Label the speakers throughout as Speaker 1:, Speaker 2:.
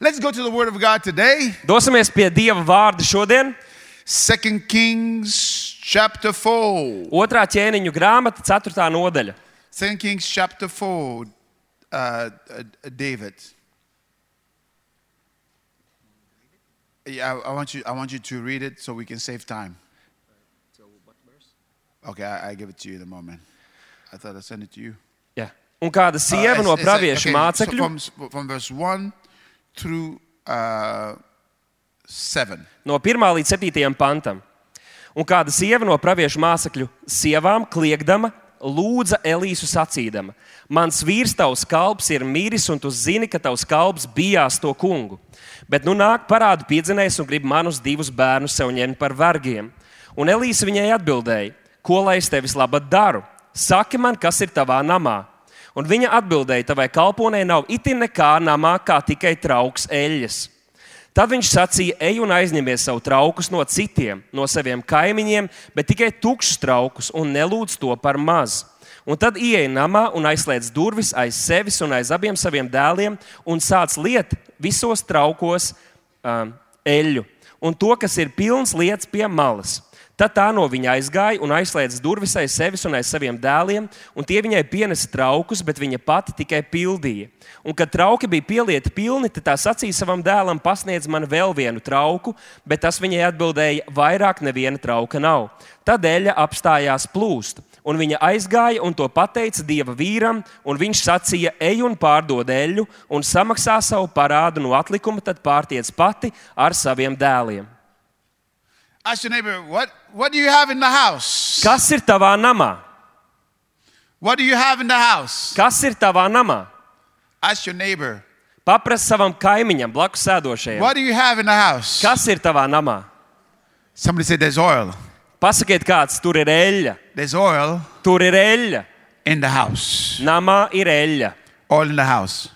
Speaker 1: Let's go to the Word of God today.
Speaker 2: Dosimies pie Dieva vārda šodien.
Speaker 1: 2 Kings chapter 4.
Speaker 2: Otrā ķēniņu grāmata, 4. nodaļa.
Speaker 1: 2 Kings chapter 4, uh, uh, David. Yeah, I, I want you, I want you to read it so we can save time. Okay, I, I give it to you in a moment. I thought I sent it to you.
Speaker 2: Jā. Un kāda sieva
Speaker 1: Uh,
Speaker 2: no
Speaker 1: it's- it's like-
Speaker 2: praviešu
Speaker 1: okay, so
Speaker 2: mācekļu,
Speaker 1: from, s- from verse 1 through uh, 7.
Speaker 2: no 1. līdz 7. pantam. Un kāda sieva no praviešu mācekļu sievām kliegdama, lūdza Elīsu sacīdama: Mans vīrs, tavs kalps ir miris, un tu zini, ka tavs kalps bijās to kungu. Bet nu nāk parādu piedzinējs un grib manus divus bērnus sev ņemt par vergiem. Un Elīsa viņai atbildēja: Ko lai es tevis labad daru? Saki man, kas ir tavā namā? Un viņa atbildēja, tavai kalponē nav itin nekā namā, kā tikai trauks eļļas. Tad viņš sacīja, ej un aizņemies savu traukus no citiem, no saviem kaimiņiem, bet tikai tukšus traukus un nelūdz to par maz. Un tad ienāk namā un aizslēdz durvis aiz sevis un aiz abiem saviem dēliem un sāc liet visos traukos um, eļļu un to, kas ir pilns lietas pie malas. Tad tā no viņa aizgāja un aizslēdza durvis aiz sevis un aiz saviem dēliem, un tie viņai pienesa traukus, bet viņa pati tikai pildīja. Un, kad trauki bija pielieti pilni, tad tā sacīja savam dēlam, pasniedz man vēl vienu trauku, bet tas viņai atbildēja, vairāk neviena trauka nav. Tad eļļa apstājās plūst, un viņa aizgāja un to pateica dieva vīram, un viņš sacīja, ej un pārdod eļļu, un samaksā savu parādu no atlikuma, tad pārtiec pati ar saviem dēliem.
Speaker 1: Ask your neighbor, what, what do you have in the house?
Speaker 2: Kas ir tavā namā?
Speaker 1: What do you have in the house?
Speaker 2: Kas ir tavā namā?
Speaker 1: Ask your neighbor,
Speaker 2: Paprasti savam kaimiņam, blakus sēdošajam,
Speaker 1: what do you have in the house?
Speaker 2: kas ir tavā namā?
Speaker 1: Somebody said, There's oil.
Speaker 2: Pasakiet, kāds tur ir eļļa.
Speaker 1: There's oil
Speaker 2: Tur ir eļļa.
Speaker 1: in the house.
Speaker 2: Namā ir eļļa.
Speaker 1: Oil in the house.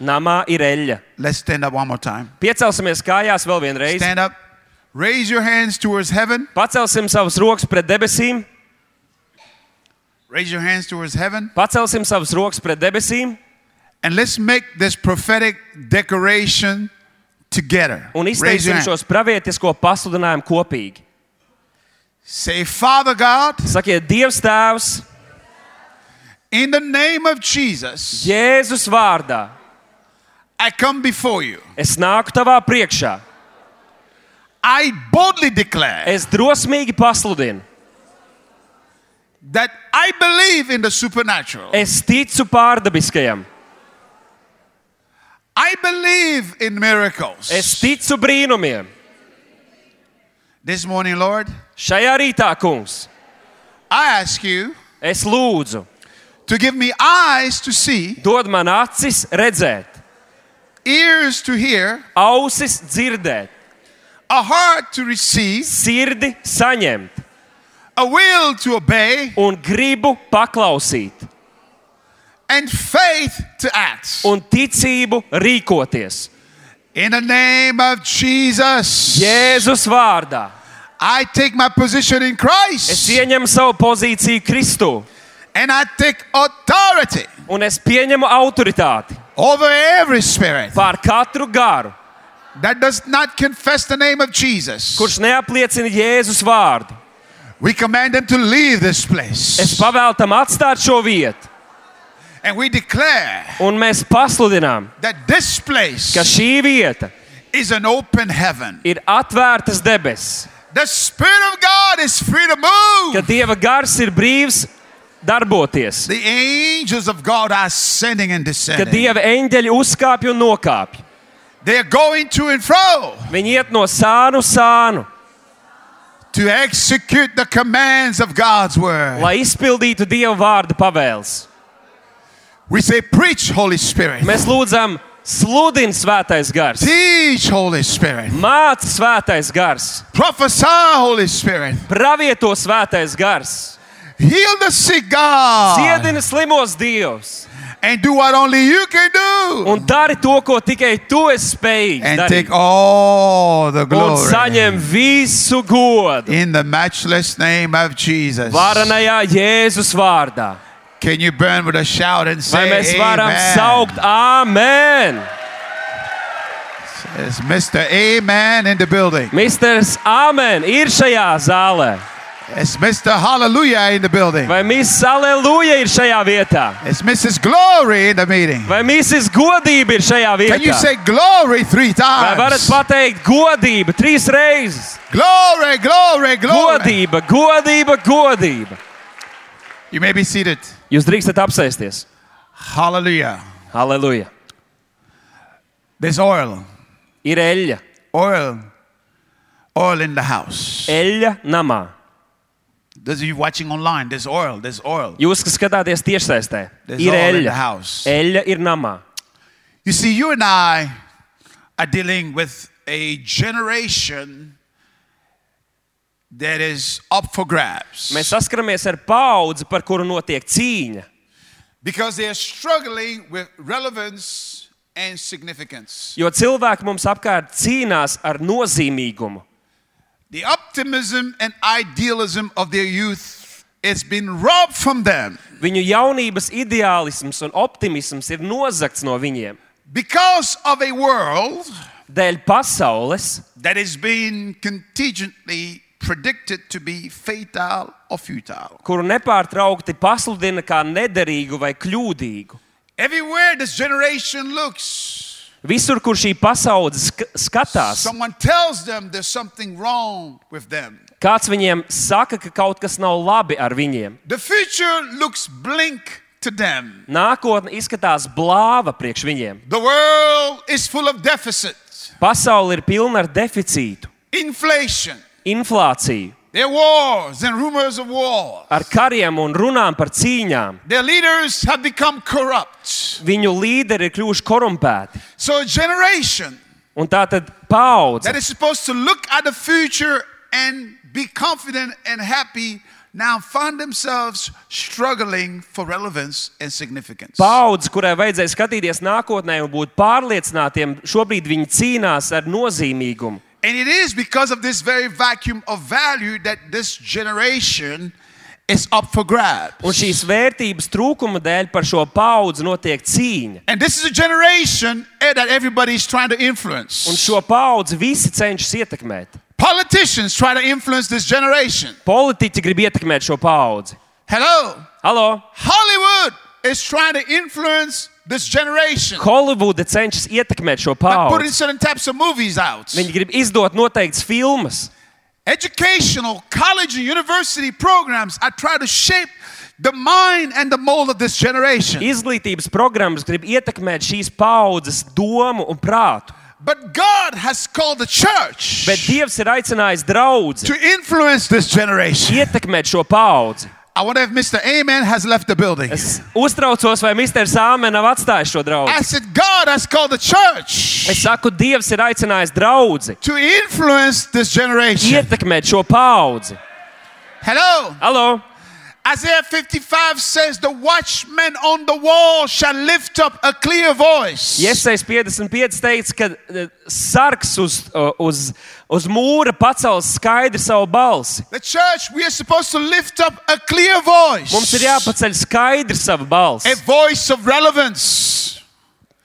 Speaker 2: Namā ir eļļa.
Speaker 1: Let's stand up one more time.
Speaker 2: Piecelsimies kājās vēl vienreiz.
Speaker 1: Stand up. Raise your hands towards heaven.
Speaker 2: Pacelsim savus rokas pret debesīm.
Speaker 1: Raise your hands towards heaven.
Speaker 2: Pacelsim savus rokas pret debesīm
Speaker 1: And let's make this prophetic declaration together.
Speaker 2: un
Speaker 1: Raise your
Speaker 2: izteiksim
Speaker 1: hand.
Speaker 2: šos pravietisko pasludinājumu kopīgi.
Speaker 1: Say, Father God,
Speaker 2: Sakiet, Dievs, Tēvs,
Speaker 1: in the name of Jesus,
Speaker 2: Jēzus vārdā,
Speaker 1: I come before you.
Speaker 2: es nāku tavā priekšā.
Speaker 1: I boldly declare
Speaker 2: Es drosmīgi pasludinu.
Speaker 1: that I believe in the supernatural.
Speaker 2: Es ticu pārdabiskajam,
Speaker 1: I believe in miracles.
Speaker 2: es ticu brīnumiem.
Speaker 1: This morning, Lord,
Speaker 2: Šajā rītā, kungs,
Speaker 1: I ask you
Speaker 2: es lūdzu,
Speaker 1: to give me eyes to see,
Speaker 2: dod man acis redzēt,
Speaker 1: ears to hear,
Speaker 2: ausis dzirdēt,
Speaker 1: a heart to receive,
Speaker 2: sirdi saņemt
Speaker 1: a will to obey,
Speaker 2: un gribu paklausīt
Speaker 1: and faith to act.
Speaker 2: un ticību rīkoties.
Speaker 1: In the name of Jesus,
Speaker 2: Jēzus vārdā
Speaker 1: I take my position in
Speaker 2: es
Speaker 1: Christ
Speaker 2: ieņemu savu pozīciju Kristū
Speaker 1: and I take authority
Speaker 2: un es pieņemu autoritāti
Speaker 1: over every spirit
Speaker 2: pār katru garu,
Speaker 1: that does not confess the name of Jesus.
Speaker 2: kurš neapliecina Jēzus vārdu.
Speaker 1: We command them to leave this
Speaker 2: Es
Speaker 1: place
Speaker 2: pavēlu tam atstāt šo vietu
Speaker 1: and we declare
Speaker 2: un mēs pasludinām,
Speaker 1: that this
Speaker 2: ka
Speaker 1: place
Speaker 2: šī vieta
Speaker 1: is an open heaven.
Speaker 2: ir atvērtas debesis,
Speaker 1: The Spirit of God is free to move.
Speaker 2: ka Dieva gars ir brīvs darboties,
Speaker 1: The angels of God are ascending and
Speaker 2: ka
Speaker 1: descending.
Speaker 2: Dieva eņģeļi uzkāpj un nokāpj.
Speaker 1: They are going to and fro
Speaker 2: Viņi iet no sānu uz sānu,
Speaker 1: to execute the commands of God's word.
Speaker 2: lai izpildītu Dieva vārdu pavēles.
Speaker 1: We say, Preach, Holy Spirit.
Speaker 2: Mēs lūdzam, sludini svētais gars,
Speaker 1: Teach, Holy Spirit.
Speaker 2: māci svētais gars,
Speaker 1: Prophesy, Holy Spirit.
Speaker 2: pravieto svētais gars,
Speaker 1: Heal the sick, God.
Speaker 2: dziedini slimos dievs
Speaker 1: And do what only you can do.
Speaker 2: un dari to, ko tikai tu esi spējīgs.
Speaker 1: And take
Speaker 2: darīt.
Speaker 1: all the
Speaker 2: Un
Speaker 1: glory.
Speaker 2: saņem visu godu
Speaker 1: In the matchless name of Jesus.
Speaker 2: varenajā Jēzus vārdā.
Speaker 1: Can you burn with a shout and
Speaker 2: Vai
Speaker 1: say,
Speaker 2: mēs varam
Speaker 1: Amen.
Speaker 2: saukt, amen?
Speaker 1: Is Mr. Amen in the building?
Speaker 2: Misters Amen ir šajā zālē.
Speaker 1: Is Mr. Hallelujah in the building?
Speaker 2: Vai Miss Aleluja ir šajā vietā?
Speaker 1: Is Mrs. Glory in the meeting?
Speaker 2: Vai Mrs. Godība ir šajā
Speaker 1: Can you
Speaker 2: vietā?
Speaker 1: say glory three
Speaker 2: Vai varat
Speaker 1: times?
Speaker 2: pateikt godība trīs reizes?
Speaker 1: Glory, glory, glory.
Speaker 2: Godība, godība, godība.
Speaker 1: You may be seated.
Speaker 2: Jūs drīkstat apsēsties.
Speaker 1: Hallelujah.
Speaker 2: Halleluja!
Speaker 1: There's oil.
Speaker 2: Ir eļļa,
Speaker 1: Oil. Oil in the house.
Speaker 2: eļļa namā.
Speaker 1: Those of you watching online, there's oil. There's oil.
Speaker 2: Jūs, kas skatāties tiešsaistē,
Speaker 1: There's
Speaker 2: ir
Speaker 1: oil in the
Speaker 2: eļļa.
Speaker 1: house.
Speaker 2: Eļļa ir namā.
Speaker 1: You see, you and I are dealing with a generation that is up for
Speaker 2: Mēs
Speaker 1: grabs
Speaker 2: saskaramies ar paudzi, par kuru notiek cīņa.
Speaker 1: because they are struggling with relevance and significance.
Speaker 2: Jo cilvēki mums apkārt cīnās ar nozīmīgumu.
Speaker 1: The optimism and idealism of their youth has been robbed from them
Speaker 2: Viņu jaunības ideālisms un optimisms ir nozagts no viņiem.
Speaker 1: because of a world
Speaker 2: Dēļ pasaules,
Speaker 1: that is being contingently predicted to be fatal or futile.
Speaker 2: kuru nepārtraukti pasludina kā nederīgu vai kļūdīgu.
Speaker 1: Everywhere this generation looks,
Speaker 2: Visur, kur šī pasaule sk skatās,
Speaker 1: Someone tells them there's something wrong with them.
Speaker 2: kāds viņiem saka, ka kaut kas nav labi ar viņiem.
Speaker 1: The future looks blink to them.
Speaker 2: Nākotne izskatās blāva priekš viņiem.
Speaker 1: The world is full of deficits,
Speaker 2: Pasaule ir pilna ar deficītu,
Speaker 1: inflation,
Speaker 2: inflāciju,
Speaker 1: their wars and rumors of war.
Speaker 2: ar kariem un runām par cīņām.
Speaker 1: Their leaders have become corrupt.
Speaker 2: Viņu līderi ir kļuvuši korumpēti.
Speaker 1: So a generation
Speaker 2: Un tā tad paudze,
Speaker 1: that is supposed to look at the future and be confident and happy now find themselves struggling for relevance and significance.
Speaker 2: paudze, kurai vajadzēja skatīties nākotnē un būt pārliecinātiem, šobrīd viņi cīnās ar nozīmīgumu.
Speaker 1: And it is because of this very vacuum of value that this generation is up for
Speaker 2: Un
Speaker 1: grabs.
Speaker 2: šīs vērtības trūkuma dēļ par šo paudzi notiek cīņa.
Speaker 1: And this is a generation eh, that everybody is trying to
Speaker 2: Un
Speaker 1: influence.
Speaker 2: šo paudzi visi cenšas ietekmēt.
Speaker 1: Politicians try to influence this generation.
Speaker 2: Politiķi grib ietekmēt šo paudzi.
Speaker 1: Hello.
Speaker 2: Halo!
Speaker 1: Hollywood is trying to influence this generation
Speaker 2: Holivuda cenšas ietekmēt šo
Speaker 1: by putting
Speaker 2: paudzi.
Speaker 1: certain types of movies out.
Speaker 2: Viņi grib izdot noteiktas filmas.
Speaker 1: Educational, college, and university programs are trying to shape the mind and the mold of this generation.
Speaker 2: Izglītības programmas grib ietekmēt šīs paudzes domu un prātu.
Speaker 1: But God has called the church
Speaker 2: Bet Dievs ir aicinājis draugus
Speaker 1: to influence this generation.
Speaker 2: ietekmēt šo paudzi.
Speaker 1: I wonder if Mr. Amen has left the building.
Speaker 2: Es uztraucos, vai Mr. Sāmen nav atstājis šo
Speaker 1: I
Speaker 2: draugu.
Speaker 1: said, God has called the
Speaker 2: Es
Speaker 1: church
Speaker 2: saku, Dievs ir aicinājis draugus
Speaker 1: to influence this generation.
Speaker 2: ietekmēt šo paudzi.
Speaker 1: Hello.
Speaker 2: Halo!
Speaker 1: Isaiah 55 says, The watchman on the wall shall lift up a clear voice.
Speaker 2: Iesais 55 teica, ka eh, sargs uz, eh, uz, uz mūra pacels skaidri savu balsi.
Speaker 1: The church, we are supposed to lift up a clear
Speaker 2: Mums
Speaker 1: voice.
Speaker 2: ir jāpaceļ skaidri savu
Speaker 1: A
Speaker 2: balsi,
Speaker 1: voice of relevance,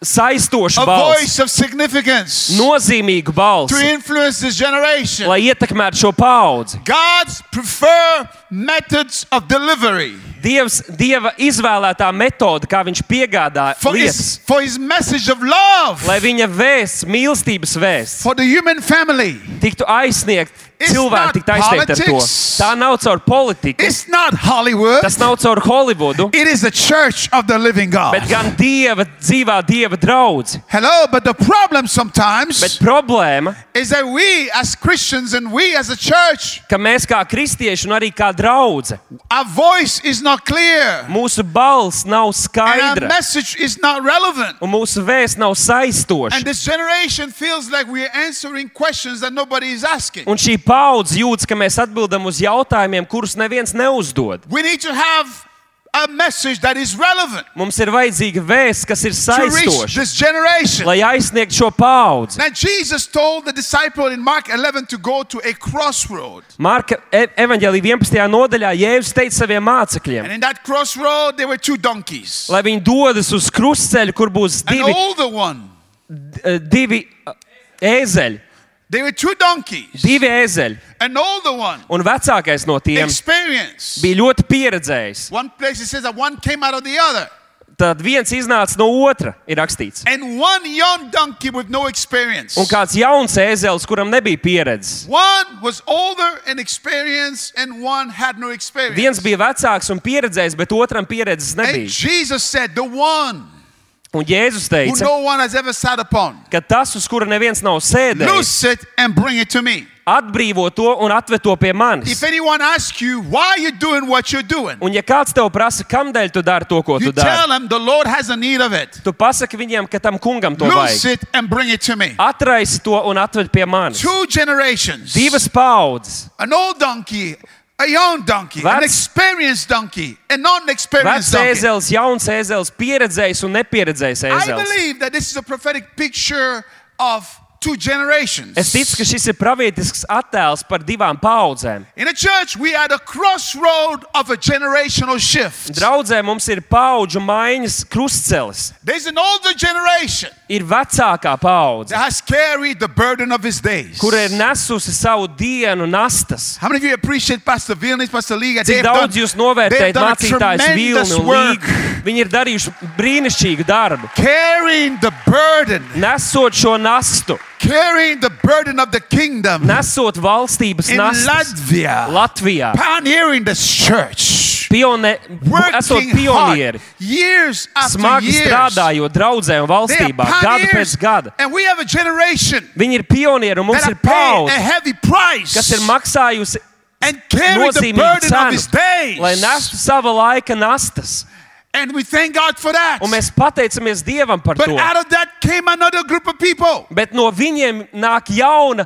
Speaker 2: saistošu
Speaker 1: a
Speaker 2: balsi,
Speaker 1: voice of significance
Speaker 2: nozīmīgu
Speaker 1: to
Speaker 2: balsi,
Speaker 1: influence this generation.
Speaker 2: lai ietekmētu šo paudzi.
Speaker 1: God's preferred methods of delivery
Speaker 2: Dievs, Dieva izvēlētā metode, kā viņš piegādā
Speaker 1: for
Speaker 2: lietas,
Speaker 1: his, for his message of love
Speaker 2: lai viņa vēsts, mīlestības vēsts,
Speaker 1: for the human family.
Speaker 2: tiktu aizsniegt,
Speaker 1: It's not
Speaker 2: cilvēki tiktu aizsniegt ar to.
Speaker 1: politics.
Speaker 2: Tā nav caur politiku,
Speaker 1: It's not Hollywood.
Speaker 2: tas nav caur Holivudu,
Speaker 1: It is the church of the living God.
Speaker 2: bet gan Dieva dzīvā Dieva draudzē.
Speaker 1: Hello, but the problem
Speaker 2: Bet
Speaker 1: sometimes
Speaker 2: problēma,
Speaker 1: is that we as Christians and we as a church,
Speaker 2: ka mēs kā kristieši un arī kā draugi,
Speaker 1: our voice is not clear.
Speaker 2: mūsu balss nav
Speaker 1: And our
Speaker 2: skaidra
Speaker 1: message is not relevant.
Speaker 2: un mūsu vēsts nav
Speaker 1: And
Speaker 2: saistoša.
Speaker 1: this generation feels like we are answering questions that nobody is asking.
Speaker 2: Un šī paudze jūtas, ka mēs atbildam uz jautājumiem, kurus neviens neuzdod.
Speaker 1: We need to have a message that is relevant.
Speaker 2: Mums ir vajadzīga vēsts, kas ir
Speaker 1: to reach
Speaker 2: saistoša,
Speaker 1: this generation.
Speaker 2: lai aizsniegtu šo paudzi.
Speaker 1: Now Jesus told the disciple in Mark 11 to go to a crossroad.
Speaker 2: Marka e- evanģēlīja 11. nodaļā Jēzus teica saviem mācekļiem,
Speaker 1: And in that crossroad there were two donkeys.
Speaker 2: lai viņi dodas uz krustceļu, kur būs e-
Speaker 1: An
Speaker 2: divi,
Speaker 1: older one
Speaker 2: eh, divi Ēzeļi,
Speaker 1: There were two donkeys.
Speaker 2: divi ēzeļi,
Speaker 1: An older one,
Speaker 2: un vecākais no tiem
Speaker 1: experienced.
Speaker 2: bija ļoti pieredzējis.
Speaker 1: One place it says that one came out of the other.
Speaker 2: Tad viens iznāca no otra, ir rakstīts.
Speaker 1: And one young donkey with no experience.
Speaker 2: Un kāds jauns ēzelis, kuram nebija pieredzes.
Speaker 1: One was older and experienced, and one had no experience.
Speaker 2: Viens bija vecāks un pieredzējis, bet otram pieredzes
Speaker 1: and
Speaker 2: nebija.
Speaker 1: Jesus said, The one
Speaker 2: Un Jēzus
Speaker 1: who
Speaker 2: teica,
Speaker 1: no one has ever sat upon,
Speaker 2: ka tas, uz kura neviens nav sēdējis,
Speaker 1: loose it and bring it to me.
Speaker 2: atbrīvo to un atved to pie
Speaker 1: If
Speaker 2: manis.
Speaker 1: anyone asks you why you're doing what you're doing,
Speaker 2: Un ja kāds tev prasa, kamdēļ tu dari to, ko tu
Speaker 1: you
Speaker 2: dari,
Speaker 1: tell them the Lord has a need of it.
Speaker 2: tu pasaki viņiem, ka tam kungam to
Speaker 1: Loose
Speaker 2: vajag.
Speaker 1: it and bring it to me.
Speaker 2: Atraisi to un atved pie manis.
Speaker 1: Two generations.
Speaker 2: Divas paudzes.
Speaker 1: An old donkey, a young donkey, an
Speaker 2: That's-
Speaker 1: experienced donkey, a
Speaker 2: Vecs
Speaker 1: non-experienced donkey.
Speaker 2: ēzelis, jauns ēzelis, pieredzējis un nepieredzējis
Speaker 1: I
Speaker 2: ēzelis.
Speaker 1: believe that this is a prophetic picture of two generations.
Speaker 2: Es ticu, ka šis ir pravietisks attēls par divām paudzēm.
Speaker 1: In a church, we are at a crossroad of a generational shift.
Speaker 2: Draudzē mums ir paudžu maiņas krustcelis.
Speaker 1: There's an older generation
Speaker 2: Ir vecākā paudze,
Speaker 1: that has carried the burden of his days.
Speaker 2: kura ir nesusi savu dienu nastas.
Speaker 1: How many of you appreciate Pastor Vilnius, Pastor Liga?
Speaker 2: Cik daudz jūs novērtējat
Speaker 1: done a
Speaker 2: mācītājus
Speaker 1: tremendous
Speaker 2: Vilni un
Speaker 1: work
Speaker 2: Līgu? Viņi ir darījuši brīnišķīgu darbu.
Speaker 1: carrying the burden,
Speaker 2: Nesot šo nastu,
Speaker 1: carrying the burden of the kingdom
Speaker 2: nesot valstības
Speaker 1: in
Speaker 2: nastu
Speaker 1: Latvia,
Speaker 2: Latvijā,
Speaker 1: pioneering this church,
Speaker 2: pione, esot
Speaker 1: working
Speaker 2: pionieri,
Speaker 1: hard, years after
Speaker 2: smagi
Speaker 1: years.
Speaker 2: strādājot draudzē un
Speaker 1: They are
Speaker 2: valstībā, gadu pēc
Speaker 1: pioneers,
Speaker 2: gada.
Speaker 1: and we have a generation
Speaker 2: Viņi ir pionieri un
Speaker 1: that
Speaker 2: mums
Speaker 1: have
Speaker 2: ir
Speaker 1: paid a
Speaker 2: paudze,
Speaker 1: heavy price
Speaker 2: kas ir maksājusi
Speaker 1: and carried the
Speaker 2: nozīmīgu
Speaker 1: burden of his
Speaker 2: cenu, lai
Speaker 1: days.
Speaker 2: nestu sava laika nastas.
Speaker 1: And we thank God for that.
Speaker 2: Un mēs pateicamies Dievam par
Speaker 1: But
Speaker 2: to.
Speaker 1: out of that came another group of people.
Speaker 2: Bet no viņiem nāk jauna,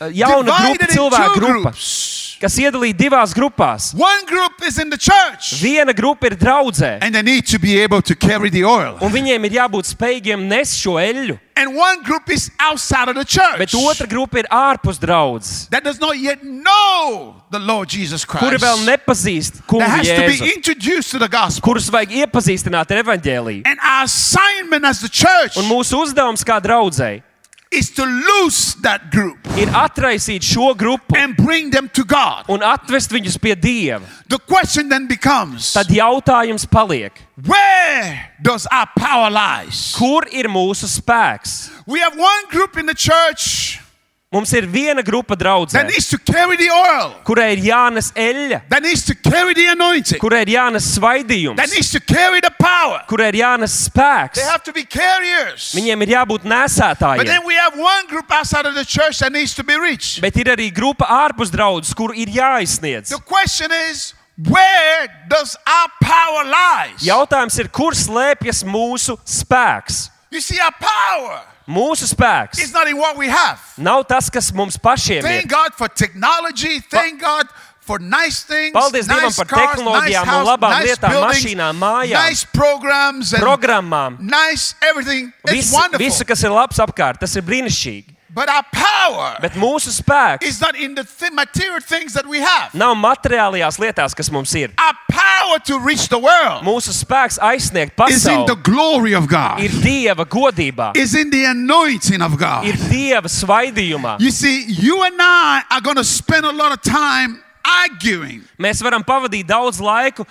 Speaker 2: eh, jauna
Speaker 1: divided
Speaker 2: grupa,
Speaker 1: in
Speaker 2: cilvēku
Speaker 1: two
Speaker 2: grupa,
Speaker 1: groups.
Speaker 2: kas iedalīta divās grupās.
Speaker 1: One group is in the church
Speaker 2: Viena grupa ir draudzē,
Speaker 1: and they need to be able to carry the oil.
Speaker 2: un viņiem ir jābūt spējīgiem nes šo eļļu,
Speaker 1: And one group is outside of the church
Speaker 2: bet otra grupa ir ārpus draudzes,
Speaker 1: that does not yet know the Lord Jesus
Speaker 2: kuri
Speaker 1: Christ.
Speaker 2: vēl nepazīst kungu
Speaker 1: that has to be
Speaker 2: jēzu,
Speaker 1: introduced to the gospel.
Speaker 2: kurus vajag iepazīstināt ar evaņģēlīju.
Speaker 1: And our assignment as the church
Speaker 2: Un mūsu uzdevums kā draudzēji
Speaker 1: is to loose that group
Speaker 2: ir atraisīt šo grupu
Speaker 1: and bring them to God.
Speaker 2: un atvest viņus pie Dieva.
Speaker 1: The question then becomes
Speaker 2: Tad jautājums paliek,
Speaker 1: where does our power lies?
Speaker 2: kur ir mūsu spēks?
Speaker 1: We have one group in the church
Speaker 2: Mums ir viena grupa
Speaker 1: that
Speaker 2: draudzē,
Speaker 1: needs to carry the oil,
Speaker 2: kurai ir jānes eļļa,
Speaker 1: that needs to carry the anointing,
Speaker 2: kurai ir jānes
Speaker 1: that
Speaker 2: svaidījums,
Speaker 1: needs to carry the power.
Speaker 2: kurai ir jānes
Speaker 1: They
Speaker 2: spēks.
Speaker 1: have to be carriers.
Speaker 2: Viņiem ir jābūt
Speaker 1: But
Speaker 2: nesētājiem.
Speaker 1: then we have one group outside of the church that needs to be reached.
Speaker 2: Bet ir arī grupa ārpus draudzes, kur ir jāizsniedz.
Speaker 1: The question is where does our power lies?
Speaker 2: Jautājums ir, kur slēpjas mūsu spēks?
Speaker 1: You see, our power
Speaker 2: Mūsu spēks
Speaker 1: is not in what we have.
Speaker 2: nav tas, kas mums pašiem ir.
Speaker 1: Thank God for technology. Thank God for nice things.
Speaker 2: Paldies Dievam
Speaker 1: nice
Speaker 2: par
Speaker 1: cars, nice
Speaker 2: tehnoloģijām un
Speaker 1: house,
Speaker 2: labām
Speaker 1: nice
Speaker 2: lietām,
Speaker 1: buildings,
Speaker 2: mašīnām, mājām.
Speaker 1: Nice programs and
Speaker 2: Programmām.
Speaker 1: nice everything. It's
Speaker 2: Viss,
Speaker 1: wonderful.
Speaker 2: visu, kas ir labs apkārt, tas ir brīnišķīgi.
Speaker 1: But our power
Speaker 2: Bet mūsu spēks
Speaker 1: is not in the th- material things that we have.
Speaker 2: nav materiālajās lietās, kas mums ir.
Speaker 1: Our power to reach the world
Speaker 2: Mūsu spēks aizsniegt
Speaker 1: is in the
Speaker 2: pasauli
Speaker 1: glory of God.
Speaker 2: ir Dieva godībā,
Speaker 1: Is in the anointing of God.
Speaker 2: ir Dieva svaidījumā.
Speaker 1: You see, you and I are going to spend a lot of time arguing
Speaker 2: Mēs varam pavadīt daudz laiku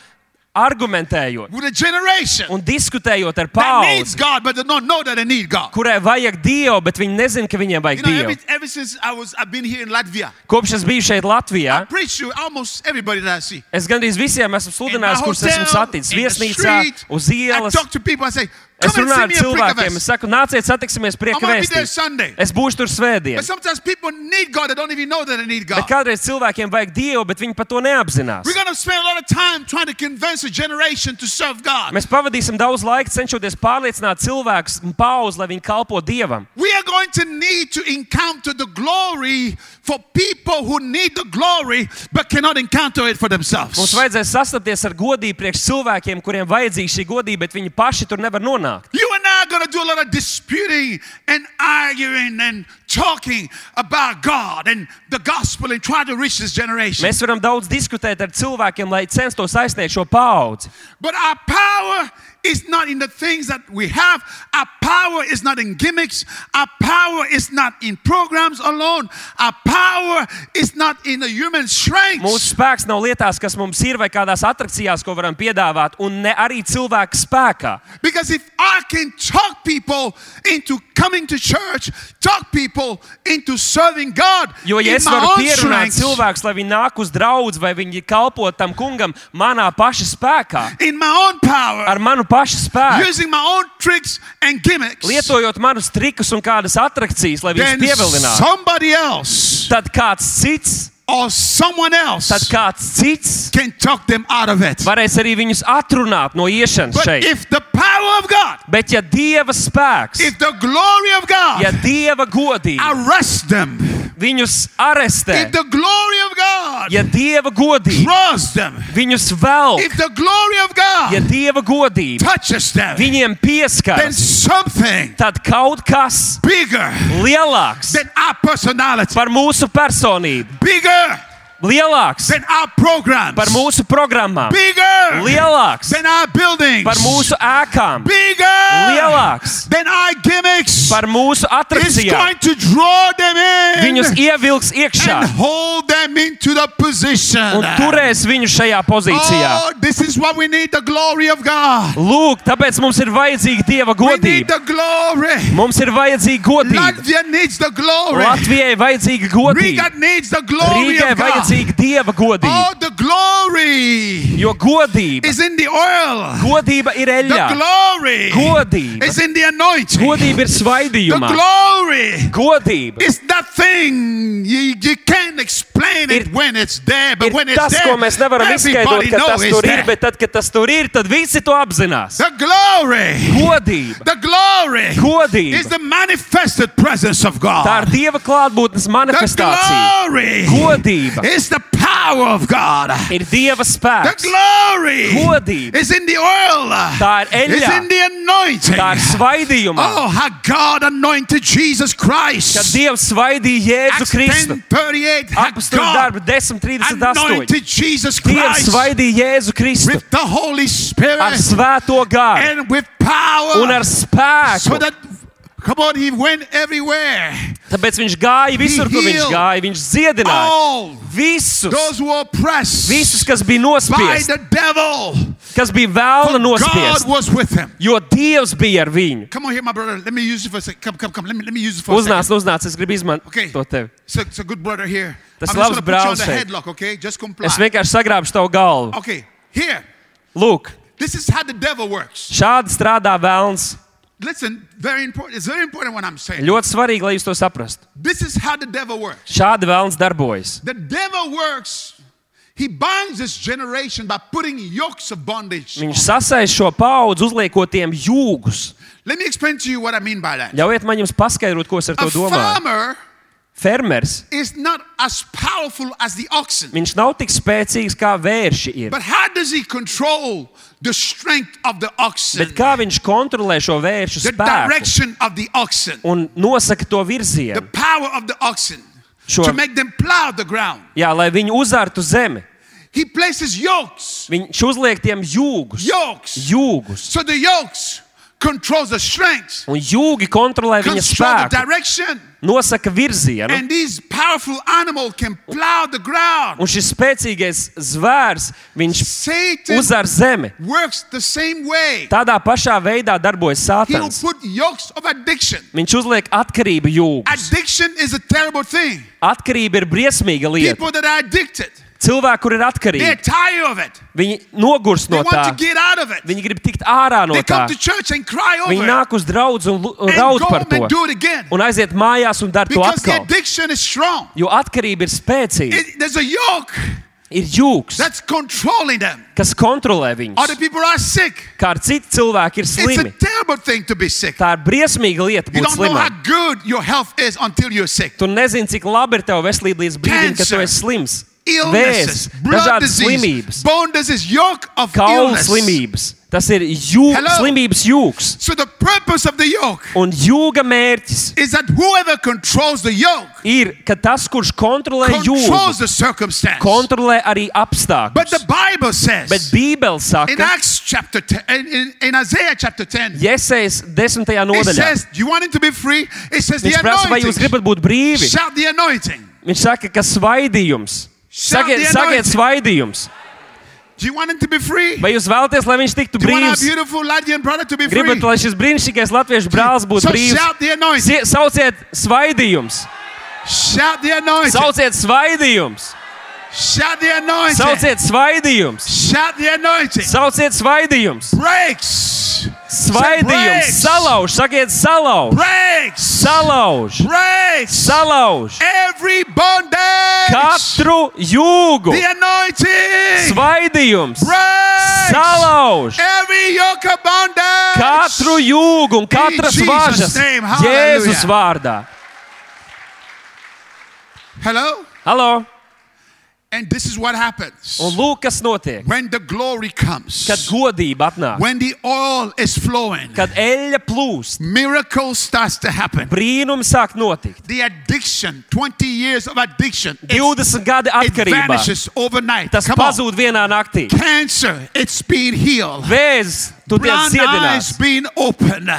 Speaker 2: argumentējot
Speaker 1: with a generation
Speaker 2: un diskutējot ar
Speaker 1: that needs
Speaker 2: paudzi,
Speaker 1: God but does not know that they need God.
Speaker 2: kurai vajag Dievu, bet viņi nezina, ka viņiem
Speaker 1: You
Speaker 2: vajag
Speaker 1: know, ever,
Speaker 2: Dievu.
Speaker 1: ever since I was, I've been here in Latvia.
Speaker 2: Kopš es biju šeit Latvijā,
Speaker 1: I preach to almost everybody that I see.
Speaker 2: es gandrīz visiem
Speaker 1: In
Speaker 2: esmu
Speaker 1: my
Speaker 2: sludinājis, kurus esmu
Speaker 1: hotel,
Speaker 2: saticis
Speaker 1: in the
Speaker 2: viesnīcā,
Speaker 1: street,
Speaker 2: uz
Speaker 1: I
Speaker 2: ielas.
Speaker 1: talk to people. I say,
Speaker 2: Es
Speaker 1: come and
Speaker 2: runāju
Speaker 1: see
Speaker 2: ar
Speaker 1: me a prick of
Speaker 2: cilvēkiem, es
Speaker 1: us.
Speaker 2: saku, nāciet, satiksimies
Speaker 1: I'm gonna be there
Speaker 2: priekšvēstī.
Speaker 1: Sunday.
Speaker 2: Es būšu tur svētdien.
Speaker 1: But sometimes people need God. They don't even know that they need God.
Speaker 2: Bet kādreiz cilvēkiem vajag Dievu, bet viņi par to neapzinās.
Speaker 1: We're going to spend a lot of time trying to convince a generation to serve God.
Speaker 2: Mēs pavadīsim daudz laika cenšoties pārliecināt cilvēkus un pauzi, lai viņi kalpo Dievam.
Speaker 1: We are going to need to encounter the glory for people who need the glory but cannot encounter it for
Speaker 2: Mums
Speaker 1: themselves.
Speaker 2: vajadzēs sastapties ar godību priekš cilvēkiem, kuriem vajadzīga šī godība, bet viņi paši tur nevar nonākt.
Speaker 1: You and I are going to do a lot of disputing and arguing and talking about God and the gospel and trying to reach this generation.
Speaker 2: Mēs varam daudz diskutēt ar cilvēkiem, lai censtos aizsniegt šo paudzi.
Speaker 1: But our power is not in the things that we have. Our power is not in gimmicks. Our power is not in programs alone. Our power is not in the human
Speaker 2: Mūsu
Speaker 1: strength.
Speaker 2: spēks nav lietās, kas mums ir, vai kādās attrakcijās, ko varam piedāvāt, un ne arī cilvēka spēkā.
Speaker 1: Because if I can talk people into coming to church, talk people into serving God
Speaker 2: Jo, ja
Speaker 1: in
Speaker 2: es varu
Speaker 1: my own
Speaker 2: pierunāt
Speaker 1: strength,
Speaker 2: cilvēkus, lai viņi nāk uz draugu, vai viņi kalpo tam kungam, manā paša spēkā,
Speaker 1: in my own power,
Speaker 2: ar manu pašu spēku,
Speaker 1: using my own tricks and gimmicks,
Speaker 2: lietojot manus trikus un kādas attrakcijas, lai viņus
Speaker 1: then
Speaker 2: pievilinātu,
Speaker 1: somebody else
Speaker 2: tad kāds cits,
Speaker 1: or someone
Speaker 2: tad
Speaker 1: else
Speaker 2: kāds cits
Speaker 1: can talk them out of it.
Speaker 2: varēs arī viņus atrunāt no iešanas
Speaker 1: But
Speaker 2: šeit.
Speaker 1: if the power of God,
Speaker 2: Bet, ja dieva spēks,
Speaker 1: if the glory of God
Speaker 2: ja dieva godība
Speaker 1: arrest them,
Speaker 2: viņus arestē,
Speaker 1: if the glory of God
Speaker 2: ja dieva godība
Speaker 1: draws them,
Speaker 2: viņus velk,
Speaker 1: if the glory of God
Speaker 2: ja dieva godība
Speaker 1: touches them,
Speaker 2: viņiem
Speaker 1: then
Speaker 2: pieskaras,
Speaker 1: something
Speaker 2: tad kaut kas
Speaker 1: bigger
Speaker 2: lielāks
Speaker 1: than our personality,
Speaker 2: par mūsu personību,
Speaker 1: bigger
Speaker 2: lielāks
Speaker 1: than our programs,
Speaker 2: par mūsu programmām,
Speaker 1: bigger
Speaker 2: lielāks
Speaker 1: than our buildings,
Speaker 2: par mūsu ēkām,
Speaker 1: bigger
Speaker 2: lielāks
Speaker 1: than our gimmicks.
Speaker 2: par mūsu
Speaker 1: It's
Speaker 2: attrakcijām.
Speaker 1: going to draw them
Speaker 2: Viņus
Speaker 1: in
Speaker 2: ievilks iekšā
Speaker 1: and hold them into the position.
Speaker 2: un turēs viņu šajā pozīcijā.
Speaker 1: Oh, this is what we need the glory of God.
Speaker 2: Lūk, tāpēc mums ir vajadzīga dieva
Speaker 1: We need
Speaker 2: godība.
Speaker 1: the glory.
Speaker 2: Mums ir vajadzīga godība.
Speaker 1: Latvia needs the glory.
Speaker 2: Latvijai vajadzīga godība.
Speaker 1: Riga needs the glory
Speaker 2: Rīgai
Speaker 1: of God.
Speaker 2: vajadzīga dieva godība.
Speaker 1: Oh, the glory
Speaker 2: Jo godība,
Speaker 1: is in the oil.
Speaker 2: godība ir
Speaker 1: The
Speaker 2: eļļā.
Speaker 1: glory
Speaker 2: Godība,
Speaker 1: is in the anointing.
Speaker 2: godība ir
Speaker 1: The
Speaker 2: svaidījumā.
Speaker 1: glory
Speaker 2: Godība
Speaker 1: is that thing you, you can't explain it
Speaker 2: Ir-
Speaker 1: when it's there, but
Speaker 2: ir
Speaker 1: when it's
Speaker 2: tas,
Speaker 1: there,
Speaker 2: ko mēs nevaram izskaidrot,
Speaker 1: everybody
Speaker 2: ka
Speaker 1: knows
Speaker 2: tas
Speaker 1: it's
Speaker 2: tur ir,
Speaker 1: there.
Speaker 2: bet tad, kad tas tur ir, tad visi to apzinās.
Speaker 1: The glory,
Speaker 2: Godība,
Speaker 1: the glory is
Speaker 2: godība.
Speaker 1: the manifested presence of God.
Speaker 2: Tā ir dieva klātbūtnes
Speaker 1: The
Speaker 2: manifestācija.
Speaker 1: glory
Speaker 2: Godība.
Speaker 1: is the power of God.
Speaker 2: Ir dieva
Speaker 1: The
Speaker 2: spēks.
Speaker 1: glory
Speaker 2: Godība.
Speaker 1: is in the oil.
Speaker 2: Tā ir eļļā.
Speaker 1: It's in the anointing.
Speaker 2: Tā ir svaidījumā.
Speaker 1: Oh, how God anointed Jesus
Speaker 2: kad
Speaker 1: Christ.
Speaker 2: Dievs svaidīja Jēzu
Speaker 1: Acts
Speaker 2: Kristu.
Speaker 1: 10:38. How
Speaker 2: Apostļu
Speaker 1: God
Speaker 2: darbu 10.38.
Speaker 1: anointed Jesus
Speaker 2: Dievs
Speaker 1: Christ
Speaker 2: svaidīja Jēzu Kristu
Speaker 1: with the Holy Spirit
Speaker 2: ar svēto gāru
Speaker 1: and with
Speaker 2: un
Speaker 1: power.
Speaker 2: ar spēku.
Speaker 1: So that, come on, he went everywhere.
Speaker 2: Tāpēc viņš gāja visur, kur viņš
Speaker 1: healed
Speaker 2: gāja. Viņš dziedināja
Speaker 1: All
Speaker 2: visus,
Speaker 1: those who are oppressed
Speaker 2: visus kas bija
Speaker 1: by
Speaker 2: nospiesti,
Speaker 1: the devil.
Speaker 2: kas bija vēlna
Speaker 1: God
Speaker 2: nospiesti.
Speaker 1: was with him.
Speaker 2: Jo Dievs bija ar viņu.
Speaker 1: Come on here, my brother. Let me use it for a second. Come, come, come. Let me, let me use it for a
Speaker 2: Uznāc,
Speaker 1: second.
Speaker 2: uznāc, es gribu
Speaker 1: Okay.
Speaker 2: izmantot tevi.
Speaker 1: It's a, it's a good brother here.
Speaker 2: Tas
Speaker 1: I'm just
Speaker 2: labs
Speaker 1: gonna put you on the
Speaker 2: brālis šeit.
Speaker 1: headlock, okay? Just comply.
Speaker 2: Es vienkārši sagrābšu tavu galvu.
Speaker 1: Okay, here.
Speaker 2: Lūk,
Speaker 1: This is how the devil works.
Speaker 2: šādi strādā vēlns.
Speaker 1: Listen, very important. It's very important what I'm saying.
Speaker 2: Ļoti svarīgi, lai jūs to saprastu.
Speaker 1: This is how the devil works.
Speaker 2: Šādi vēlns darbojas.
Speaker 1: The devil works. He binds this generation by putting yokes of bondage.
Speaker 2: Viņš sasais šo paudzi, uzliekot tiem jūgus.
Speaker 1: Let me explain to you what I mean by that.
Speaker 2: Ļaujiet man jums paskaidrot, ko es ar to
Speaker 1: A
Speaker 2: domāju.
Speaker 1: farmer
Speaker 2: Fermers,
Speaker 1: is not as powerful as the oxen.
Speaker 2: viņš nav tik spēcīgs kā vērši ir.
Speaker 1: But how does he control the strength of the oxen?
Speaker 2: Bet kā viņš kontrolē šo vēršu
Speaker 1: The
Speaker 2: spēku
Speaker 1: direction of the oxen,
Speaker 2: un nosaka to
Speaker 1: the
Speaker 2: virzienu,
Speaker 1: power of the oxen
Speaker 2: Sure.
Speaker 1: to make them plow the ground.
Speaker 2: jā, lai viņi uzārtu zemi?
Speaker 1: He places yokes,
Speaker 2: Viņš uzliek tiem jūgus.
Speaker 1: yokes.
Speaker 2: jūgus.
Speaker 1: So the yokes controls the strength,
Speaker 2: Un jūgi kontrolē viņa
Speaker 1: control the
Speaker 2: spēku,
Speaker 1: direction,
Speaker 2: nosaka virzienu.
Speaker 1: and these powerful animal can plow the ground.
Speaker 2: Un šis spēcīgais zvērs, viņš
Speaker 1: Satan
Speaker 2: uzar zemi.
Speaker 1: works the same way.
Speaker 2: Tādā pašā veidā darbojas
Speaker 1: He will
Speaker 2: Sātans.
Speaker 1: put yokes of addiction.
Speaker 2: Viņš uzliek atkarību jūgu.
Speaker 1: Addiction is a terrible thing.
Speaker 2: Atkarība ir briesmīga lieta.
Speaker 1: People that are addicted,
Speaker 2: Cilvēki, kur ir
Speaker 1: they're
Speaker 2: atkarīgi,
Speaker 1: tired of it.
Speaker 2: viņi nogurs
Speaker 1: They
Speaker 2: no tā.
Speaker 1: want to get out of it.
Speaker 2: Viņi grib tikt ārā no
Speaker 1: They
Speaker 2: tā.
Speaker 1: come to church and cry over
Speaker 2: Viņi
Speaker 1: it.
Speaker 2: nāk uz draugu un, lu- un
Speaker 1: And
Speaker 2: raud
Speaker 1: go
Speaker 2: par
Speaker 1: home and
Speaker 2: to.
Speaker 1: do it again.
Speaker 2: Un aiziet mājās un dara to
Speaker 1: Because the
Speaker 2: atkal.
Speaker 1: addiction is strong.
Speaker 2: Jo atkarība ir spēcīga.
Speaker 1: It- there's a yoke
Speaker 2: Ir jūgs,
Speaker 1: that's controlling them.
Speaker 2: kas kontrolē
Speaker 1: Other
Speaker 2: viņus.
Speaker 1: people are sick.
Speaker 2: Kā ar citu cilvēku ir
Speaker 1: It's a
Speaker 2: slimi.
Speaker 1: terrible thing to be sick.
Speaker 2: Tā ir briesmīga lieta
Speaker 1: You
Speaker 2: būt
Speaker 1: don't know how
Speaker 2: slimam.
Speaker 1: good your health is until you're sick.
Speaker 2: Tu nezini, cik labi ir tev veselība līdz brīdim, kad tu
Speaker 1: Cancer.
Speaker 2: esi slims.
Speaker 1: illnesses,
Speaker 2: Vēzi,
Speaker 1: blood
Speaker 2: dažādas
Speaker 1: disease,
Speaker 2: slimības.
Speaker 1: bone disease, yoke of
Speaker 2: kaulu
Speaker 1: illness.
Speaker 2: slimības. Tas ir jū,
Speaker 1: Hello?
Speaker 2: slimības jūks.
Speaker 1: So the purpose of the yoke
Speaker 2: Un jūga mērķis
Speaker 1: is that whoever controls the yoke
Speaker 2: ir, ka tas, kurš kontrolē
Speaker 1: controls
Speaker 2: jūgu,
Speaker 1: the circumstance.
Speaker 2: kontrolē arī
Speaker 1: but
Speaker 2: apstākļus.
Speaker 1: the Bible says
Speaker 2: Bet Bībele
Speaker 1: in
Speaker 2: saka,
Speaker 1: Acts chapter 10, in, in, in Isaiah chapter 10,
Speaker 2: Jēzus 10.
Speaker 1: it
Speaker 2: nodaļā.
Speaker 1: says, Do you want him to be free? It says the
Speaker 2: Viņš prasa, vai jūs
Speaker 1: anointing.
Speaker 2: gribat būt brīvi?
Speaker 1: Shout the anointing.
Speaker 2: Viņš saka, ka svaidījums.
Speaker 1: Shout
Speaker 2: Sakiet,
Speaker 1: the
Speaker 2: sakiet
Speaker 1: anointing.
Speaker 2: svaidījums.
Speaker 1: Do you want him to be free?
Speaker 2: Vai jūs vēlaties, lai viņš tiktu
Speaker 1: Do you want our
Speaker 2: brīvs?
Speaker 1: beautiful Latvian brother to be free?
Speaker 2: Gribat, lai šis brīnišķīgais latviešu brālis būtu
Speaker 1: so
Speaker 2: brīvs?
Speaker 1: shout the anointing.
Speaker 2: Sie- Sauciet svaidījums!
Speaker 1: Shout the anointing.
Speaker 2: Sauciet svaidījums!
Speaker 1: shout the anointing.
Speaker 2: Sauciet svaidījums!
Speaker 1: shout the anointing.
Speaker 2: Sauciet svaidījums!
Speaker 1: breaks.
Speaker 2: Svaidījums!
Speaker 1: Breaks.
Speaker 2: Salauž! Sakiet, salauž!
Speaker 1: Breaks.
Speaker 2: Salauž!
Speaker 1: breaks.
Speaker 2: Salauž!
Speaker 1: Every bondage.
Speaker 2: Katru jūgu!
Speaker 1: the anointing.
Speaker 2: Svaidījums!
Speaker 1: breaks.
Speaker 2: Salauž!
Speaker 1: Every yoke of bondage.
Speaker 2: Katru jūgu un katras
Speaker 1: Jesus'
Speaker 2: važas
Speaker 1: name, hallelujah.
Speaker 2: Jēzus vārdā!
Speaker 1: Hello?
Speaker 2: Halo!
Speaker 1: And this is what happens.
Speaker 2: Un lūk, kas notiek,
Speaker 1: When the glory comes.
Speaker 2: Oh, kad godība atnāk,
Speaker 1: When the oil is flowing.
Speaker 2: kad eļļa plūst,
Speaker 1: miracles starts to happen.
Speaker 2: brīnumi sāk notikt.
Speaker 1: The addiction, 20 years of addiction, it,
Speaker 2: 20 gadi
Speaker 1: it
Speaker 2: atkarībā
Speaker 1: vanishes overnight.
Speaker 2: tas
Speaker 1: Come on.
Speaker 2: pazūd vienā naktī.
Speaker 1: Cancer, it's being healed.
Speaker 2: Vēzis, tu tiec
Speaker 1: Blind eyes
Speaker 2: dziedināts,
Speaker 1: being opened.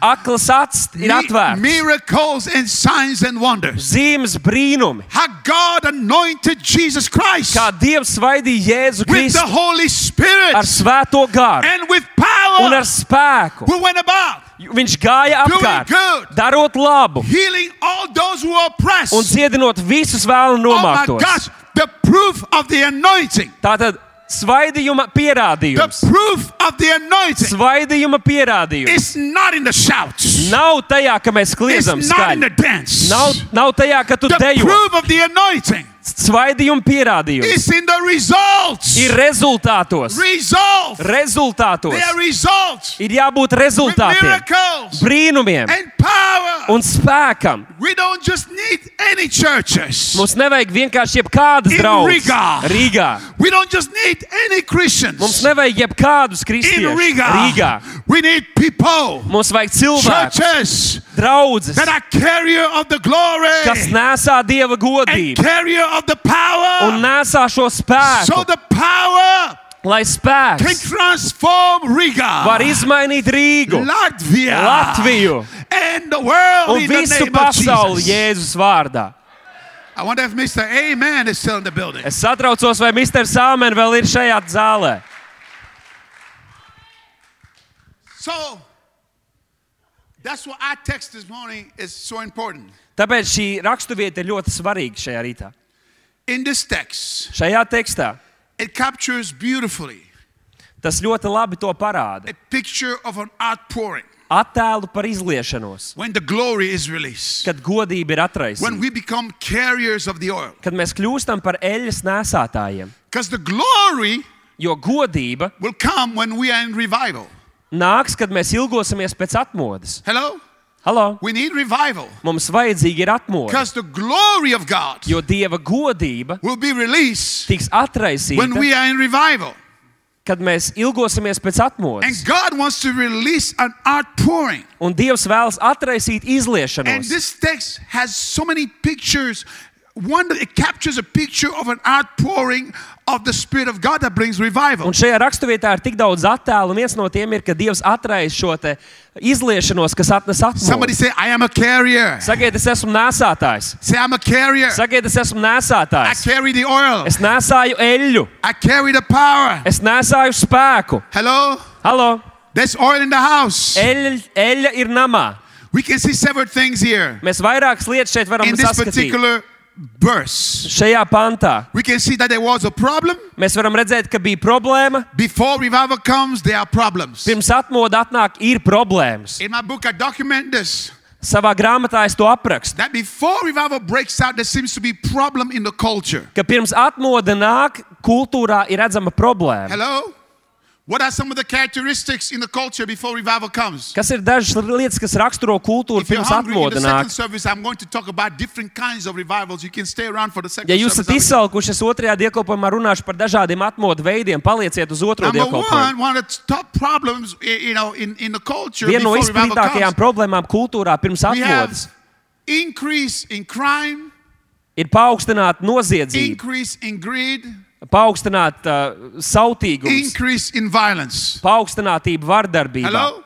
Speaker 2: akls acis
Speaker 1: Mi-
Speaker 2: ir atvērts,
Speaker 1: miracles and signs and wonders.
Speaker 2: zīmes brīnumi.
Speaker 1: How God anointed Jesus Christ
Speaker 2: Kā Dievs svaidīja Jēzu
Speaker 1: with the
Speaker 2: Kristu
Speaker 1: Holy Spirit
Speaker 2: ar svēto garu
Speaker 1: and with
Speaker 2: un ar
Speaker 1: power
Speaker 2: spēku.
Speaker 1: who went about
Speaker 2: Viņš gāja
Speaker 1: Doing
Speaker 2: apkārt,
Speaker 1: good.
Speaker 2: darot labu
Speaker 1: healing all those who are oppressed.
Speaker 2: un dziedinot visus vēlu
Speaker 1: oh my
Speaker 2: nomāktos.
Speaker 1: gosh, the proof of the anointing.
Speaker 2: Tātad svaidījuma
Speaker 1: The
Speaker 2: pierādījums.
Speaker 1: proof of the anointing.
Speaker 2: Svaidījuma pierādījums.
Speaker 1: It's not in the shouts.
Speaker 2: Nav tajā, ka mēs
Speaker 1: It's
Speaker 2: kliedzam
Speaker 1: not in the
Speaker 2: skaļi.
Speaker 1: dance.
Speaker 2: Nav, nav tajā, ka tu
Speaker 1: The
Speaker 2: dejo.
Speaker 1: proof of the anointing
Speaker 2: Svaidījuma pierādījums
Speaker 1: is in the results.
Speaker 2: ir rezultātos.
Speaker 1: Results.
Speaker 2: Rezultātos.
Speaker 1: Their results.
Speaker 2: Ir jābūt
Speaker 1: With
Speaker 2: rezultātiem,
Speaker 1: miracles
Speaker 2: brīnumiem
Speaker 1: and power.
Speaker 2: un spēkam.
Speaker 1: We don't just need any churches.
Speaker 2: Mums nevajag vienkārši jebkādas
Speaker 1: In
Speaker 2: draudzes
Speaker 1: Riga.
Speaker 2: Rīgā.
Speaker 1: We don't just need any Christians.
Speaker 2: Mums nevajag jebkādus
Speaker 1: In
Speaker 2: kristiešus
Speaker 1: Riga.
Speaker 2: Rīgā.
Speaker 1: We need people.
Speaker 2: Mums vajag cilvēku,
Speaker 1: Churches
Speaker 2: draugus,
Speaker 1: that are carrier of the glory.
Speaker 2: kas nesā dieva
Speaker 1: and
Speaker 2: godību
Speaker 1: carrier of the power.
Speaker 2: un nesā šo
Speaker 1: So
Speaker 2: spēku,
Speaker 1: the power
Speaker 2: lai
Speaker 1: can
Speaker 2: spēks
Speaker 1: transform Riga,
Speaker 2: var izmainīt Rīgu,
Speaker 1: Latvia,
Speaker 2: Latviju
Speaker 1: and the world
Speaker 2: un
Speaker 1: in the
Speaker 2: visu
Speaker 1: name of
Speaker 2: pasauli
Speaker 1: Jesus.
Speaker 2: Jēzus vārdā.
Speaker 1: I wonder if Mr. Amen is still in the building.
Speaker 2: Es satraucos, vai Mr. Sāmen vēl ir šajā zālē.
Speaker 1: So that's why our text this morning is so important.
Speaker 2: Tāpēc šī raksturvieta ir ļoti svarīga šajā rītā.
Speaker 1: In this text,
Speaker 2: Šajā tekstā
Speaker 1: it captures beautifully
Speaker 2: tas ļoti labi to parāda.
Speaker 1: a picture of an outpouring
Speaker 2: Attēlu par izliešanos,
Speaker 1: when the glory is released,
Speaker 2: kad godība ir
Speaker 1: when
Speaker 2: atraisīta,
Speaker 1: we become carriers of the oil.
Speaker 2: kad mēs kļūstam par eļļas nesātājiem.
Speaker 1: Because the glory
Speaker 2: Jo godība
Speaker 1: will come when we are in revival.
Speaker 2: nāks, kad mēs ilgosimies pēc atmodas.
Speaker 1: Hello?
Speaker 2: Halo!
Speaker 1: We need revival.
Speaker 2: Mums vajadzīga ir atmoda,
Speaker 1: Because the glory of God
Speaker 2: jo dieva godība
Speaker 1: will be released
Speaker 2: tiks
Speaker 1: when
Speaker 2: atraisīta,
Speaker 1: we are in revival.
Speaker 2: kad mēs ilgosimies pēc
Speaker 1: And
Speaker 2: atmodas.
Speaker 1: God wants to release an outpouring.
Speaker 2: Un Dievs vēlas atraisīt
Speaker 1: And
Speaker 2: izliešanos.
Speaker 1: this text has so many pictures. One, it captures a picture of an outpouring of the Spirit of God that brings revival.
Speaker 2: Un šajā raksturvietā ir tik daudz attēlu, un viens no tiem ir, ka Dievs atraisa šo te izliešanos, kas atnes
Speaker 1: Somebody
Speaker 2: atmodu.
Speaker 1: say, I am a carrier.
Speaker 2: Sakiet, es esmu nesātājs.
Speaker 1: Say, I'm a carrier.
Speaker 2: Sakiet, es esmu
Speaker 1: I
Speaker 2: nesātājs.
Speaker 1: carry the oil.
Speaker 2: Es nesāju eļļu,
Speaker 1: I carry the power.
Speaker 2: es nesāju spēku.
Speaker 1: Hello?
Speaker 2: Halo!
Speaker 1: There's oil in the house.
Speaker 2: Eļļa, eļļa ir namā.
Speaker 1: We can see several things here
Speaker 2: Mēs vairākas lietas šeit varam
Speaker 1: in this
Speaker 2: saskatīt.
Speaker 1: particular verse.
Speaker 2: Šajā pantā
Speaker 1: We can see that there was a problem.
Speaker 2: mēs varam redzēt, ka bija problēma.
Speaker 1: Before revival comes, there are problems.
Speaker 2: Pirms atmodu atnāk, ir problēmas.
Speaker 1: In my book, I document this
Speaker 2: Savā grāmatā es to aprakstu.
Speaker 1: that before revival breaks out, there seems to be problem in the culture.
Speaker 2: Ka pirms atmoda nāk, kultūrā ir redzama problēma.
Speaker 1: Hello? What are some of the characteristics in the culture before revival comes?
Speaker 2: Kas ir dažas lietas, kas raksturo kultūru
Speaker 1: If you're
Speaker 2: pirms
Speaker 1: hungry in the
Speaker 2: atmodu
Speaker 1: second
Speaker 2: nāk?
Speaker 1: service, I'm going to talk about different kinds of revivals. You can stay around for the second
Speaker 2: Ja jūs esat
Speaker 1: service.
Speaker 2: izsalkuši, es otrajā diegkopumā runāšu par dažādiem atmodu veidiem. Palieciet uz otro
Speaker 1: Number
Speaker 2: diegkopumu.
Speaker 1: one, one of the top problems, i- you know, in, in the culture
Speaker 2: Viena no
Speaker 1: before revival comes,
Speaker 2: izplatītākajām problēmām kultūrā pirms
Speaker 1: we
Speaker 2: atmodas
Speaker 1: have increase in crime,
Speaker 2: ir paaugstināta noziedzība,
Speaker 1: increase in greed,
Speaker 2: paaugstināta uh, sautīgums,
Speaker 1: increase in violence.
Speaker 2: paaugstinātība vardarbībā.
Speaker 1: Hello?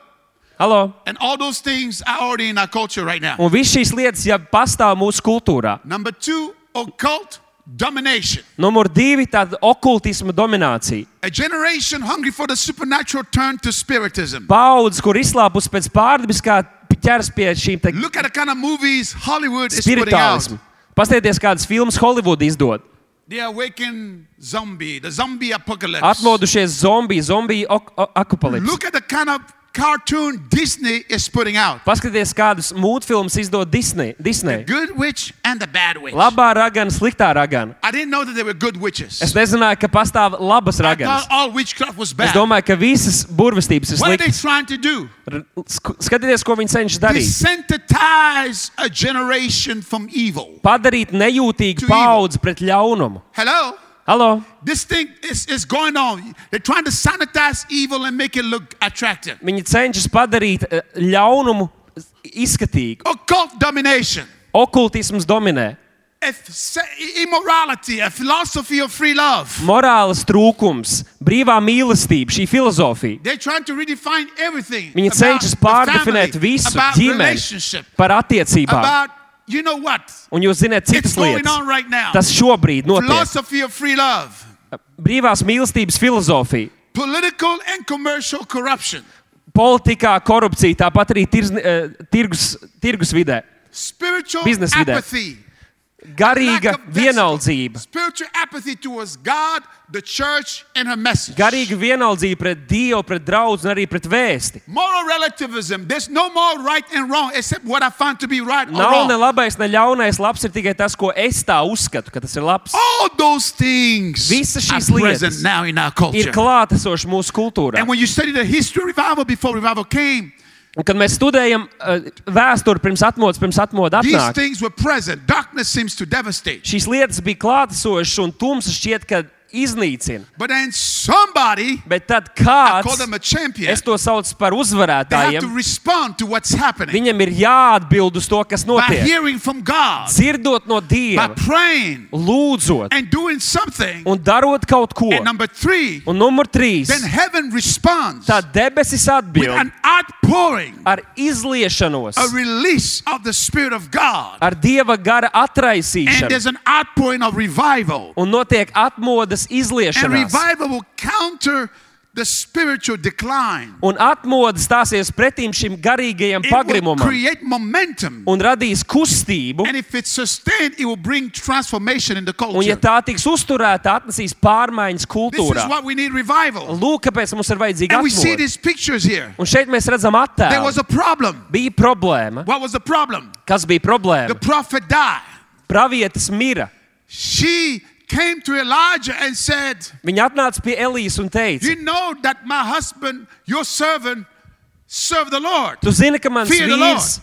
Speaker 2: Halo?
Speaker 1: And all those things are already in our culture right now.
Speaker 2: Un viss šīs lietas jau pastāv mūsu kultūrā.
Speaker 1: Number two, occult domination.
Speaker 2: Numur divi - tāda okultisma dominācija.
Speaker 1: A generation hungry for the supernatural turned to spiritism.
Speaker 2: Paudze, kur izslāpus pēc pārdabiskā, ķers pie šīm te
Speaker 1: Look at the kind of movies Hollywood is putting out.
Speaker 2: spirituālismu. Paskatieties, kādas filmas Holivudā izdod.
Speaker 1: The awakened zombie, the zombie apocalypse.
Speaker 2: Atmodušies zombiju, zombiju akupalību.
Speaker 1: Look at the kind of cartoon Disney is putting out.
Speaker 2: Paskatieties, kādas mūtfilmas izdod Disney. Disney.
Speaker 1: Good witch and the bad witch.
Speaker 2: Labā ragana, sliktā ragana.
Speaker 1: I didn't know that there were good witches.
Speaker 2: Es nezināju, ka pastāv labas
Speaker 1: I thought
Speaker 2: raganas.
Speaker 1: all witchcraft was
Speaker 2: Es
Speaker 1: bad.
Speaker 2: domāju, ka visas burvestības ir
Speaker 1: What are they
Speaker 2: sliktas.
Speaker 1: trying to do?
Speaker 2: R- sk- Skatieties, ko viņi cenšas darīt.
Speaker 1: Desensitize a generation from evil.
Speaker 2: Padarīt nejūtīgu paudzi pret ļaunumu.
Speaker 1: Hello?
Speaker 2: Halo?
Speaker 1: This thing is, is going on. They're trying to sanitize evil and make it look attractive.
Speaker 2: Viņi cenšas padarīt eh, ļaunumu izskatīgu.
Speaker 1: Occult domination,
Speaker 2: Okultisms dominē.
Speaker 1: a f- se- immorality, a philosophy of free love.
Speaker 2: Morāles trūkums, brīvā mīlestība, šī filozofija.
Speaker 1: They're trying to redefine everything.
Speaker 2: Viņi
Speaker 1: about
Speaker 2: cenšas
Speaker 1: the
Speaker 2: pārdefinēt
Speaker 1: family,
Speaker 2: visu
Speaker 1: about
Speaker 2: ģimeni
Speaker 1: relationship,
Speaker 2: par attiecībām.
Speaker 1: about you know what?
Speaker 2: Un jūs zināt,
Speaker 1: It's
Speaker 2: citas
Speaker 1: going on
Speaker 2: lietas.
Speaker 1: right now.
Speaker 2: Tas šobrīd notiek.
Speaker 1: philosophy of free love,
Speaker 2: Brīvās mīlestības filozofija.
Speaker 1: political and commercial corruption,
Speaker 2: Politikā, korupcija, tāpat arī tirzni, eh, tirgus, tirgus vidē.
Speaker 1: spiritual
Speaker 2: Business with that.
Speaker 1: apathy, lack
Speaker 2: Garīga
Speaker 1: of discipline,
Speaker 2: vienaldzība.
Speaker 1: spiritual apathy towards God, the church, and her message.
Speaker 2: Garīga vienaldzība pret Dievu, pret draugu un arī pret vēsti.
Speaker 1: Moral relativism. There's no more right and wrong except what I find to be right or
Speaker 2: Nav ne
Speaker 1: wrong.
Speaker 2: labais, ne ļaunais. Labs ir tikai tas, ko es tā uzskatu, ka tas ir labs.
Speaker 1: All those things
Speaker 2: Visas šīs
Speaker 1: are present
Speaker 2: lietas
Speaker 1: now in our
Speaker 2: Ir
Speaker 1: culture.
Speaker 2: klātesoši mūsu kultūrā.
Speaker 1: And when you study the history of revival before revival came,
Speaker 2: Un, kad mēs studējam eh, vēsturi pirms atmodas, pirms atmodas
Speaker 1: these
Speaker 2: atnāk,
Speaker 1: things were present. Darkness seems to devastate.
Speaker 2: šīs lietas bija klātesošas un tumsas šķiet, ka iznīcina.
Speaker 1: But then somebody,
Speaker 2: Bet tad
Speaker 1: I call
Speaker 2: kāds,
Speaker 1: them a champion,
Speaker 2: es to saucu par
Speaker 1: they have to
Speaker 2: uzvarētājiem,
Speaker 1: respond to what's happening
Speaker 2: viņam ir jāatbild uz to, kas
Speaker 1: by
Speaker 2: notiek.
Speaker 1: hearing from God,
Speaker 2: Dzirdot no
Speaker 1: by
Speaker 2: Dieva,
Speaker 1: praying
Speaker 2: lūdzot
Speaker 1: and doing something.
Speaker 2: un darot kaut ko.
Speaker 1: And number three,
Speaker 2: Un numur trīs
Speaker 1: then heaven responds
Speaker 2: - tā debesis
Speaker 1: with
Speaker 2: atbild
Speaker 1: an outpouring
Speaker 2: ar izliešanos.
Speaker 1: a release of the Spirit of God.
Speaker 2: ar dieva gara
Speaker 1: And
Speaker 2: atraisīšanu.
Speaker 1: there's an outpouring of revival.
Speaker 2: Un notiek atmodas
Speaker 1: And
Speaker 2: izliešana.
Speaker 1: revival will counter the spiritual decline.
Speaker 2: Un atmodas stāsies pretim šim garīgajam
Speaker 1: It will
Speaker 2: pagrimumam
Speaker 1: create momentum.
Speaker 2: un radīs kustību.
Speaker 1: And if it's sustained, it will bring transformation in the
Speaker 2: Un,
Speaker 1: culture.
Speaker 2: ja tā tiks uzturēta, atnesīs pārmaiņas
Speaker 1: This is
Speaker 2: kultūrā.
Speaker 1: what we need revival.
Speaker 2: Lūk, kāpēc mums ir vajadzīga
Speaker 1: And we see
Speaker 2: atmodas.
Speaker 1: these pictures here.
Speaker 2: Un šeit mēs redzam
Speaker 1: There was
Speaker 2: attēlu.
Speaker 1: a problem.
Speaker 2: Bija problēma.
Speaker 1: What was the problem?
Speaker 2: Kas bija
Speaker 1: The
Speaker 2: problēma?
Speaker 1: prophet died.
Speaker 2: Pravietis mira.
Speaker 1: She came to Elijah and said,
Speaker 2: Viņa atnāca pie Elijas un teica:
Speaker 1: You know that my husband, your servant, served the Lord.
Speaker 2: Tu zini, ka mans
Speaker 1: Fear the
Speaker 2: vīrs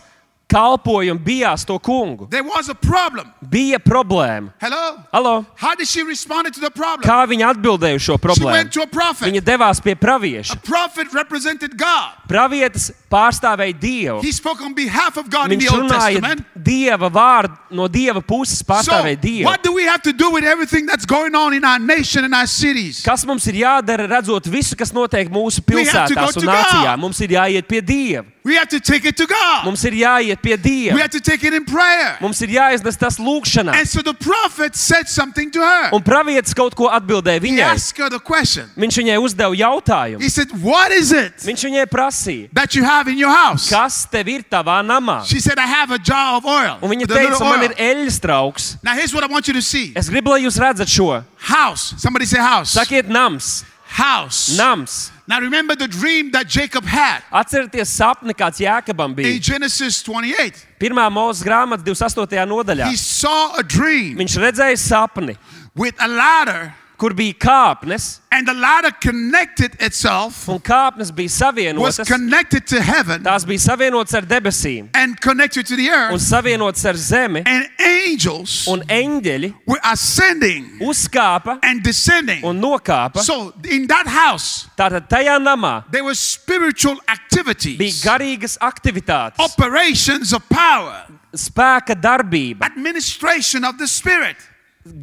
Speaker 2: kalpoja un bijās to kungu.
Speaker 1: There was a problem.
Speaker 2: Bija problēma.
Speaker 1: Hello?
Speaker 2: Halo!
Speaker 1: How did she respond to the problem?
Speaker 2: Kā viņa atbildēja uz šo
Speaker 1: She went
Speaker 2: problēmu?
Speaker 1: to a prophet.
Speaker 2: Viņa devās pie
Speaker 1: A
Speaker 2: pravieša.
Speaker 1: prophet represented God.
Speaker 2: Pravietis pārstāvēja Dievu.
Speaker 1: He spoke on behalf of God in the
Speaker 2: Viņš
Speaker 1: Old
Speaker 2: runāja
Speaker 1: Testament.
Speaker 2: Dieva vārdu, no Dieva puses
Speaker 1: So,
Speaker 2: pārstāvēja Dievu.
Speaker 1: what do we have to do with everything that's going on in our nation and our cities?
Speaker 2: Kas mums ir jādara, redzot visu, kas notiek mūsu
Speaker 1: We have to go
Speaker 2: pilsētās
Speaker 1: to
Speaker 2: un nācijā?
Speaker 1: God.
Speaker 2: Mums ir jāiet pie Dieva.
Speaker 1: We have to take it to God.
Speaker 2: Mums ir jāiet pie
Speaker 1: We
Speaker 2: Dieva.
Speaker 1: have to take it in prayer.
Speaker 2: Mums ir jāiznes tas lūgšanā.
Speaker 1: And so the prophet said something to her.
Speaker 2: Un pravietis kaut ko atbildēja
Speaker 1: He
Speaker 2: viņai.
Speaker 1: asked her the question.
Speaker 2: Viņš viņai uzdeva jautājumu.
Speaker 1: He said, What is it
Speaker 2: Viņš viņai prasīja,
Speaker 1: that you have in your house?
Speaker 2: kas tev ir tavā namā?
Speaker 1: She said, I have a jar of oil.
Speaker 2: Un viņa
Speaker 1: The little
Speaker 2: teica, man
Speaker 1: oil."
Speaker 2: ir eļļas trauks.
Speaker 1: Now, here's what I want you to see
Speaker 2: Es gribu, lai jūs redzat šo.
Speaker 1: house. Somebody say house.
Speaker 2: Sakiet, nams,
Speaker 1: House.
Speaker 2: nams.
Speaker 1: Now, remember the dream that Jacob had
Speaker 2: Atcerieties sapni, kāds Jēkabam
Speaker 1: in
Speaker 2: bija.
Speaker 1: Genesis 28.
Speaker 2: Pirmā mūzes grāmatas 28. nodaļā.
Speaker 1: He saw a dream
Speaker 2: Viņš redzēja sapni,
Speaker 1: with a ladder
Speaker 2: kur bija kāpnes,
Speaker 1: And the ladder connected itself,
Speaker 2: un kāpnes bija
Speaker 1: was
Speaker 2: savienotas.
Speaker 1: connected to heaven
Speaker 2: Tās bija savienotas ar debesīm,
Speaker 1: and connected to the
Speaker 2: un
Speaker 1: earth.
Speaker 2: savienotas ar zemi,
Speaker 1: And angels
Speaker 2: un eņģeļi
Speaker 1: were ascending
Speaker 2: uzkāpa
Speaker 1: and descending.
Speaker 2: un nokāpa.
Speaker 1: So in that house,
Speaker 2: Tātad tajā namā
Speaker 1: there were spiritual
Speaker 2: bija
Speaker 1: activities,
Speaker 2: garīgas aktivitātes,
Speaker 1: operations of power,
Speaker 2: spēka darbība,
Speaker 1: administration of the spirit.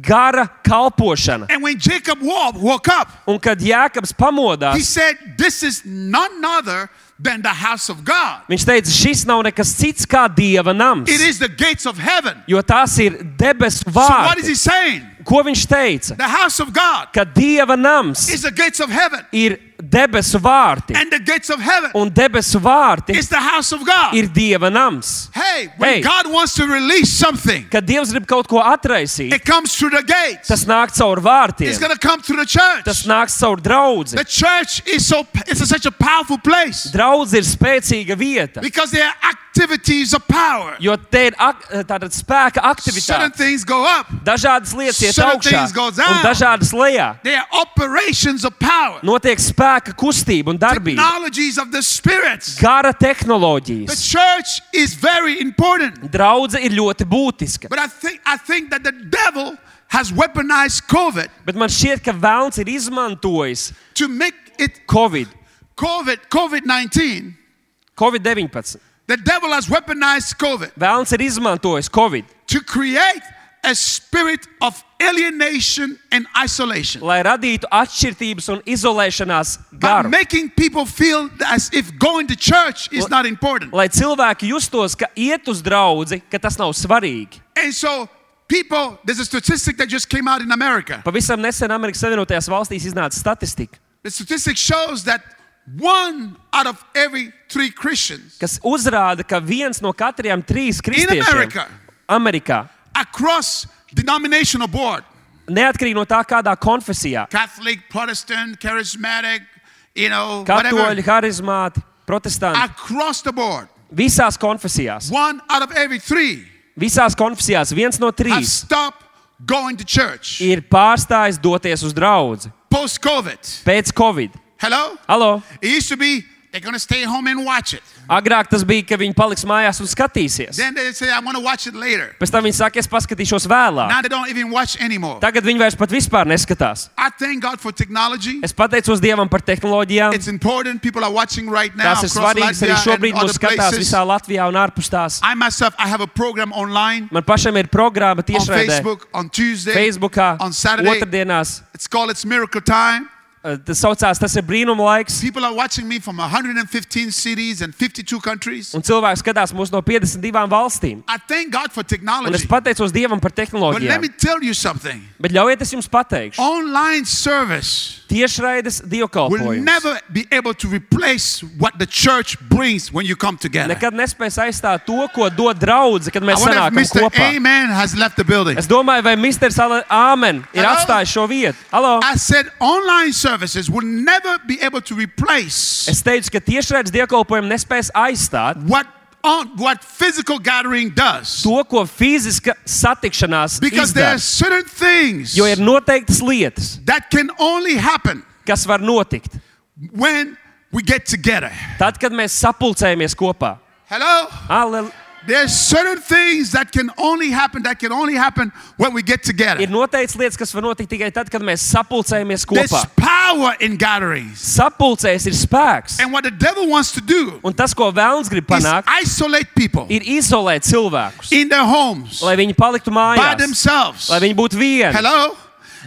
Speaker 2: gara kalpošana.
Speaker 1: And when Jacob woke, woke up,
Speaker 2: Un kad Jēkabs
Speaker 1: he
Speaker 2: pamodās,
Speaker 1: said, This is none other than the house of God.
Speaker 2: viņš teica, šis nav nekas cits kā dieva nams,
Speaker 1: It is the gates of heaven.
Speaker 2: jo tās ir debesu
Speaker 1: So, what is
Speaker 2: vārdi.
Speaker 1: he saying?
Speaker 2: Ko viņš teica?
Speaker 1: The house of God
Speaker 2: Ka dieva nams
Speaker 1: is the gates of heaven,
Speaker 2: ir debesu vārti,
Speaker 1: and the gates of heaven
Speaker 2: un debesu vārti
Speaker 1: is the house of God.
Speaker 2: ir dieva nams.
Speaker 1: Hey, when
Speaker 2: Hey.
Speaker 1: God wants to release something,
Speaker 2: Kad Dievs grib kaut ko atraisīt,
Speaker 1: it comes through the gates.
Speaker 2: tas nāk caur
Speaker 1: It's
Speaker 2: vārtiem,
Speaker 1: going to come through the
Speaker 2: tas
Speaker 1: church.
Speaker 2: nāk caur draugu.
Speaker 1: The church is so it's such a powerful place
Speaker 2: Draudz ir spēcīga vieta,
Speaker 1: because there are activities of power.
Speaker 2: jo te ir ak tātad spēka
Speaker 1: Certain
Speaker 2: aktivitāte.
Speaker 1: things go up.
Speaker 2: Dažādas lietas iet
Speaker 1: Certain
Speaker 2: augšā
Speaker 1: things goes
Speaker 2: un
Speaker 1: down.
Speaker 2: dažādas lejā.
Speaker 1: There are operations of power.
Speaker 2: Notiek spēka kustība un darbība,
Speaker 1: Technologies of the spirits.
Speaker 2: gara
Speaker 1: The
Speaker 2: tehnoloģijas.
Speaker 1: church is very important.
Speaker 2: Draudze ir ļoti būtiska,
Speaker 1: But I think I think that the devil has weaponized COVID
Speaker 2: bet man šķiet, ka Vēlns ir izmantojis
Speaker 1: to make it
Speaker 2: Covid,
Speaker 1: COVID COVID-19.
Speaker 2: Covid-19.
Speaker 1: The devil has weaponized COVID
Speaker 2: Vēlns ir izmantojis Covid,
Speaker 1: to create a spirit of alienation and isolation
Speaker 2: lai radītu atšķirības un izolēšanās
Speaker 1: by
Speaker 2: garu.
Speaker 1: making people feel as if going to church is
Speaker 2: Well-
Speaker 1: not important.
Speaker 2: lai cilvēki justos, ka iet uz draugu, ka tas nav svarīgi.
Speaker 1: And so people there's a statistic that just came out in America.
Speaker 2: Pavisam nesen Amerikas Savienotajās valstīs iznāca statistika,
Speaker 1: The statistic shows that one out of every 3 Christians
Speaker 2: kas uzrāda, ka viens no katriem trīs kristiešiem
Speaker 1: America.
Speaker 2: Amerikā,
Speaker 1: across denominational board
Speaker 2: neatkarīgi no tā, kādā konfesijā,
Speaker 1: Catholic, Protestant, charismatic, you know,
Speaker 2: katoļi,
Speaker 1: whatever.
Speaker 2: harizmāti, protestanti,
Speaker 1: Across the board,
Speaker 2: visās konfesijās,
Speaker 1: one out of every three
Speaker 2: visās konfesijās viens no
Speaker 1: have
Speaker 2: trīs
Speaker 1: stopped going to church
Speaker 2: ir pārstājis doties uz draugu
Speaker 1: post COVID.
Speaker 2: pēc Covid.
Speaker 1: Hello?
Speaker 2: Halo!
Speaker 1: It used to be they're going to stay home and watch it.
Speaker 2: Agrāk tas bija, ka viņi paliks mājās un skatīsies.
Speaker 1: Then they say, I want to watch it later.
Speaker 2: Pēc tam viņi saka, es paskatīšos vēlāk.
Speaker 1: Now they don't even watch anymore.
Speaker 2: Tagad viņi vairs pat vispār neskatās.
Speaker 1: I thank God for technology.
Speaker 2: Es pateicos Dievam par tehnoloģijām.
Speaker 1: It's important. People are watching right now.
Speaker 2: Tās ir
Speaker 1: across
Speaker 2: svarīgas arī
Speaker 1: Latvia
Speaker 2: šobrīd.
Speaker 1: and
Speaker 2: Mums
Speaker 1: other
Speaker 2: skatās
Speaker 1: places.
Speaker 2: visā Latvijā un ārpus tās.
Speaker 1: I myself, I have a program online
Speaker 2: Man pašam ir programma
Speaker 1: on
Speaker 2: tiešraidē,
Speaker 1: Facebook on Tuesday,
Speaker 2: Facebookā,
Speaker 1: on Saturday.
Speaker 2: otrdienās.
Speaker 1: It's called It's Miracle Time.
Speaker 2: Eh, Tas saucās, tas ir brīnuma laiks.
Speaker 1: People are watching me from 115 cities and 52 countries.
Speaker 2: Un cilvēki skatās mūs no 52 valstīm.
Speaker 1: I thank God for
Speaker 2: Un es
Speaker 1: technology.
Speaker 2: pateicos Dievam par
Speaker 1: But let me
Speaker 2: tehnoloģijām.
Speaker 1: tell you something
Speaker 2: Bet ļaujiet, es jums pateikšu,
Speaker 1: online service
Speaker 2: tiešraides
Speaker 1: will
Speaker 2: dievkalpojums
Speaker 1: never be able to replace what the church brings when you come together.
Speaker 2: nekad nespēs aizstāt to, ko dod draudzi, kad
Speaker 1: I
Speaker 2: mēs
Speaker 1: wonder
Speaker 2: sanākam
Speaker 1: if Mr.
Speaker 2: kopā.
Speaker 1: Amen has left the building.
Speaker 2: Es domāju, vai Mr. Āmen ir
Speaker 1: Hello?
Speaker 2: atstājis šo vietu. Halo!
Speaker 1: I said online services will never be able to replace
Speaker 2: Es teicu, ka tiešraides dievkalpojumu nespēs aizstāt
Speaker 1: what on, what physical gathering does
Speaker 2: to, ko fiziska satikšanās
Speaker 1: because there are
Speaker 2: izdara.
Speaker 1: certain things
Speaker 2: Jo ir noteiktas lietas,
Speaker 1: that can only happen
Speaker 2: kas var notikt
Speaker 1: when we get together.
Speaker 2: tad, kad mēs sapulcējamies kopā.
Speaker 1: Hello?
Speaker 2: Allelu.
Speaker 1: There's certain things that can only happen that can only happen when we get together.
Speaker 2: Ir noteikts lietas, kas var notikt tikai tad, kad mēs sapulcējamies
Speaker 1: There's
Speaker 2: kopā.
Speaker 1: power in gatherings.
Speaker 2: Sapulcēs ir spēks.
Speaker 1: And what the devil wants to do
Speaker 2: Un tas, ko vēlams grib
Speaker 1: is
Speaker 2: panākt,
Speaker 1: isolate people
Speaker 2: ir izolēt cilvēkus,
Speaker 1: in their homes
Speaker 2: lai viņi paliktu
Speaker 1: by
Speaker 2: mājās,
Speaker 1: themselves.
Speaker 2: lai viņi būtu vieni.
Speaker 1: Hello?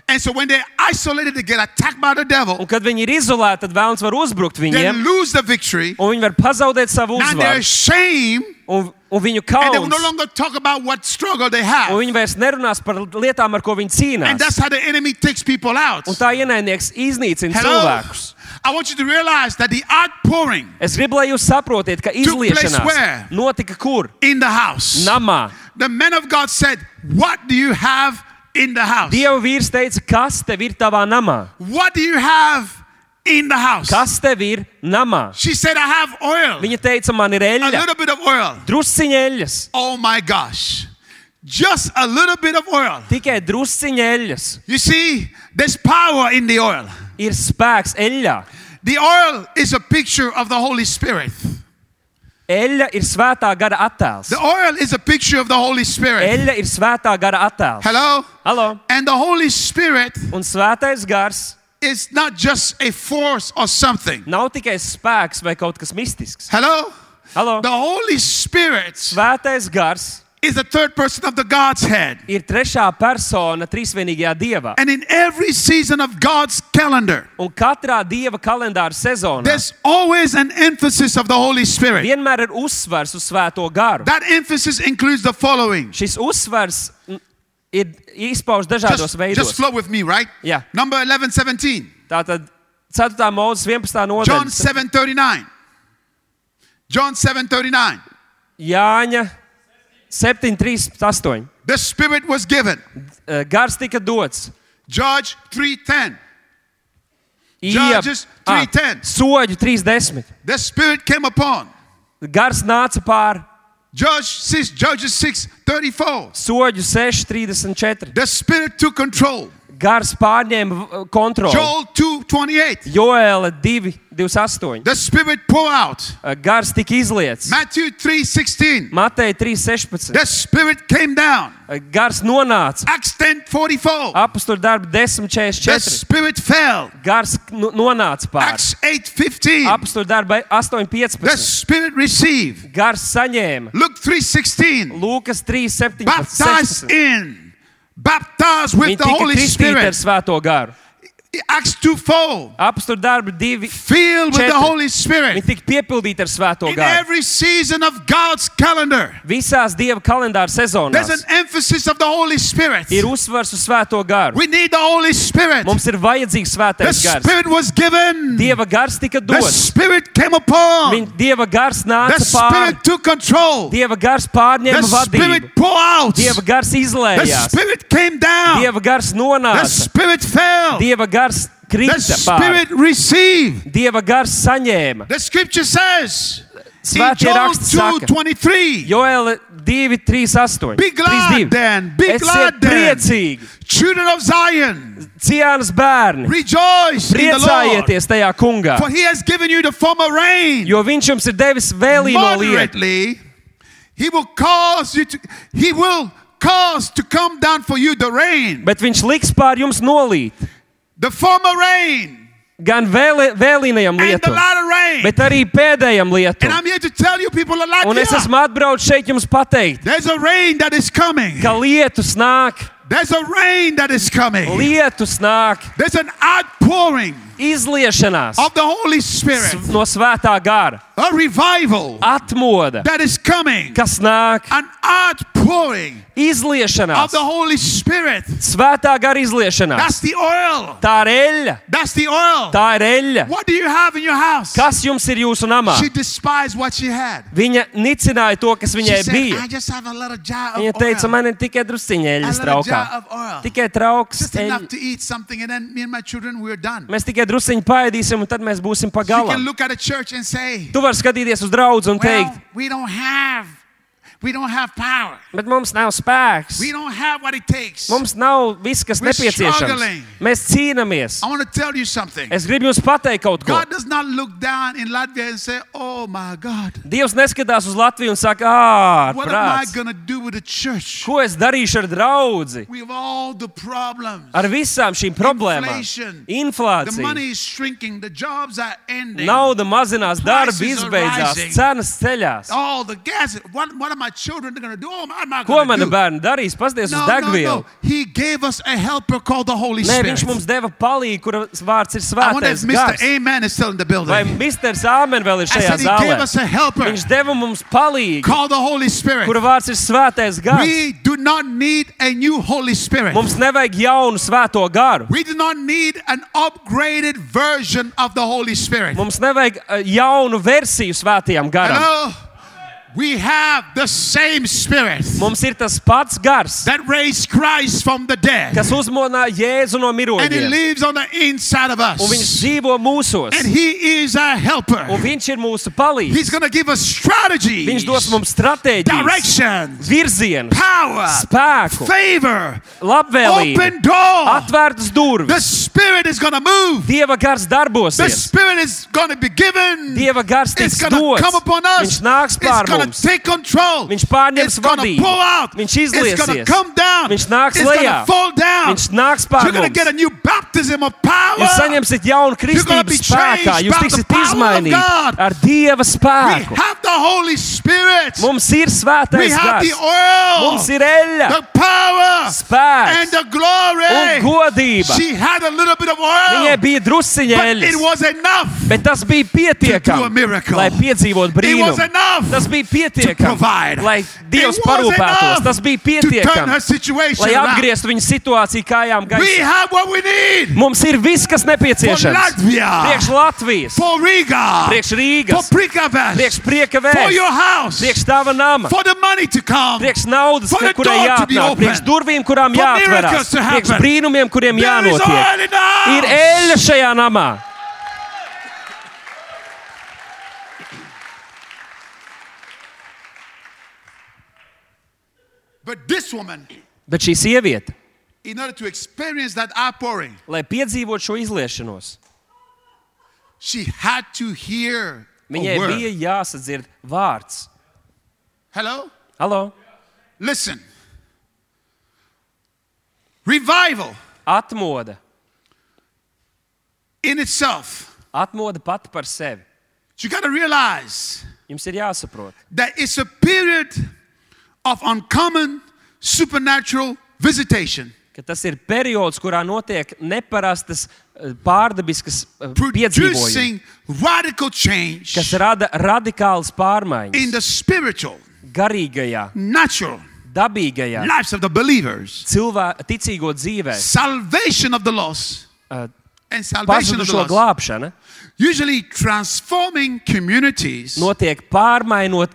Speaker 1: And so when they're isolated, they get attacked by the devil.
Speaker 2: Un kad viņi ir izolēti, tad vēlams var uzbrukt
Speaker 1: They
Speaker 2: viņiem,
Speaker 1: lose the victory.
Speaker 2: un viņi var pazaudēt savu
Speaker 1: Now they're
Speaker 2: uzvaru.
Speaker 1: ashamed.
Speaker 2: Un, un viņu
Speaker 1: And they will no
Speaker 2: kauns,
Speaker 1: longer talk about what struggle they
Speaker 2: un
Speaker 1: have.
Speaker 2: viņi vairs nerunās par lietām, ar ko viņi
Speaker 1: And
Speaker 2: cīnās.
Speaker 1: that's how the enemy takes people out.
Speaker 2: Un tā ienaidnieks iznīcina
Speaker 1: Hello?
Speaker 2: cilvēkus.
Speaker 1: I want you to realize that the outpouring
Speaker 2: Es gribu, lai jūs saprotiet, ka
Speaker 1: where?
Speaker 2: izliešanās notika kur?
Speaker 1: in the house.
Speaker 2: Namā.
Speaker 1: The men of God said, What do you have in the house?
Speaker 2: Dieva vīrs teica, kas tev ir tavā namā?
Speaker 1: What do you have in the house?
Speaker 2: Kas tev ir namā?
Speaker 1: She said, I have oil.
Speaker 2: Viņa teica, man ir
Speaker 1: A
Speaker 2: eļļa,
Speaker 1: little bit of oil.
Speaker 2: drusciņa eļļas.
Speaker 1: Oh my gosh. Just a little bit of oil.
Speaker 2: Tikai drusciņa eļļas.
Speaker 1: You see, there's power in the oil.
Speaker 2: Ir spēks eļļā.
Speaker 1: The oil is a picture of the Holy Spirit.
Speaker 2: Eļļa ir svētā gara attēls.
Speaker 1: The oil is a picture of the Holy Spirit.
Speaker 2: Eļļa ir svētā gara attēls.
Speaker 1: Hello?
Speaker 2: Halo.
Speaker 1: And the Holy Spirit
Speaker 2: Un svētais gars
Speaker 1: is not just a force or something.
Speaker 2: nav tikai spēks vai kaut kas mistisks.
Speaker 1: Hello?
Speaker 2: Halo.
Speaker 1: The Holy Spirit
Speaker 2: Svētais gars
Speaker 1: is the third person of the Godhead.
Speaker 2: ir trešā persona trīsvienīgajā dievā.
Speaker 1: And in every season of God's calendar,
Speaker 2: Un katrā dieva kalendāra sezonā
Speaker 1: there's always an emphasis of the Holy Spirit.
Speaker 2: vienmēr ir uzsvars uz svēto garu.
Speaker 1: That emphasis includes the following.
Speaker 2: Šis uzsvars mm, ir izpaužs
Speaker 1: Just,
Speaker 2: dažādos
Speaker 1: just
Speaker 2: veidos.
Speaker 1: flow with me, right?
Speaker 2: Yeah.
Speaker 1: Number 11, 17.
Speaker 2: Tātad 4. mūzes 11.
Speaker 1: John
Speaker 2: nodaļa.
Speaker 1: 7, 39. John 7, 39.
Speaker 2: Jāņa 7, 3, 8.
Speaker 1: The Spirit was given.
Speaker 2: Eh, Gars tika dots.
Speaker 1: Judge 3, 10.
Speaker 2: Ija-
Speaker 1: Judges
Speaker 2: Ah,
Speaker 1: 3:10.
Speaker 2: Soļu 3.10.
Speaker 1: The Spirit came upon.
Speaker 2: Gars nāca pāri
Speaker 1: Judge 6, Judges 6, 34.
Speaker 2: soļu 6.34.
Speaker 1: The Spirit took control.
Speaker 2: Gars pārņēma v- kontroli.
Speaker 1: Joel 2, 28.
Speaker 2: Joēla 2.28.
Speaker 1: The Spirit pour out.
Speaker 2: Gars tika izlietis.
Speaker 1: Matthew 3, 16.
Speaker 2: Mateja 3.16.
Speaker 1: The Spirit came down.
Speaker 2: Gars nonāca.
Speaker 1: Acts 10, 44.
Speaker 2: Apstur darbu
Speaker 1: The
Speaker 2: 10.44.
Speaker 1: Spirit fell.
Speaker 2: Gars nu- nonāca pāri.
Speaker 1: Acts 8, 15.
Speaker 2: Apstur darbu
Speaker 1: The
Speaker 2: 8.15.
Speaker 1: Spirit received.
Speaker 2: Gars saņēma.
Speaker 1: Luke 3, 16.
Speaker 2: Lūkas 3.17.
Speaker 1: baptized in, baptized with
Speaker 2: Viņi
Speaker 1: the
Speaker 2: tika
Speaker 1: Holy
Speaker 2: kristīti ar
Speaker 1: Spirit.
Speaker 2: svēto garu.
Speaker 1: Acts 2 4.
Speaker 2: Apstur darbu divi.
Speaker 1: Filled with the
Speaker 2: Četri.
Speaker 1: Holy Spirit.
Speaker 2: Viņi tika piepildīti ar svēto
Speaker 1: In
Speaker 2: garu.
Speaker 1: every season of God's calendar,
Speaker 2: Visās dieva kalendāra
Speaker 1: there's an
Speaker 2: sezonās
Speaker 1: emphasis of the Holy Spirit.
Speaker 2: ir uzsvars uz svēto garu.
Speaker 1: We need the Holy Spirit.
Speaker 2: Mums ir vajadzīgs
Speaker 1: The
Speaker 2: svētais gars.
Speaker 1: Spirit was given, the
Speaker 2: Dieva gars tika dots.
Speaker 1: Spirit came upon,
Speaker 2: Viņa dieva gars
Speaker 1: the
Speaker 2: nāca pāri.
Speaker 1: Spirit took control, the
Speaker 2: Dieva gars pārņēma vadību.
Speaker 1: Spirit poured out,
Speaker 2: Dieva
Speaker 1: the
Speaker 2: gars izlējās.
Speaker 1: Spirit came down,
Speaker 2: Dieva gars
Speaker 1: the
Speaker 2: nonāca.
Speaker 1: Spirit fell,
Speaker 2: Dieva
Speaker 1: the
Speaker 2: gars krita pāri.
Speaker 1: Spirit received.
Speaker 2: Dieva gars saņēma.
Speaker 1: The scripture says in
Speaker 2: Svētie
Speaker 1: Joel
Speaker 2: raksti saka,
Speaker 1: 2:23,
Speaker 2: Joēla 2, 3, 8.
Speaker 1: Be glad then, be glad then.
Speaker 2: priecīgi!
Speaker 1: children of Zion,
Speaker 2: Ciānas bērni!
Speaker 1: rejoice in the Lord,
Speaker 2: Priecājieties tajā kungā!
Speaker 1: for he has given you the former rain
Speaker 2: Jo viņš jums ir devis vēlīgo lietu.
Speaker 1: moderately. He will cause you to he will cause to come down for you the rain,
Speaker 2: Bet viņš liks pār jums nolīt
Speaker 1: the former rain
Speaker 2: gan vēle, vēlīnajam
Speaker 1: and the
Speaker 2: lietu,
Speaker 1: latter rain.
Speaker 2: bet arī pēdējam lietu.
Speaker 1: And I'm here to tell you people of
Speaker 2: Un es
Speaker 1: Latvia,
Speaker 2: esmu atbraucis šeit jums pateikt,
Speaker 1: there's a rain that is coming.
Speaker 2: ka lietus nāk,
Speaker 1: There's a rain that is coming.
Speaker 2: lietus nāk,
Speaker 1: There's an outpouring
Speaker 2: izliešanās
Speaker 1: of the Holy Spirit,
Speaker 2: s- no svētā gara,
Speaker 1: a revival
Speaker 2: atmoda,
Speaker 1: that is coming.
Speaker 2: kas nāk,
Speaker 1: an outpouring of
Speaker 2: izliešanās,
Speaker 1: the Holy Spirit.
Speaker 2: svētā gara izliešanās.
Speaker 1: That's the oil.
Speaker 2: Tā ir eļļa,
Speaker 1: That's the oil.
Speaker 2: tā ir eļļa.
Speaker 1: What do you have in your house?
Speaker 2: Kas jums ir jūsu namā?
Speaker 1: She despised what she had.
Speaker 2: Viņa nicināja to, kas
Speaker 1: She
Speaker 2: viņai
Speaker 1: said,
Speaker 2: bija.
Speaker 1: I just have a little jar
Speaker 2: Viņa
Speaker 1: of
Speaker 2: teica,
Speaker 1: oil.
Speaker 2: man ir tikai drusciņa
Speaker 1: A
Speaker 2: eļļas
Speaker 1: little
Speaker 2: traukā.
Speaker 1: jar of oil.
Speaker 2: Tikai trauks.
Speaker 1: oh. Just
Speaker 2: eļļa.
Speaker 1: enough to eat something and then me and my children, we're done.
Speaker 2: Mēs tikai drusciņu paēdīsim, un tad mēs būsim pa
Speaker 1: You can
Speaker 2: galam.
Speaker 1: look at a church and say,
Speaker 2: Tu vari skatīties uz draugu un teikt,
Speaker 1: well, we don't have, we don't have power.
Speaker 2: bet mums nav spēks.
Speaker 1: We don't have what it takes. I
Speaker 2: Mums nav viss, kas
Speaker 1: We're struggling.
Speaker 2: nepieciāms. Mēs cīnāmies.
Speaker 1: want to tell you something.
Speaker 2: Es gribu jums pateikt kaut ko.
Speaker 1: God does not look down in Latvia and say, oh my God.
Speaker 2: Dievs neskatās uz Latviju un saka, ah,
Speaker 1: What am I
Speaker 2: prāts.
Speaker 1: going to do with the church?
Speaker 2: Ko es darīšu ar draugu?
Speaker 1: We have all the problems.
Speaker 2: Ar visām šīm problēmām.
Speaker 1: Inflation. The
Speaker 2: Inflācija.
Speaker 1: money is shrinking. The jobs are ending.
Speaker 2: Nauda mazinās, darba
Speaker 1: Prices are
Speaker 2: izbeidzās,
Speaker 1: rising.
Speaker 2: cenas ceļās.
Speaker 1: All the gas. What, what are my children going to do? Oh, I'm not
Speaker 2: Ko
Speaker 1: going
Speaker 2: mana
Speaker 1: to do.
Speaker 2: bērna darīs? Pasties uz
Speaker 1: No, no,
Speaker 2: degvielu.
Speaker 1: no. He gave us a helper called the Holy
Speaker 2: Nē,
Speaker 1: Spirit.
Speaker 2: viņš mums deva palīdzību, kuras vārds ir
Speaker 1: I wonder if
Speaker 2: svētais.
Speaker 1: Mr.
Speaker 2: gars.
Speaker 1: Amen is still in the building.
Speaker 2: Vai Misters Āmen vēl ir
Speaker 1: I
Speaker 2: šajā
Speaker 1: said he
Speaker 2: zālē?
Speaker 1: gave us a helper
Speaker 2: Viņš deva mums palīdzību,
Speaker 1: called the Holy Spirit.
Speaker 2: kura vārds ir svētais gars.
Speaker 1: We do not need a new Holy Spirit.
Speaker 2: Mums nevajag jaunu svēto garu.
Speaker 1: We do not need an upgraded version of the Holy Spirit.
Speaker 2: Mums nevajag eh, jaunu versiju svētajam garam.
Speaker 1: Hello? We have the same spirit
Speaker 2: Mums ir tas pats gars,
Speaker 1: that raised Christ from the dead.
Speaker 2: kas uzmodināja Jēzu no
Speaker 1: And he
Speaker 2: miroņiem.
Speaker 1: lives on the inside of
Speaker 2: Un viņš
Speaker 1: us.
Speaker 2: dzīvo mūsos.
Speaker 1: And he is our helper.
Speaker 2: Un viņš ir mūsu palīgs.
Speaker 1: He's going to give us strategy,
Speaker 2: Viņš dos mums stratēģiju,
Speaker 1: direction,
Speaker 2: virzienu,
Speaker 1: power,
Speaker 2: spēku,
Speaker 1: favor,
Speaker 2: labvēlību,
Speaker 1: open door.
Speaker 2: atvērtas
Speaker 1: The
Speaker 2: durvis.
Speaker 1: Spirit is going to move.
Speaker 2: Dieva gars
Speaker 1: The
Speaker 2: darbosies.
Speaker 1: Spirit is going to be given.
Speaker 2: Dieva gars tiks
Speaker 1: It's going to come upon us.
Speaker 2: dots. Viņš nāks
Speaker 1: it's
Speaker 2: pār
Speaker 1: going
Speaker 2: mums.
Speaker 1: to take control.
Speaker 2: Viņš pārņems
Speaker 1: it's going to
Speaker 2: vadību.
Speaker 1: pull out.
Speaker 2: Viņš
Speaker 1: It's going
Speaker 2: izliesies.
Speaker 1: to come down.
Speaker 2: Viņš nāks
Speaker 1: it's going to
Speaker 2: lejā.
Speaker 1: fall down.
Speaker 2: Viņš nāks pār
Speaker 1: You're going to
Speaker 2: mums.
Speaker 1: get a new baptism of power.
Speaker 2: Jūs saņemsiet
Speaker 1: gonna
Speaker 2: jaunu
Speaker 1: be
Speaker 2: kristību spēkā,
Speaker 1: changed
Speaker 2: jūs
Speaker 1: by the
Speaker 2: tiksiet
Speaker 1: power of God.
Speaker 2: izmainīti ar Dieva
Speaker 1: we
Speaker 2: spēku.
Speaker 1: have the Holy Spirit.
Speaker 2: Mums ir
Speaker 1: we
Speaker 2: svētais
Speaker 1: have the
Speaker 2: gars,
Speaker 1: oil.
Speaker 2: mums ir eļļa,
Speaker 1: the power. And
Speaker 2: spēks
Speaker 1: the glory.
Speaker 2: un godība.
Speaker 1: She had a little bit of oil.
Speaker 2: Viņai bija drusciņa
Speaker 1: but it
Speaker 2: eļļas,
Speaker 1: was enough.
Speaker 2: bet tas bija
Speaker 1: To do a
Speaker 2: pietiekami,
Speaker 1: miracle.
Speaker 2: lai piedzīvotu
Speaker 1: It was
Speaker 2: brīnumu.
Speaker 1: enough.
Speaker 2: Tas bija
Speaker 1: to
Speaker 2: pietiekami,
Speaker 1: provide.
Speaker 2: lai Dievs
Speaker 1: It was
Speaker 2: parūpētos.
Speaker 1: enough
Speaker 2: Tas bija
Speaker 1: To turn her
Speaker 2: pietiekami,
Speaker 1: situation
Speaker 2: lai
Speaker 1: around.
Speaker 2: atgrieztu viņu situāciju kājām
Speaker 1: We
Speaker 2: gaisā.
Speaker 1: have what we need
Speaker 2: Mums ir viss, kas
Speaker 1: for
Speaker 2: nepieciešams. Priekš
Speaker 1: Latvia,
Speaker 2: Latvijas,
Speaker 1: for Riga,
Speaker 2: priekš
Speaker 1: for
Speaker 2: Rīgas, priekš
Speaker 1: Prikavas,
Speaker 2: prieka
Speaker 1: for
Speaker 2: vēstures,
Speaker 1: your house,
Speaker 2: priekš tava nama.
Speaker 1: for the money to come.
Speaker 2: Priekš naudas,
Speaker 1: For the
Speaker 2: kurai
Speaker 1: door to be
Speaker 2: jāatnāk,
Speaker 1: open.
Speaker 2: priekš durvīm, kurām
Speaker 1: For miracles
Speaker 2: jāatverās,
Speaker 1: to happen.
Speaker 2: priekš brīnumiem, kuriem
Speaker 1: There is
Speaker 2: jānotiek.
Speaker 1: oil in the house.
Speaker 2: Ir eļļa šajā namā.
Speaker 1: But this woman,
Speaker 2: Bet šī sieviete,
Speaker 1: in order to experience that outpouring,
Speaker 2: lai piedzīvotu šo izliešanos,
Speaker 1: she had to hear
Speaker 2: viņai
Speaker 1: a Oh, word.
Speaker 2: bija jāsadzird vārds.
Speaker 1: Hello?
Speaker 2: Halo!
Speaker 1: Listen. Revival
Speaker 2: Atmoda,
Speaker 1: in itself,
Speaker 2: atmoda pati par sevi.
Speaker 1: you got to realize
Speaker 2: Jums ir jāsaprot,
Speaker 1: that it's a period of uncommon supernatural visitation.
Speaker 2: ka tas ir periods, kurā notiek neparastas, eh, pārdabiskas eh, piedzīvojumi,
Speaker 1: producing radical change
Speaker 2: kas rada radikālas
Speaker 1: in
Speaker 2: pārmaiņas
Speaker 1: the spiritual,
Speaker 2: garīgajā,
Speaker 1: natural
Speaker 2: dabīgajā,
Speaker 1: lives of the believers.
Speaker 2: cilvēku ticīgo dzīvē.
Speaker 1: Salvation of the lost
Speaker 2: eh,
Speaker 1: and salvation of the
Speaker 2: pazudušo
Speaker 1: lost.
Speaker 2: glābšana
Speaker 1: Usually transforming communities,
Speaker 2: notiek pārmainot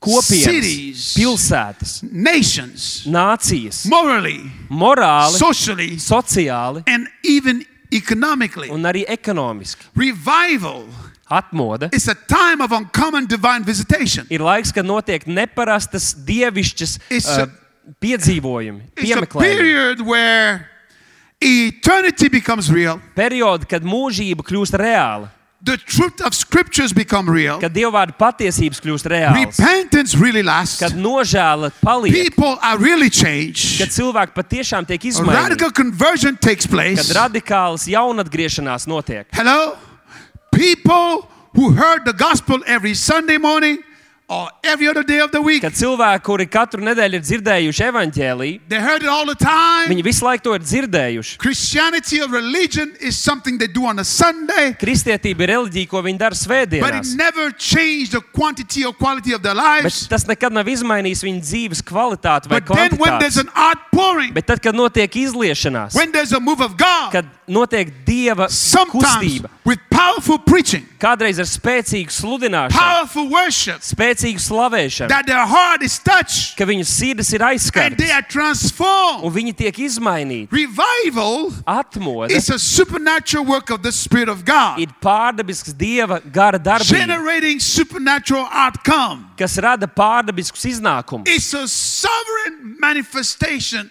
Speaker 2: kopienas,
Speaker 1: Cities.
Speaker 2: pilsētas,
Speaker 1: nations,
Speaker 2: nācijas,
Speaker 1: morally,
Speaker 2: morāli,
Speaker 1: socially,
Speaker 2: sociāli
Speaker 1: and even economically.
Speaker 2: un arī ekonomiski.
Speaker 1: Revival
Speaker 2: Atmoda
Speaker 1: is a time of uncommon divine visitation.
Speaker 2: ir laiks, kad notiek neparastas dievišķas
Speaker 1: It's
Speaker 2: uh,
Speaker 1: a-
Speaker 2: piedzīvojumi,
Speaker 1: It's a
Speaker 2: piemeklējumi.
Speaker 1: period where eternity becomes real,
Speaker 2: Periodi, kad mūžība kļūst reāla,
Speaker 1: the truth of scriptures become real,
Speaker 2: kad dievvvārdu patiesības kļūst reālas,
Speaker 1: repentance really lasts,
Speaker 2: kad nožēla paliek,
Speaker 1: people are really changed,
Speaker 2: kad cilvēki patiešām tiek izmainīti,
Speaker 1: radical conversion takes
Speaker 2: kad
Speaker 1: place.
Speaker 2: radikāls jaunatgriešanās notiek.
Speaker 1: Hello? People who heard the gospel every Sunday morning or every other day of the week,
Speaker 2: ka cilvēki, kuri katru nedēļu ir dzirdējuši evaņģēlīju,
Speaker 1: they heard it all the time.
Speaker 2: viņi visu laiku to ir dzirdējuši.
Speaker 1: Christianity or religion is something they do on a Sunday,
Speaker 2: Kristietība ir reliģija, ko viņi dara
Speaker 1: but it
Speaker 2: svētdienās.
Speaker 1: never changed the quantity or quality of their
Speaker 2: Bet
Speaker 1: lives.
Speaker 2: tas nekad nav izmainījis viņu dzīves kvalitāti vai
Speaker 1: But then when there's
Speaker 2: kvantitāti.
Speaker 1: an outpouring,
Speaker 2: Bet tad, kad notiek izliešanās,
Speaker 1: when there's a move of God,
Speaker 2: kad notiek dieva
Speaker 1: sometimes
Speaker 2: kustība,
Speaker 1: with powerful preaching,
Speaker 2: kādreiz ar spēcīgu sludināšanu,
Speaker 1: powerful worship,
Speaker 2: spēcīgu slavēšanu,
Speaker 1: that their heart is touched
Speaker 2: ka viņu sirds
Speaker 1: and
Speaker 2: ir
Speaker 1: they
Speaker 2: aizskartas
Speaker 1: are transformed.
Speaker 2: un viņi tiek izmainīti.
Speaker 1: Revival
Speaker 2: Atmoda
Speaker 1: is a supernatural work of the Spirit of God,
Speaker 2: ir pārdabisks dieva gara darbs,
Speaker 1: generating supernatural outcome.
Speaker 2: kas rada pārdabiskus iznākumus.
Speaker 1: It's a sovereign manifestation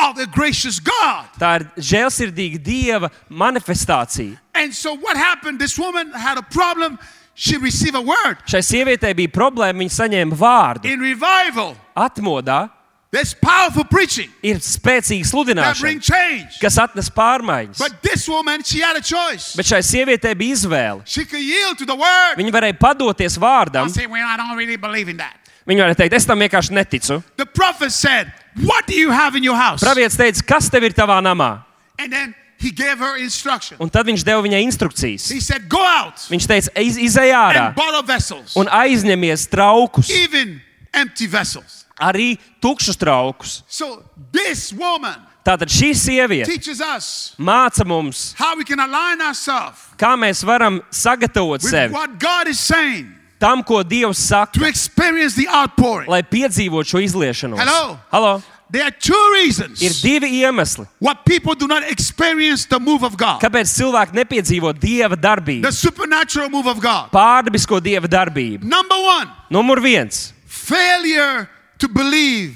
Speaker 1: of the gracious God.
Speaker 2: Tā ir žēlsirdīga dieva manifestācija.
Speaker 1: And so, what happened? This woman had a problem. She received a word
Speaker 2: Šai sievietei bija problēma, viņa saņēma vārdu.
Speaker 1: in revival.
Speaker 2: Atmodā
Speaker 1: There's powerful preaching
Speaker 2: ir spēcīga
Speaker 1: that brings
Speaker 2: sludināšana,
Speaker 1: change.
Speaker 2: kas atnes pārmaiņas.
Speaker 1: But this woman, she had a choice.
Speaker 2: Bet šai sievietei bija izvēle.
Speaker 1: She could yield to the word.
Speaker 2: Viņa varēja padoties vārdam.
Speaker 1: and say, Well, I don't really believe in that.
Speaker 2: Viņa varēja teikt, es tam vienkārši neticu.
Speaker 1: The prophet said, What do you have in your house?
Speaker 2: Pravietis teica, kas tev ir tavā namā?
Speaker 1: And then he gave her instruction.
Speaker 2: Un tad viņš deva viņai instrukcijas.
Speaker 1: He said, Go out
Speaker 2: Viņš teica, "Iz- izej ārā
Speaker 1: and borrow vessels,
Speaker 2: un aizņemies traukus,
Speaker 1: even empty vessels.
Speaker 2: arī tukšus traukus.
Speaker 1: So this woman
Speaker 2: Tātad šī sieviete
Speaker 1: teaches us
Speaker 2: māca mums,
Speaker 1: how we can align ourselves
Speaker 2: kā mēs varam
Speaker 1: with
Speaker 2: sagatavot sevi.
Speaker 1: what God is saying.
Speaker 2: tam, ko Dievs
Speaker 1: to
Speaker 2: saka,
Speaker 1: experience the outpouring.
Speaker 2: lai piedzīvotu šo izliešanu.
Speaker 1: Hello?
Speaker 2: Halo!
Speaker 1: There are two
Speaker 2: Ir
Speaker 1: reasons
Speaker 2: divi iemesli,
Speaker 1: why people do not experience the move of God,
Speaker 2: kāpēc cilvēki nepiedzīvo Dieva darbību,
Speaker 1: the supernatural move of God.
Speaker 2: pārdabisko Dieva darbību.
Speaker 1: Number one,
Speaker 2: Numur viens
Speaker 1: failure to believe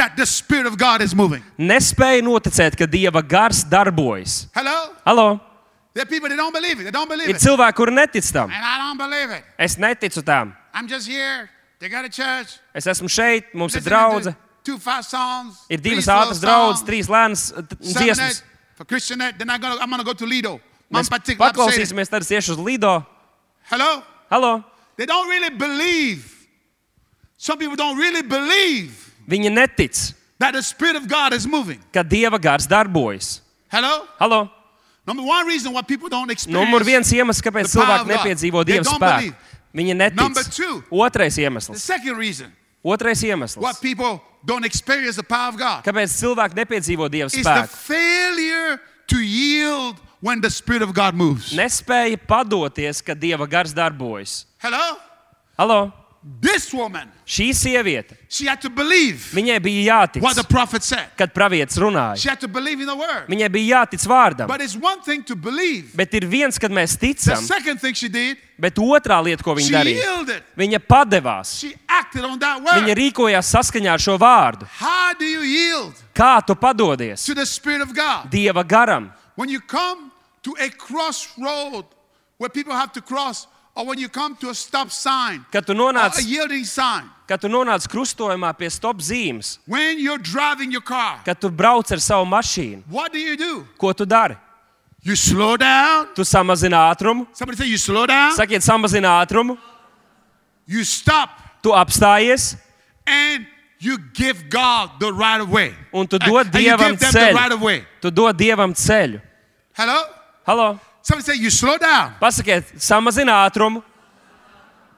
Speaker 1: that the Spirit of God is moving.
Speaker 2: - nespēja noticēt, ka Dieva gars darbojas.
Speaker 1: Hello?
Speaker 2: Halo!
Speaker 1: There are people that don't believe it. They don't believe
Speaker 2: Ir
Speaker 1: it.
Speaker 2: cilvēki, kuri netic tam.
Speaker 1: And I don't believe it.
Speaker 2: Es neticu tam.
Speaker 1: I'm just here. They got a church.
Speaker 2: Es esmu šeit, mums ir
Speaker 1: listening
Speaker 2: draudzene.
Speaker 1: to Two fast songs.
Speaker 2: Ir divas
Speaker 1: three slow
Speaker 2: ātras draudzes,
Speaker 1: songs,
Speaker 2: trīs lēnas eh, t-
Speaker 1: seven
Speaker 2: dziesmas.
Speaker 1: net For Christianette, then I'm gonna I'm gonna go to Lido. Man
Speaker 2: Mēs
Speaker 1: particular upset.
Speaker 2: paklausīsimies, tad es iešu uz Lido.
Speaker 1: Hello?
Speaker 2: Halo!
Speaker 1: They don't really believe. Some people don't really believe
Speaker 2: Viņi netic,
Speaker 1: that the Spirit of God is moving.
Speaker 2: ka Dieva gars darbojas.
Speaker 1: Hello?
Speaker 2: Halo!
Speaker 1: Number one reason why people don't experience
Speaker 2: Numur viens iemesls, kāpēc
Speaker 1: The power of
Speaker 2: cilvēki
Speaker 1: God.
Speaker 2: nepiedzīvo
Speaker 1: They
Speaker 2: Dieva
Speaker 1: don't
Speaker 2: spēku.
Speaker 1: believe.
Speaker 2: Viņi
Speaker 1: Number
Speaker 2: netic.
Speaker 1: two.
Speaker 2: Otrais
Speaker 1: the
Speaker 2: iemesls.
Speaker 1: second reason
Speaker 2: Otrais
Speaker 1: why
Speaker 2: iemesls.
Speaker 1: people don't experience the power of God
Speaker 2: Kāpēc cilvēki nepiedzīvo Dieva
Speaker 1: is the
Speaker 2: spēku?
Speaker 1: failure to yield when the Spirit of God moves.
Speaker 2: Nespēja padoties, ka Dieva gars darbojas.
Speaker 1: Hello?
Speaker 2: Halo!
Speaker 1: This woman,
Speaker 2: Šī sieviete,
Speaker 1: she had to believe
Speaker 2: viņai bija
Speaker 1: what the
Speaker 2: jātic,
Speaker 1: prophet said.
Speaker 2: kad pravietis runāja.
Speaker 1: She had to believe in the word.
Speaker 2: Viņai bija jātic vārdam.
Speaker 1: But it's one thing to believe.
Speaker 2: Bet ir viens, kad mēs
Speaker 1: The
Speaker 2: ticam,
Speaker 1: second thing she did,
Speaker 2: bet otrā lieta, ko
Speaker 1: she
Speaker 2: viņa darīja,
Speaker 1: yielded.
Speaker 2: viņa padevās.
Speaker 1: She acted on that
Speaker 2: Viņa
Speaker 1: word.
Speaker 2: rīkojās saskaņā ar šo vārdu.
Speaker 1: How do you yield
Speaker 2: Kā tu padodies
Speaker 1: to the Spirit of God?
Speaker 2: Dieva garam?
Speaker 1: When you come to a crossroad where people have to cross, or when you come to a stop sign,
Speaker 2: Kad tu
Speaker 1: or a
Speaker 2: nonāc,
Speaker 1: yielding sign,
Speaker 2: kad tu nonāc krustojumā pie stop zīmes,
Speaker 1: when you're driving your car,
Speaker 2: kad tu brauc ar savu mašīnu,
Speaker 1: what do you do?
Speaker 2: ko tu dari?
Speaker 1: You slow down.
Speaker 2: Tu samazini ātrumu,
Speaker 1: Somebody say, You slow down.
Speaker 2: sakiet, samazini ātrumu,
Speaker 1: You stop
Speaker 2: tu apstājies
Speaker 1: and you give God the right of way.
Speaker 2: un tu dod
Speaker 1: and you
Speaker 2: Dievam
Speaker 1: give them the right of
Speaker 2: ceļu.
Speaker 1: way.
Speaker 2: Tu dod Dievam ceļu.
Speaker 1: Hello?
Speaker 2: Halo?
Speaker 1: Somebody say, You slow down.
Speaker 2: Pasakiet, samazini ātrumu,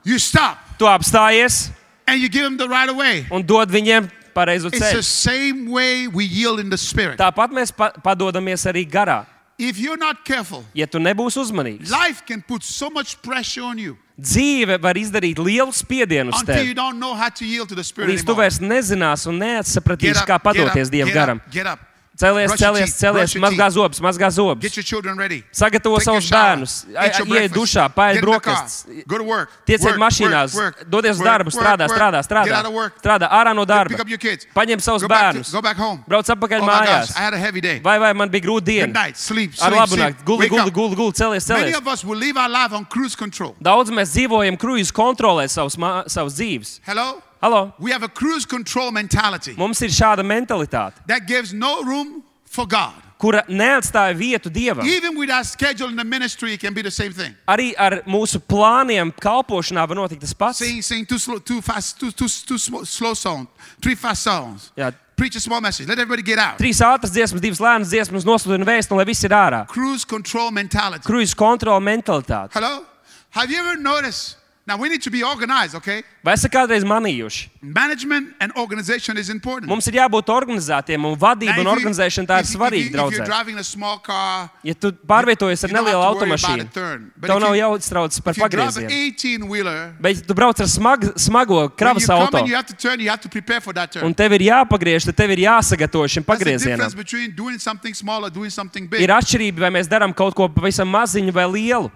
Speaker 1: You stop
Speaker 2: tu apstājies
Speaker 1: and you give him the right of way.
Speaker 2: un dod viņiem pareizo
Speaker 1: It's the
Speaker 2: ceļu.
Speaker 1: same way we yield in the spirit.
Speaker 2: Tāpat mēs pa padodamies arī garā.
Speaker 1: If you're not careful,
Speaker 2: Ja tu nebūsi uzmanīgs,
Speaker 1: life can put so much pressure on you
Speaker 2: dzīve var izdarīt lielu spiedienu uz
Speaker 1: until you
Speaker 2: tevi.
Speaker 1: don't know how to yield to the spirit
Speaker 2: Līdz tu
Speaker 1: anymore.
Speaker 2: vairs nezinās un
Speaker 1: Get
Speaker 2: neatsapratīsi,
Speaker 1: up,
Speaker 2: kā
Speaker 1: get up,
Speaker 2: padoties Dieva
Speaker 1: get up,
Speaker 2: garam.
Speaker 1: Get up.
Speaker 2: Celies,
Speaker 1: Brush your
Speaker 2: celies,
Speaker 1: teeth,
Speaker 2: celies,
Speaker 1: brush your
Speaker 2: mazgā
Speaker 1: teeth.
Speaker 2: zobus, mazgā
Speaker 1: Get
Speaker 2: zobus.
Speaker 1: your children ready.
Speaker 2: Sagatavo
Speaker 1: Take your
Speaker 2: savus
Speaker 1: shower.
Speaker 2: bērnus,
Speaker 1: Eat
Speaker 2: ai-
Speaker 1: your
Speaker 2: ai- iej
Speaker 1: breakfast.
Speaker 2: dušā,
Speaker 1: Get
Speaker 2: paēd
Speaker 1: in the
Speaker 2: brokastis.
Speaker 1: car. Go to work.
Speaker 2: Tieciet
Speaker 1: Work,
Speaker 2: mašīnās,
Speaker 1: work, work,
Speaker 2: dodies uz
Speaker 1: work,
Speaker 2: darbu,
Speaker 1: work,
Speaker 2: strādā,
Speaker 1: work.
Speaker 2: strādā,
Speaker 1: Get
Speaker 2: strādā,
Speaker 1: out of work.
Speaker 2: strādā ārā no
Speaker 1: Pick up your
Speaker 2: darba.
Speaker 1: kids.
Speaker 2: Paņem savus
Speaker 1: Go back to-
Speaker 2: bērnus,
Speaker 1: go back home.
Speaker 2: brauc atpakaļ
Speaker 1: Oh my gosh, I
Speaker 2: mājās.
Speaker 1: had a heavy day.
Speaker 2: Vai vai man bija
Speaker 1: Good
Speaker 2: grūta diena?
Speaker 1: night. Sleep,
Speaker 2: Ar
Speaker 1: sleep,
Speaker 2: labu
Speaker 1: sleep.
Speaker 2: nakti, guli,
Speaker 1: Wake
Speaker 2: guli,
Speaker 1: up.
Speaker 2: guli, guli, celies,
Speaker 1: Many
Speaker 2: celies.
Speaker 1: of us will live our life on cruise control.
Speaker 2: Daudz mēs dzīvojam kruīzes kontrolē savus, mā- savus dzīves.
Speaker 1: Hello?
Speaker 2: Halo?
Speaker 1: We have a cruise control mentality
Speaker 2: Mums ir šāda mentalitāte,
Speaker 1: that gives no room for God.
Speaker 2: kura neatstāja vietu dievam.
Speaker 1: Even with our schedule in the ministry, it can be the same thing.
Speaker 2: Arī ar mūsu plāniem, kalpošanā var notikt tas pats.
Speaker 1: Sing, sing too slow, too fast, too, too, too slow, slow song, three fast songs.
Speaker 2: Yeah.
Speaker 1: Preach a small message. Let everybody get out.
Speaker 2: Trīs ātras dziesmas, divas lēnas dziesmas, nosludina vēstuli, lai viss ir ārā.
Speaker 1: Cruise control mentality.
Speaker 2: Kruīzes kontrola mentalitāte.
Speaker 1: Hello? Have you ever noticed? Now we need to be organized, okay?
Speaker 2: Vai esat kādreiz manījuši?
Speaker 1: Management and organization is important.
Speaker 2: Mums ir jābūt organizētiem, un
Speaker 1: Now,
Speaker 2: vadība
Speaker 1: if
Speaker 2: un
Speaker 1: you-
Speaker 2: organizēšana tā
Speaker 1: if
Speaker 2: ir
Speaker 1: you-
Speaker 2: svarīga,
Speaker 1: if you- If you're
Speaker 2: draugs.
Speaker 1: driving a small car,
Speaker 2: Ja tu pārvietojies ar
Speaker 1: You don't have
Speaker 2: nelielu
Speaker 1: to worry about
Speaker 2: automašīnu,
Speaker 1: a turn, but
Speaker 2: tev
Speaker 1: if
Speaker 2: nav
Speaker 1: you-
Speaker 2: jāuztraucas par
Speaker 1: if you drive an
Speaker 2: pagriezienu.
Speaker 1: 18 wheeler,
Speaker 2: Bet, ja tu brauc ar smag, smago
Speaker 1: when
Speaker 2: kravas
Speaker 1: you come
Speaker 2: auto,
Speaker 1: and you have to turn, you have to prepare for that turn.
Speaker 2: un tev ir jāpagriež, tad tev ir jāsagatavo šim
Speaker 1: That's the difference
Speaker 2: pagriezienam.
Speaker 1: between doing something small or doing something
Speaker 2: Ir
Speaker 1: big.
Speaker 2: atšķirība, vai mēs darām kaut ko pavisam maziņu vai lielu,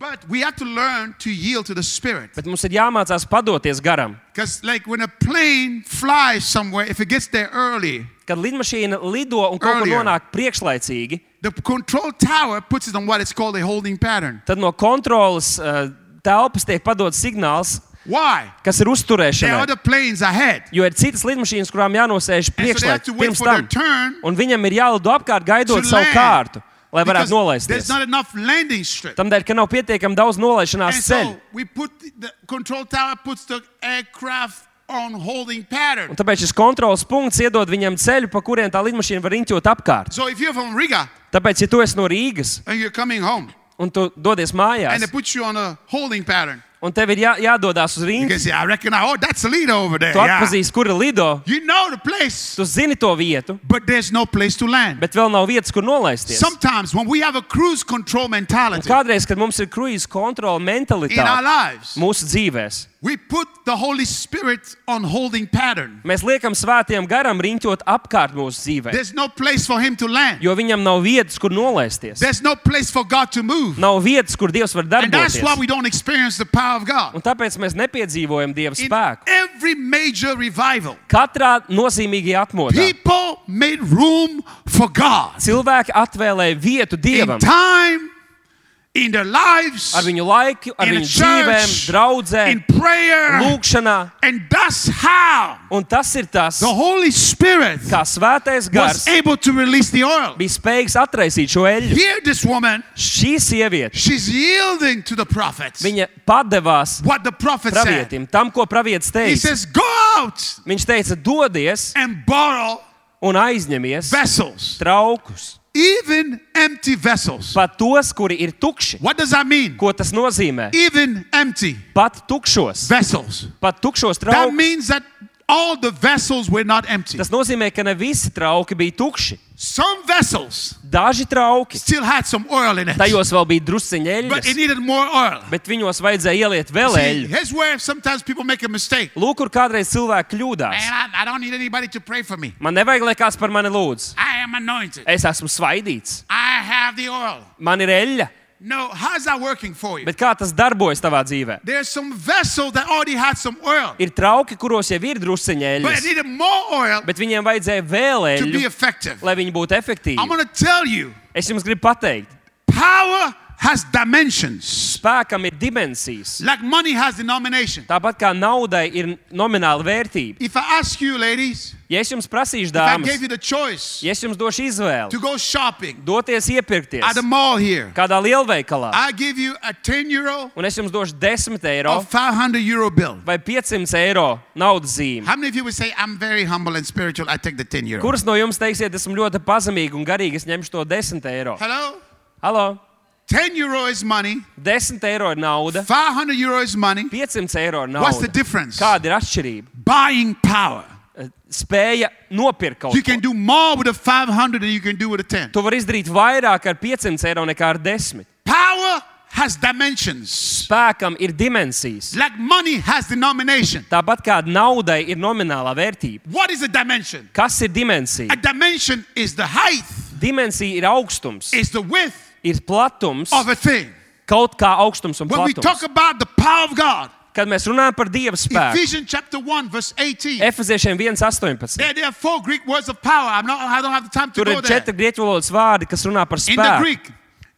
Speaker 1: But we have to learn to yield to the Spirit.
Speaker 2: bet mums ir jāmācās padoties garam.
Speaker 1: Because, like, when a plane flies somewhere, if it gets there early,
Speaker 2: Kad lidmašīna lido un kaut kur
Speaker 1: Earlier.
Speaker 2: nonāk priekšlaicīgi,
Speaker 1: the control tower puts it on what is called a holding pattern.
Speaker 2: tad no kontrolas uh, telpas tiek padots signāls,
Speaker 1: Why?
Speaker 2: kas ir
Speaker 1: There are
Speaker 2: uzturēšanai.
Speaker 1: other planes ahead.
Speaker 2: Jo ir citas lidmašīnas, kurām jānosēž
Speaker 1: And so they have to
Speaker 2: priekšlaicīgi
Speaker 1: wait
Speaker 2: pirms
Speaker 1: for their
Speaker 2: tam,
Speaker 1: turn.
Speaker 2: un viņam ir jālido apkārt gaidot
Speaker 1: to
Speaker 2: savu
Speaker 1: land.
Speaker 2: kārtu, lai varētu
Speaker 1: Because there's
Speaker 2: nolaisties.
Speaker 1: not enough landing strip.
Speaker 2: Tādēļ, ka nav pietiekami daudz nolaišanās
Speaker 1: And
Speaker 2: ceļu.
Speaker 1: so we put the, the control tower puts the aircraft on holding pattern.
Speaker 2: Un tāpēc šis kontrols punkts iedod viņam ceļu, pa kuriem tā lidmašīna var riņķot apkārt.
Speaker 1: So if you're from Riga
Speaker 2: Tāpēc, ja tu esi no Rīgas
Speaker 1: and you're coming home
Speaker 2: un tu dodies
Speaker 1: and they
Speaker 2: mājās,
Speaker 1: put you on a holding pattern,
Speaker 2: Un tev ir jā, jādodas uz
Speaker 1: You
Speaker 2: rīņķi.
Speaker 1: can say, I reckon I, oh, that's the leader over there.
Speaker 2: Tu
Speaker 1: Yeah.
Speaker 2: atpazīsti, kur ir lido.
Speaker 1: You know the place,
Speaker 2: Tu zini to vietu,
Speaker 1: but there's no place to land.
Speaker 2: bet vēl nav vietas, kur nolaisties.
Speaker 1: Sometimes when we have a cruise control
Speaker 2: Un
Speaker 1: mentality
Speaker 2: kādreiz, kad mums ir kruīza kontrola
Speaker 1: in our
Speaker 2: mentalitāte
Speaker 1: lives,
Speaker 2: mūsu dzīvēm,
Speaker 1: we put the Holy Spirit on holding pattern.
Speaker 2: mēs liekam svētiem garam riņķot apkārt mūsu dzīvēm,
Speaker 1: There's no place for him to land.
Speaker 2: jo viņam nav vietas, kur nolaisties.
Speaker 1: There's no place for God to move.
Speaker 2: Nav vietas, kur Dievs var
Speaker 1: And that's why
Speaker 2: darboties.
Speaker 1: we don't experience the power of God.
Speaker 2: Un tāpēc mēs nepiedzīvojam Dieva
Speaker 1: In
Speaker 2: spēku.
Speaker 1: every major revival,
Speaker 2: Katrā nozīmīgajā atmodā
Speaker 1: people made room for God.
Speaker 2: cilvēki atvēlēja vietu
Speaker 1: In
Speaker 2: Dievam.
Speaker 1: time, in their lives,
Speaker 2: Ar viņu laiku, ar
Speaker 1: in the
Speaker 2: viņu dzīvēm,
Speaker 1: church,
Speaker 2: draudzē,
Speaker 1: in prayer.
Speaker 2: lūgšanā.
Speaker 1: And that's how
Speaker 2: Un tas ir tas,
Speaker 1: the Holy Spirit
Speaker 2: kā svētais gars
Speaker 1: was able to release the oil.
Speaker 2: bija spējīgs atraisīt šo eļļu.
Speaker 1: Here, this woman,
Speaker 2: Šī sieviete,
Speaker 1: she's yielding to the prophet.
Speaker 2: viņa padevās
Speaker 1: What the prophet said.
Speaker 2: pravietim, tam, ko pravietis
Speaker 1: He
Speaker 2: teica.
Speaker 1: says, Go out
Speaker 2: Viņš teica, dodies
Speaker 1: and borrow
Speaker 2: un aizņemies
Speaker 1: vessels,
Speaker 2: traukus,
Speaker 1: even empty vessels.
Speaker 2: pat tos, kuri ir tukši.
Speaker 1: What does that mean?
Speaker 2: Ko tas nozīmē?
Speaker 1: Even empty
Speaker 2: Pat tukšos,
Speaker 1: vessels.
Speaker 2: pat tukšos
Speaker 1: That
Speaker 2: traukus.
Speaker 1: means that all the vessels were not empty.
Speaker 2: Tas nozīmē, ka ne visi trauki bija tukši.
Speaker 1: Some vessels
Speaker 2: Daži trauki,
Speaker 1: still had some oil in it,
Speaker 2: tajos vēl bija drusciņa
Speaker 1: but it
Speaker 2: eļļas,
Speaker 1: needed more oil.
Speaker 2: bet viņos vajadzēja ieliet vēl
Speaker 1: See,
Speaker 2: eļļu.
Speaker 1: here's where sometimes people make a mistake.
Speaker 2: Lūk, kur kādreiz cilvēki kļūdās.
Speaker 1: And I, I don't need anybody to pray for me.
Speaker 2: Man nevajag, lai kāds par mani lūdz.
Speaker 1: I am anointed.
Speaker 2: Es esmu svaidīts,
Speaker 1: I have the oil.
Speaker 2: man ir eļļa,
Speaker 1: No, how's that working for you?
Speaker 2: bet kā tas darbojas tavā dzīvē?
Speaker 1: There's some vessel that already had some oil,
Speaker 2: Ir trauki, kuros jau ir drusciņa
Speaker 1: but it
Speaker 2: eļļas,
Speaker 1: needed more oil
Speaker 2: bet viņiem vajadzēja vēl
Speaker 1: to be
Speaker 2: eļļu,
Speaker 1: effective.
Speaker 2: lai viņi būtu
Speaker 1: I'm
Speaker 2: efektīvi.
Speaker 1: going to tell you,
Speaker 2: Es jums gribu pateikt,
Speaker 1: power has dimensions.
Speaker 2: spēkam ir dimensijas.
Speaker 1: Like money has denomination.
Speaker 2: Tāpat kā naudai ir nomināla vērtība.
Speaker 1: If I ask you, ladies, if
Speaker 2: Ja es jums prasīšu,
Speaker 1: I gave
Speaker 2: dāmas,
Speaker 1: you the choice
Speaker 2: ja es jums došu
Speaker 1: to
Speaker 2: izvēli,
Speaker 1: go shopping
Speaker 2: doties
Speaker 1: at the
Speaker 2: iepirkties
Speaker 1: mall here,
Speaker 2: kādā lielveikalā,
Speaker 1: I give you a 10 euro
Speaker 2: un es jums došu 10 eiro
Speaker 1: or 500 euro bill.
Speaker 2: vai 500 eiro naudas zīmi,
Speaker 1: How many of you would say, I'm very humble and spiritual, I take the 10 euro?
Speaker 2: kuras no jums teiksiet, esmu ļoti pazemīga un garīga, es ņemšu to 10 eiro?
Speaker 1: Hello?
Speaker 2: Halo!
Speaker 1: 10 euro is money,
Speaker 2: 10 eiro ir nauda,
Speaker 1: 500 euro is money.
Speaker 2: 500 eiro ir
Speaker 1: What's the
Speaker 2: nauda.
Speaker 1: difference?
Speaker 2: Kāda ir atšķirība? Eh,
Speaker 1: Buying power.
Speaker 2: Spēja nopirkt kaut
Speaker 1: You can
Speaker 2: ko.
Speaker 1: do more with a 500 than you can do with a 10.
Speaker 2: Tu vari izdarīt vairāk ar 500 eiro nekā ar 10.
Speaker 1: Power has dimensions.
Speaker 2: Spēkam ir dimensijas.
Speaker 1: Like money has denomination.
Speaker 2: Tāpat kā naudai ir nominālā vērtība.
Speaker 1: What is a dimension?
Speaker 2: Kas ir
Speaker 1: A
Speaker 2: dimensija?
Speaker 1: dimension is the height,
Speaker 2: Dimensija ir augstums,
Speaker 1: is the width
Speaker 2: ir platums,
Speaker 1: of a thing.
Speaker 2: kaut kā augstums un
Speaker 1: When we talk
Speaker 2: platums.
Speaker 1: about the power of God,
Speaker 2: Kad mēs runājam par Dieva spēku,
Speaker 1: Ephesians chapter 1, verse 18.
Speaker 2: Efeziešiem 1,18.
Speaker 1: There, there are four Greek words of power. I'm not, I don't have the time to
Speaker 2: Tur
Speaker 1: go
Speaker 2: ir četri
Speaker 1: there.
Speaker 2: grieķu valodas vārdi, kas runā par
Speaker 1: In the
Speaker 2: spēku.
Speaker 1: Greek,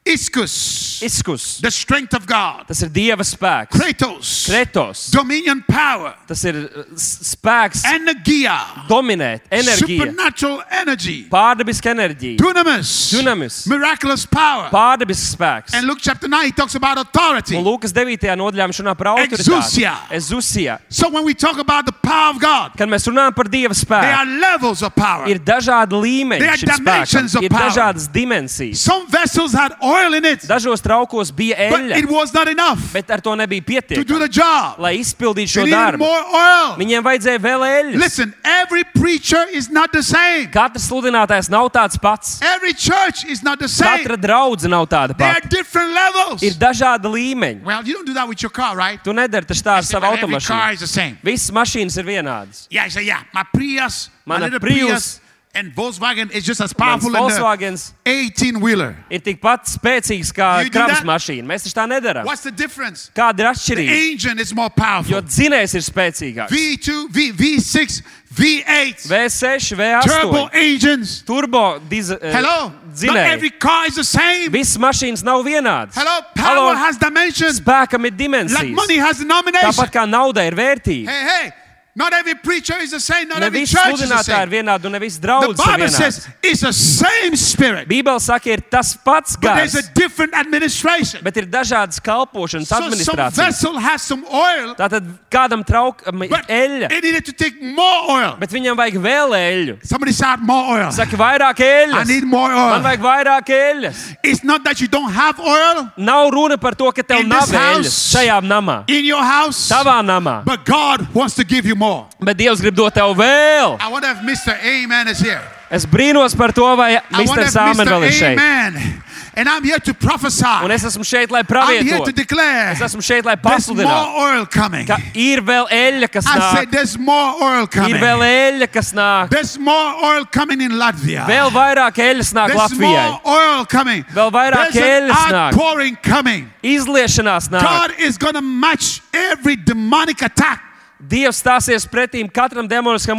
Speaker 1: iskus,
Speaker 2: Iskus,
Speaker 1: the strength of God.
Speaker 2: tas ir Dieva spēks.
Speaker 1: Kratos,
Speaker 2: Kretos,
Speaker 1: dominion power,
Speaker 2: Tas ir uh, s- spēks
Speaker 1: energia,
Speaker 2: dominēt, enerģija,
Speaker 1: supernatural energy,
Speaker 2: pārdabiska enerģija,
Speaker 1: dunamis,
Speaker 2: Dunamis.
Speaker 1: miraculous power.
Speaker 2: pārdabisks spēks.
Speaker 1: And Luke chapter 9, he talks about
Speaker 2: Un
Speaker 1: authority.
Speaker 2: Lūkas 9. nodaļā viņš runā par autoritāti.
Speaker 1: Exousia.
Speaker 2: Ezusijā.
Speaker 1: So when we talk about the power of God,
Speaker 2: Kad mēs runājam par Dieva
Speaker 1: there are
Speaker 2: spēku,
Speaker 1: levels of power.
Speaker 2: ir dažādi līmeņi,
Speaker 1: There are
Speaker 2: šim spēkam,
Speaker 1: dimensions of
Speaker 2: ir
Speaker 1: power.
Speaker 2: dažādas dimensijas.
Speaker 1: Some vessels had oil in it,
Speaker 2: Dažos traukos bija
Speaker 1: but it
Speaker 2: eļļa,
Speaker 1: was not enough
Speaker 2: bet ar to nebija
Speaker 1: to do
Speaker 2: pietiekami,
Speaker 1: the job.
Speaker 2: lai izpildītu
Speaker 1: They
Speaker 2: šo
Speaker 1: needed
Speaker 2: darbu.
Speaker 1: more oil.
Speaker 2: Viņiem vajadzēja vēl eļļas.
Speaker 1: Listen, every preacher is not the same.
Speaker 2: Katrs sludinātājs nav tāds pats.
Speaker 1: Every church is not the same.
Speaker 2: Katra draudzene nav tāda
Speaker 1: There are
Speaker 2: pati.
Speaker 1: different levels.
Speaker 2: Ir dažādi līmeņi.
Speaker 1: Well, you don't do that with your car, right?
Speaker 2: Tu nedari taču tā ar
Speaker 1: Say,
Speaker 2: savu
Speaker 1: "Well, every
Speaker 2: automašīnu.
Speaker 1: car is the same.
Speaker 2: Visas mašīnas ir vienādas.
Speaker 1: Yeah, I say, yeah, my Prius, my
Speaker 2: Mana
Speaker 1: little
Speaker 2: Prius.
Speaker 1: Prius, and Volkswagen is just as
Speaker 2: Mans
Speaker 1: powerful as the
Speaker 2: Volkswagens
Speaker 1: 18 wheeler.
Speaker 2: ir tikpat spēcīgs kā
Speaker 1: You do
Speaker 2: kravas
Speaker 1: that?
Speaker 2: mašīna. Mēs taču tā nedarām.
Speaker 1: What's the difference?
Speaker 2: Kāda ir atšķirība?
Speaker 1: Engine is more
Speaker 2: Jo
Speaker 1: powerful.
Speaker 2: dzinējs ir spēcīgāks.
Speaker 1: V2, V, V6, V8,
Speaker 2: V6,
Speaker 1: turbo
Speaker 2: V8,
Speaker 1: engines.
Speaker 2: turbo dize- eh,
Speaker 1: Hello? Not every
Speaker 2: dzinēji.
Speaker 1: car is the same.
Speaker 2: Visas mašīnas nav vienādas.
Speaker 1: Hello?
Speaker 2: Hello?
Speaker 1: Power has dimensions.
Speaker 2: Spēkam ir
Speaker 1: Like money
Speaker 2: dimensijas.
Speaker 1: has denomination.
Speaker 2: Tāpat kā nauda ir vērtība.
Speaker 1: Hey, hey. Not every preacher is the same, not
Speaker 2: Ne
Speaker 1: every
Speaker 2: visi
Speaker 1: church is the
Speaker 2: sludinātāji
Speaker 1: same.
Speaker 2: ir vienādi, un ne visi
Speaker 1: The
Speaker 2: draugi ir
Speaker 1: Bible
Speaker 2: vienādi.
Speaker 1: says it's the same spirit,
Speaker 2: Bībele saka, ir tas pats
Speaker 1: but
Speaker 2: gars,
Speaker 1: there's a different administration.
Speaker 2: bet ir dažādas kalpošanas
Speaker 1: So some
Speaker 2: administrācijas.
Speaker 1: vessel has some oil,
Speaker 2: Tātad kādam traukam ir
Speaker 1: but
Speaker 2: eļļa,
Speaker 1: it needed to take more oil.
Speaker 2: bet viņam vajag vēl eļļu.
Speaker 1: Somebody shout more oil.
Speaker 2: Saka, vairāk
Speaker 1: I
Speaker 2: eļļas.
Speaker 1: need more
Speaker 2: Man
Speaker 1: oil.
Speaker 2: vajag vairāk eļļas.
Speaker 1: It's not that you don't have oil
Speaker 2: Nav runa par to, ka tev
Speaker 1: In
Speaker 2: nav
Speaker 1: this house-
Speaker 2: eļļas šajā namā,
Speaker 1: in your house,
Speaker 2: tavā namā,
Speaker 1: but God wants to give you more.
Speaker 2: bet Dievs grib dot tev vēl.
Speaker 1: I wonder if Mr. Amen is here.
Speaker 2: Es brīnos par to, vai
Speaker 1: I wonder
Speaker 2: Mr.
Speaker 1: if
Speaker 2: Sāmen vēl ir
Speaker 1: Mr.
Speaker 2: šeit.
Speaker 1: Amen. And I'm here to prophesy.
Speaker 2: Un es esmu šeit, lai
Speaker 1: I'm here to
Speaker 2: pravietotu.
Speaker 1: declare
Speaker 2: Es esmu šeit, lai
Speaker 1: there's more
Speaker 2: pasludinātu,
Speaker 1: oil coming.
Speaker 2: ka ir vēl eļļa, kas
Speaker 1: I
Speaker 2: nāk.
Speaker 1: said there's more oil
Speaker 2: Ir
Speaker 1: coming.
Speaker 2: vēl eļļa, kas nāk.
Speaker 1: There's more oil coming in Latvia.
Speaker 2: Vēl vairāk eļļas nāk
Speaker 1: There's
Speaker 2: Latvijai.
Speaker 1: more oil coming.
Speaker 2: Vēl vairāk
Speaker 1: There's an
Speaker 2: eļļas nāk.
Speaker 1: outpouring coming.
Speaker 2: Ah. Izliešanās nāk.
Speaker 1: God is going to match every demonic attack
Speaker 2: Dievs stāsies pretīm katram demoniskam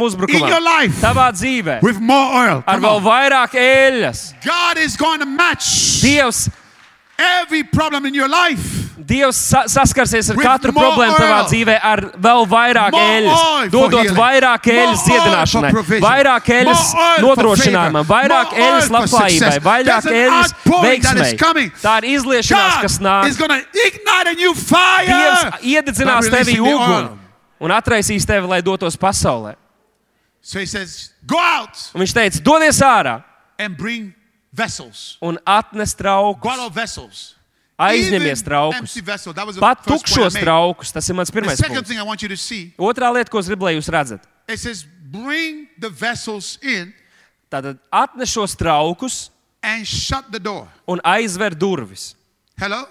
Speaker 1: in your
Speaker 2: uzbrukumam.
Speaker 1: life
Speaker 2: Tavā dzīvē
Speaker 1: with more oil.
Speaker 2: ar
Speaker 1: Come
Speaker 2: vēl
Speaker 1: on.
Speaker 2: vairāk eļļas.
Speaker 1: God is going to match
Speaker 2: Dievs,
Speaker 1: every problem in your life.
Speaker 2: Dievs sa saskarsies ar
Speaker 1: With
Speaker 2: katru
Speaker 1: more
Speaker 2: problēmu tavā
Speaker 1: oil.
Speaker 2: dzīvē ar vēl vairāk
Speaker 1: More oil
Speaker 2: eļļas,
Speaker 1: for
Speaker 2: dodot
Speaker 1: healing.
Speaker 2: vairāk
Speaker 1: More
Speaker 2: eļļas
Speaker 1: oil
Speaker 2: dziedināšanai,
Speaker 1: for provision.
Speaker 2: vairāk eļļas
Speaker 1: More oil for
Speaker 2: nodrošinājumam,
Speaker 1: favor.
Speaker 2: vairāk
Speaker 1: More oil
Speaker 2: eļļas
Speaker 1: for
Speaker 2: labklājībai,
Speaker 1: success.
Speaker 2: vairāk
Speaker 1: There's an
Speaker 2: eļļas
Speaker 1: outpouring that is
Speaker 2: veiksmai.
Speaker 1: coming.
Speaker 2: Tā ir izliešanās,
Speaker 1: God
Speaker 2: kas nāk.
Speaker 1: is going to ignite a new fire.
Speaker 2: Dievs iededzinās
Speaker 1: by
Speaker 2: tevi
Speaker 1: releasing the
Speaker 2: uguni
Speaker 1: oil.
Speaker 2: un atraisīs tevi, lai dotos pasaulē.
Speaker 1: So he says, go out
Speaker 2: Un viņš teica, dodies ārā
Speaker 1: and bring vessels.
Speaker 2: un atnes trauku.
Speaker 1: Go out of vessels. Even
Speaker 2: Aizņemies traukus.
Speaker 1: Empty vessel. That was the
Speaker 2: Pat
Speaker 1: first point I
Speaker 2: tukšos
Speaker 1: made.
Speaker 2: traukus. Tas ir mans
Speaker 1: The
Speaker 2: pirmais
Speaker 1: second
Speaker 2: punkts.
Speaker 1: thing I want you to see,
Speaker 2: Otrā lieta, ko es gribu, lai jūs redzat.
Speaker 1: it says, bring the vessels in
Speaker 2: Tātad atnes šos traukus
Speaker 1: and shut the door.
Speaker 2: un aizver durvis.
Speaker 1: Hello?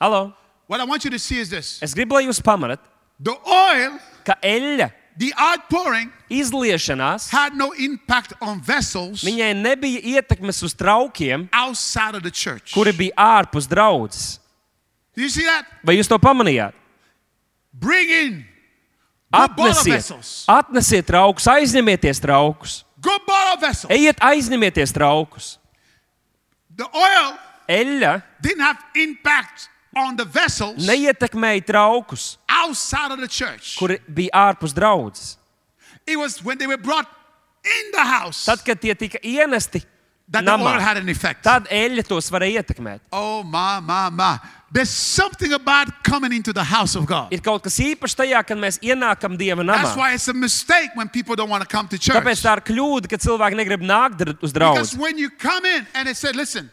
Speaker 2: Halo?
Speaker 1: What I want you to see is this.
Speaker 2: Es gribu, lai jūs pamanat,
Speaker 1: The oil,
Speaker 2: ka eļļa
Speaker 1: the outpouring,
Speaker 2: izliešanās,
Speaker 1: had no impact on vessels
Speaker 2: viņai nebija ietekmes uz traukiem,
Speaker 1: outside of the church.
Speaker 2: kuri bija ārpus draudzes.
Speaker 1: Do you see that?
Speaker 2: Vai jūs to pamanījāt?
Speaker 1: Bring in. Go borrow
Speaker 2: Atnesiet,
Speaker 1: vessels.
Speaker 2: atnesiet traukus, aizņemieties traukus.
Speaker 1: Go borrow vessels.
Speaker 2: Ejiet, aizņemieties traukus.
Speaker 1: The oil
Speaker 2: Eļļa
Speaker 1: didn't have impact on the vessels
Speaker 2: neietekmēja traukus,
Speaker 1: outside of the church.
Speaker 2: kuri bija ārpus draudzes.
Speaker 1: It was when they were brought in the house
Speaker 2: Tad, kad tie tika ienesti,
Speaker 1: that the oil
Speaker 2: namā,
Speaker 1: had an effect.
Speaker 2: tad eļļa tos varēja ietekmēt.
Speaker 1: Oh, my, my, my. There's something about coming into the house of God.
Speaker 2: Ir kaut kas īpašs tajā, kad mēs ienākam Dieva
Speaker 1: That's
Speaker 2: namā.
Speaker 1: why it's a mistake when people don't want to come to church.
Speaker 2: Tāpēc tā ir kļūda, ka cilvēki negrib nākt dr- uz
Speaker 1: Because
Speaker 2: draugu.
Speaker 1: when you come in and it said, listen,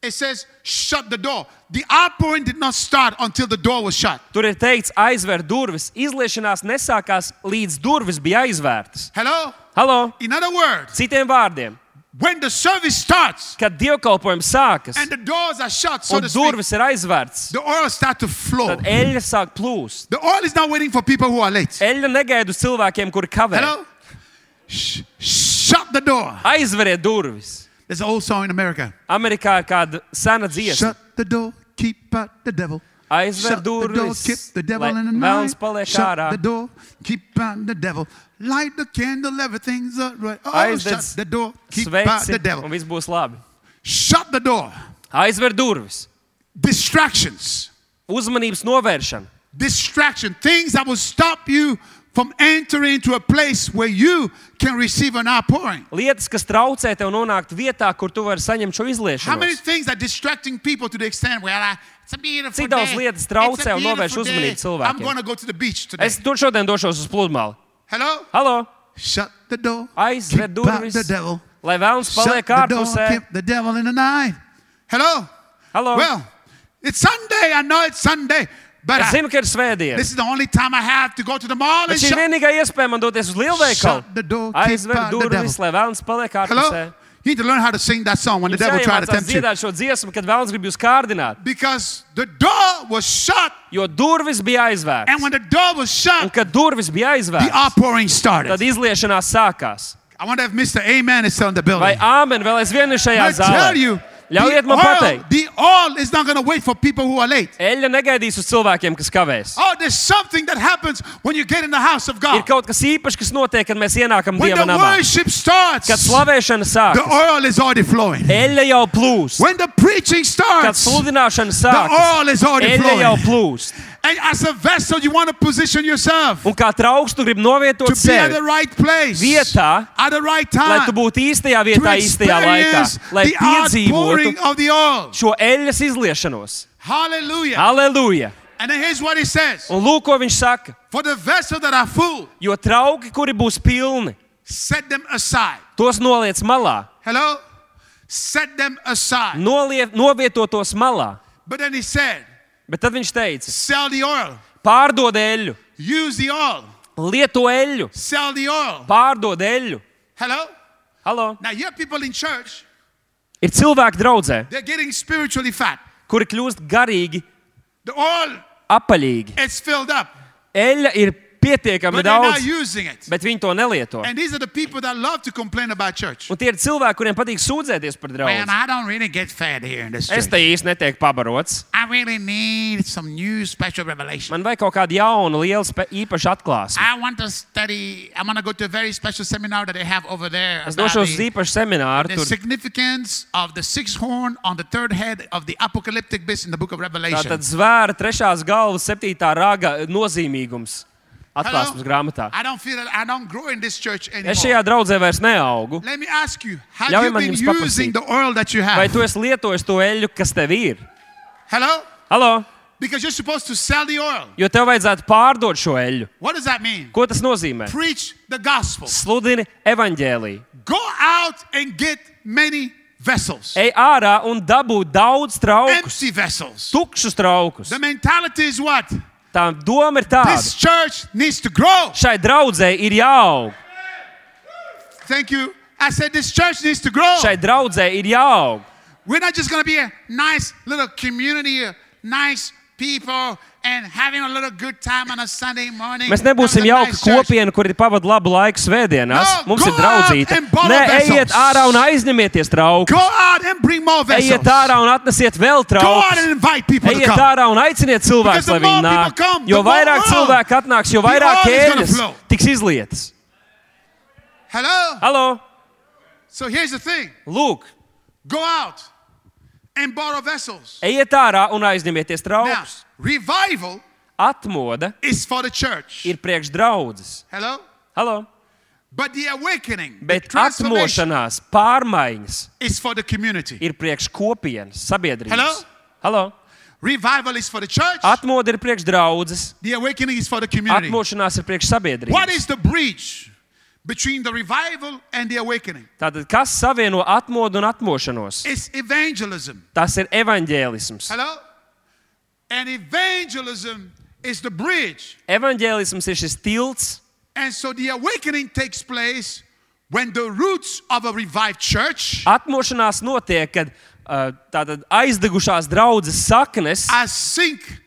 Speaker 1: it says, shut the door. The outpouring did not start until the door was shut.
Speaker 2: Tur ir teikts, aizver durvis. Izliešanās nesākās līdz durvis bija aizvērtas.
Speaker 1: Hello?
Speaker 2: Halo!
Speaker 1: In other words,
Speaker 2: Citiem vārdiem,
Speaker 1: when the service starts
Speaker 2: kad dievkalpojums sākas
Speaker 1: and the doors are shut, so
Speaker 2: un
Speaker 1: to speak,
Speaker 2: durvis ir aizvērtas,
Speaker 1: the oil start to flow.
Speaker 2: tad eļļa sāk plūst.
Speaker 1: The oil is not waiting for people who are late.
Speaker 2: Eļļa negaida uz cilvēkiem, kuri kavē.
Speaker 1: Hello? Sh- shut the door.
Speaker 2: Aizveriet durvis.
Speaker 1: There's an old song in America.
Speaker 2: Amerikā ir kāda sena dziesma.
Speaker 1: Shut the door, keep out the devil.
Speaker 2: Aizver
Speaker 1: Shut the door, keep
Speaker 2: durvis.
Speaker 1: the devil
Speaker 2: lai
Speaker 1: in the
Speaker 2: Velns
Speaker 1: night.
Speaker 2: paliek
Speaker 1: Shut
Speaker 2: ārā.
Speaker 1: the door, keep out the devil. Light the candle, everything's all right. Oh,
Speaker 2: Aizdedz
Speaker 1: shut the door, keep out
Speaker 2: Sveici,
Speaker 1: the devil.
Speaker 2: un viss būs labi.
Speaker 1: Shut the door.
Speaker 2: Aizver durvis.
Speaker 1: Distractions.
Speaker 2: Uzmanības novēršana.
Speaker 1: Distraction. Things that will stop you from entering into a place where you can receive an outpouring.
Speaker 2: Lietas, kas traucē tev nonākt vietā, kur tu vari saņemt šo
Speaker 1: How many
Speaker 2: izliešanos.
Speaker 1: things are distracting people to the extent where I, it's a beautiful
Speaker 2: Cik
Speaker 1: day.
Speaker 2: daudz lietas traucē
Speaker 1: It's a
Speaker 2: un novērš
Speaker 1: beautiful day.
Speaker 2: uzmanību
Speaker 1: I'm
Speaker 2: cilvēkiem?
Speaker 1: going to go to the beach today.
Speaker 2: Es tur šodien došos uz pludmali.
Speaker 1: Hello?
Speaker 2: Halo!
Speaker 1: Shut the door.
Speaker 2: Aizver
Speaker 1: keep out
Speaker 2: durvis.
Speaker 1: the devil.
Speaker 2: Lai vēlams
Speaker 1: Shut
Speaker 2: paliek
Speaker 1: the door,
Speaker 2: ārpusē.
Speaker 1: keep the devil in the night. Hello?
Speaker 2: Hello?
Speaker 1: Well, it's Sunday. I know it's Sunday, but
Speaker 2: Es
Speaker 1: I,
Speaker 2: zinu, ka ir svētdiena.
Speaker 1: this is the only time I have to go to the mall and
Speaker 2: Bet šī ir
Speaker 1: shut.
Speaker 2: vienīgā iespēja man doties uz lielveikalu.
Speaker 1: Shut the door, keep
Speaker 2: Aizver
Speaker 1: out the
Speaker 2: durvis,
Speaker 1: devil.
Speaker 2: lai vēlams paliek ārpusē.
Speaker 1: Hello? You need to learn how to sing that song when the
Speaker 2: Jums
Speaker 1: devil tries to
Speaker 2: jāiemācās
Speaker 1: tempt you.
Speaker 2: dziedāt šo dziesmu, kad vēlams grib jūs kārdināt.
Speaker 1: Because the door was shut,
Speaker 2: Jo durvis bija
Speaker 1: and
Speaker 2: aizvērtas.
Speaker 1: when the door was
Speaker 2: Un
Speaker 1: shut,
Speaker 2: kad durvis bija
Speaker 1: the
Speaker 2: aizvērtas,
Speaker 1: outpouring started.
Speaker 2: tad izliešanās sākās.
Speaker 1: I wonder if Mr. Amen is still in the
Speaker 2: Vai
Speaker 1: building.
Speaker 2: āmen vēl aizvien ir šajā
Speaker 1: I tell
Speaker 2: zālē?
Speaker 1: you,
Speaker 2: Ļaujiet man
Speaker 1: the oil,
Speaker 2: pateikt,
Speaker 1: the oil is not going to wait for people who are late.
Speaker 2: eļļa negaidīs uz cilvēkiem, kas kavēs.
Speaker 1: Oh, there's something that happens when you get in the house of
Speaker 2: Ir
Speaker 1: God.
Speaker 2: kaut kas īpašs, kas notiek, kad mēs ienākam
Speaker 1: Ah! When
Speaker 2: Dieva
Speaker 1: the
Speaker 2: namā.
Speaker 1: worship starts,
Speaker 2: Kad slavēšana
Speaker 1: the
Speaker 2: sākas,
Speaker 1: oil is already flowing.
Speaker 2: eļļa jau plūst.
Speaker 1: When the preaching
Speaker 2: Kad
Speaker 1: starts, the
Speaker 2: sludināšana sākas,
Speaker 1: oil is already
Speaker 2: eļļa jau
Speaker 1: flowing.
Speaker 2: plūst.
Speaker 1: And as a vessel, you want to position yourself
Speaker 2: Un kā trauks, tu gribi
Speaker 1: to
Speaker 2: novietot
Speaker 1: be at the
Speaker 2: sevi,
Speaker 1: right place,
Speaker 2: Vietā,
Speaker 1: at the right
Speaker 2: lai
Speaker 1: time,
Speaker 2: tu būtu īstajā
Speaker 1: to
Speaker 2: vietā, īstajā laikā,
Speaker 1: experience
Speaker 2: lai
Speaker 1: the
Speaker 2: piedzīvotu
Speaker 1: outpouring of the oil.
Speaker 2: šo eļļas izliešanos.
Speaker 1: Hallelujah.
Speaker 2: Aleluja!
Speaker 1: and then here's what he says
Speaker 2: Un lūk, ko viņš saka.
Speaker 1: For the vessels that are full,
Speaker 2: Jo trauki, kuri būs pilni,
Speaker 1: set them aside.
Speaker 2: tos noliec malā,
Speaker 1: Hello? Set them aside.
Speaker 2: noliec, novieto tos malā.
Speaker 1: But then he said,
Speaker 2: Bet tad viņš teica,
Speaker 1: Sell the oil,
Speaker 2: pārdod eļļu,
Speaker 1: use the oil,
Speaker 2: lieto eļļu,
Speaker 1: sell the oil.
Speaker 2: pārdod eļļu.
Speaker 1: Hello?
Speaker 2: Halo.
Speaker 1: Now, your people in church,
Speaker 2: Ir cilvēki, draudzē,
Speaker 1: they're getting spiritually fat.
Speaker 2: kuri kļūst garīgi,
Speaker 1: The oil
Speaker 2: apaļīgi.
Speaker 1: is filled up,
Speaker 2: Eļļa ir pietiekami
Speaker 1: but they're not
Speaker 2: daudz,
Speaker 1: using it.
Speaker 2: bet viņi to nelieto.
Speaker 1: And these are the people that love to complain about church.
Speaker 2: Un tie ir cilvēki, kuriem patīk sūdzēties par
Speaker 1: Man,
Speaker 2: draugu.
Speaker 1: I don't really get fed here in this
Speaker 2: Es
Speaker 1: church.
Speaker 2: te īsti netieku pabarots.
Speaker 1: I really need some new special revelation.
Speaker 2: Man vajag kaut kādu jaunu, lielu, spe- īpašu atklāsmi.
Speaker 1: I want to study. I want to go to a very special seminar that they have over there.
Speaker 2: Es
Speaker 1: about
Speaker 2: došos uz
Speaker 1: the-
Speaker 2: īpašu semināru.
Speaker 1: The
Speaker 2: Tur
Speaker 1: significance of the sixth horn on the third head of the apocalyptic beast in the book of Revelation.
Speaker 2: tātad zvēra, trešās galvas, septītā raga nozīmīgums atklāsmes grāmatā.
Speaker 1: I don't feel that I don't grow in this church anymore.
Speaker 2: Es šajā draudzē vairs neaugu.
Speaker 1: Let me ask you, have
Speaker 2: Ļauj
Speaker 1: you
Speaker 2: man
Speaker 1: been
Speaker 2: jums paprasīt.
Speaker 1: using the oil that you
Speaker 2: Vai
Speaker 1: have?
Speaker 2: tu esi lietojis to eļļu, kas tev ir?
Speaker 1: Hello?
Speaker 2: Halo,
Speaker 1: Because you're supposed to sell the oil.
Speaker 2: jo tev vajadzētu pārdot šo eļļu.
Speaker 1: What does that mean?
Speaker 2: Ko tas nozīmē?
Speaker 1: Preach the gospel.
Speaker 2: Sludini evaņģēlīju.
Speaker 1: Go out and get many vessels.
Speaker 2: Ej ārā un dabū daudz traukus,
Speaker 1: Empty vessels.
Speaker 2: tukšus traukus.
Speaker 1: The mentality is what?
Speaker 2: Tā doma ir tāda.
Speaker 1: This church needs to grow.
Speaker 2: Šai draudzē ir jāaug.
Speaker 1: Thank you. I said this church needs to grow.
Speaker 2: Šai draudzē ir jāaug.
Speaker 1: We're not just going to be a nice little community, of nice people, and having a little good time on a Sunday morning.
Speaker 2: Mēs nebūsim
Speaker 1: That was a
Speaker 2: jauka
Speaker 1: nice church.
Speaker 2: kopiena, kur ir pavadīta labu laiku svētdienās.
Speaker 1: No,
Speaker 2: Mums
Speaker 1: go
Speaker 2: ir draudzīta.
Speaker 1: out and borrow
Speaker 2: Nē,
Speaker 1: vessels.
Speaker 2: ejiet ārā un aizņemieties trauku.
Speaker 1: Go out and bring more vessels.
Speaker 2: Ejiet ārā un atnesiet vēl
Speaker 1: Go out
Speaker 2: traukus.
Speaker 1: and invite people to
Speaker 2: Ejiet
Speaker 1: come.
Speaker 2: ārā un aiciniet cilvēkus,
Speaker 1: Because
Speaker 2: lai
Speaker 1: the
Speaker 2: viņi
Speaker 1: more
Speaker 2: nāk.
Speaker 1: people come,
Speaker 2: Jo
Speaker 1: the more
Speaker 2: vairāk
Speaker 1: oil.
Speaker 2: cilvēku atnāks, jo
Speaker 1: The
Speaker 2: vairāk
Speaker 1: oil is gonna
Speaker 2: ēnas
Speaker 1: flow.
Speaker 2: tiks izlietas.
Speaker 1: Hello?
Speaker 2: Halo,
Speaker 1: So here's the thing
Speaker 2: lūk,
Speaker 1: go out and borrow vessels.
Speaker 2: ejiet ārā un aizņemieties
Speaker 1: Now,
Speaker 2: traukus.
Speaker 1: revival
Speaker 2: Atmoda
Speaker 1: is for the church.
Speaker 2: ir priekš draudzes.
Speaker 1: Hello?
Speaker 2: Halo,
Speaker 1: But the awakening, the
Speaker 2: bet
Speaker 1: transformation
Speaker 2: atmošanās, pārmaiņas
Speaker 1: is for the community.
Speaker 2: ir priekš kopienas,
Speaker 1: Hello?
Speaker 2: sabiedrības. Halo,
Speaker 1: Revival is for the church.
Speaker 2: atmoda ir priekš draudzes,
Speaker 1: The awakening is for the community.
Speaker 2: atmošanās ir priekš
Speaker 1: What
Speaker 2: sabiedrības.
Speaker 1: is the bridge between the revival and the awakening?
Speaker 2: Tātad, kas savieno atmodu un atmošanos?
Speaker 1: It's evangelism.
Speaker 2: Tas ir evaņģēlisms.
Speaker 1: Hello? And evangelism is the bridge.
Speaker 2: Evaņģēlisms ir šis tilts,
Speaker 1: And so the awakening takes place when the roots of a revived church
Speaker 2: Atmošanās notiek, kad uh, tātad aizdegušās draudzes saknes
Speaker 1: are sink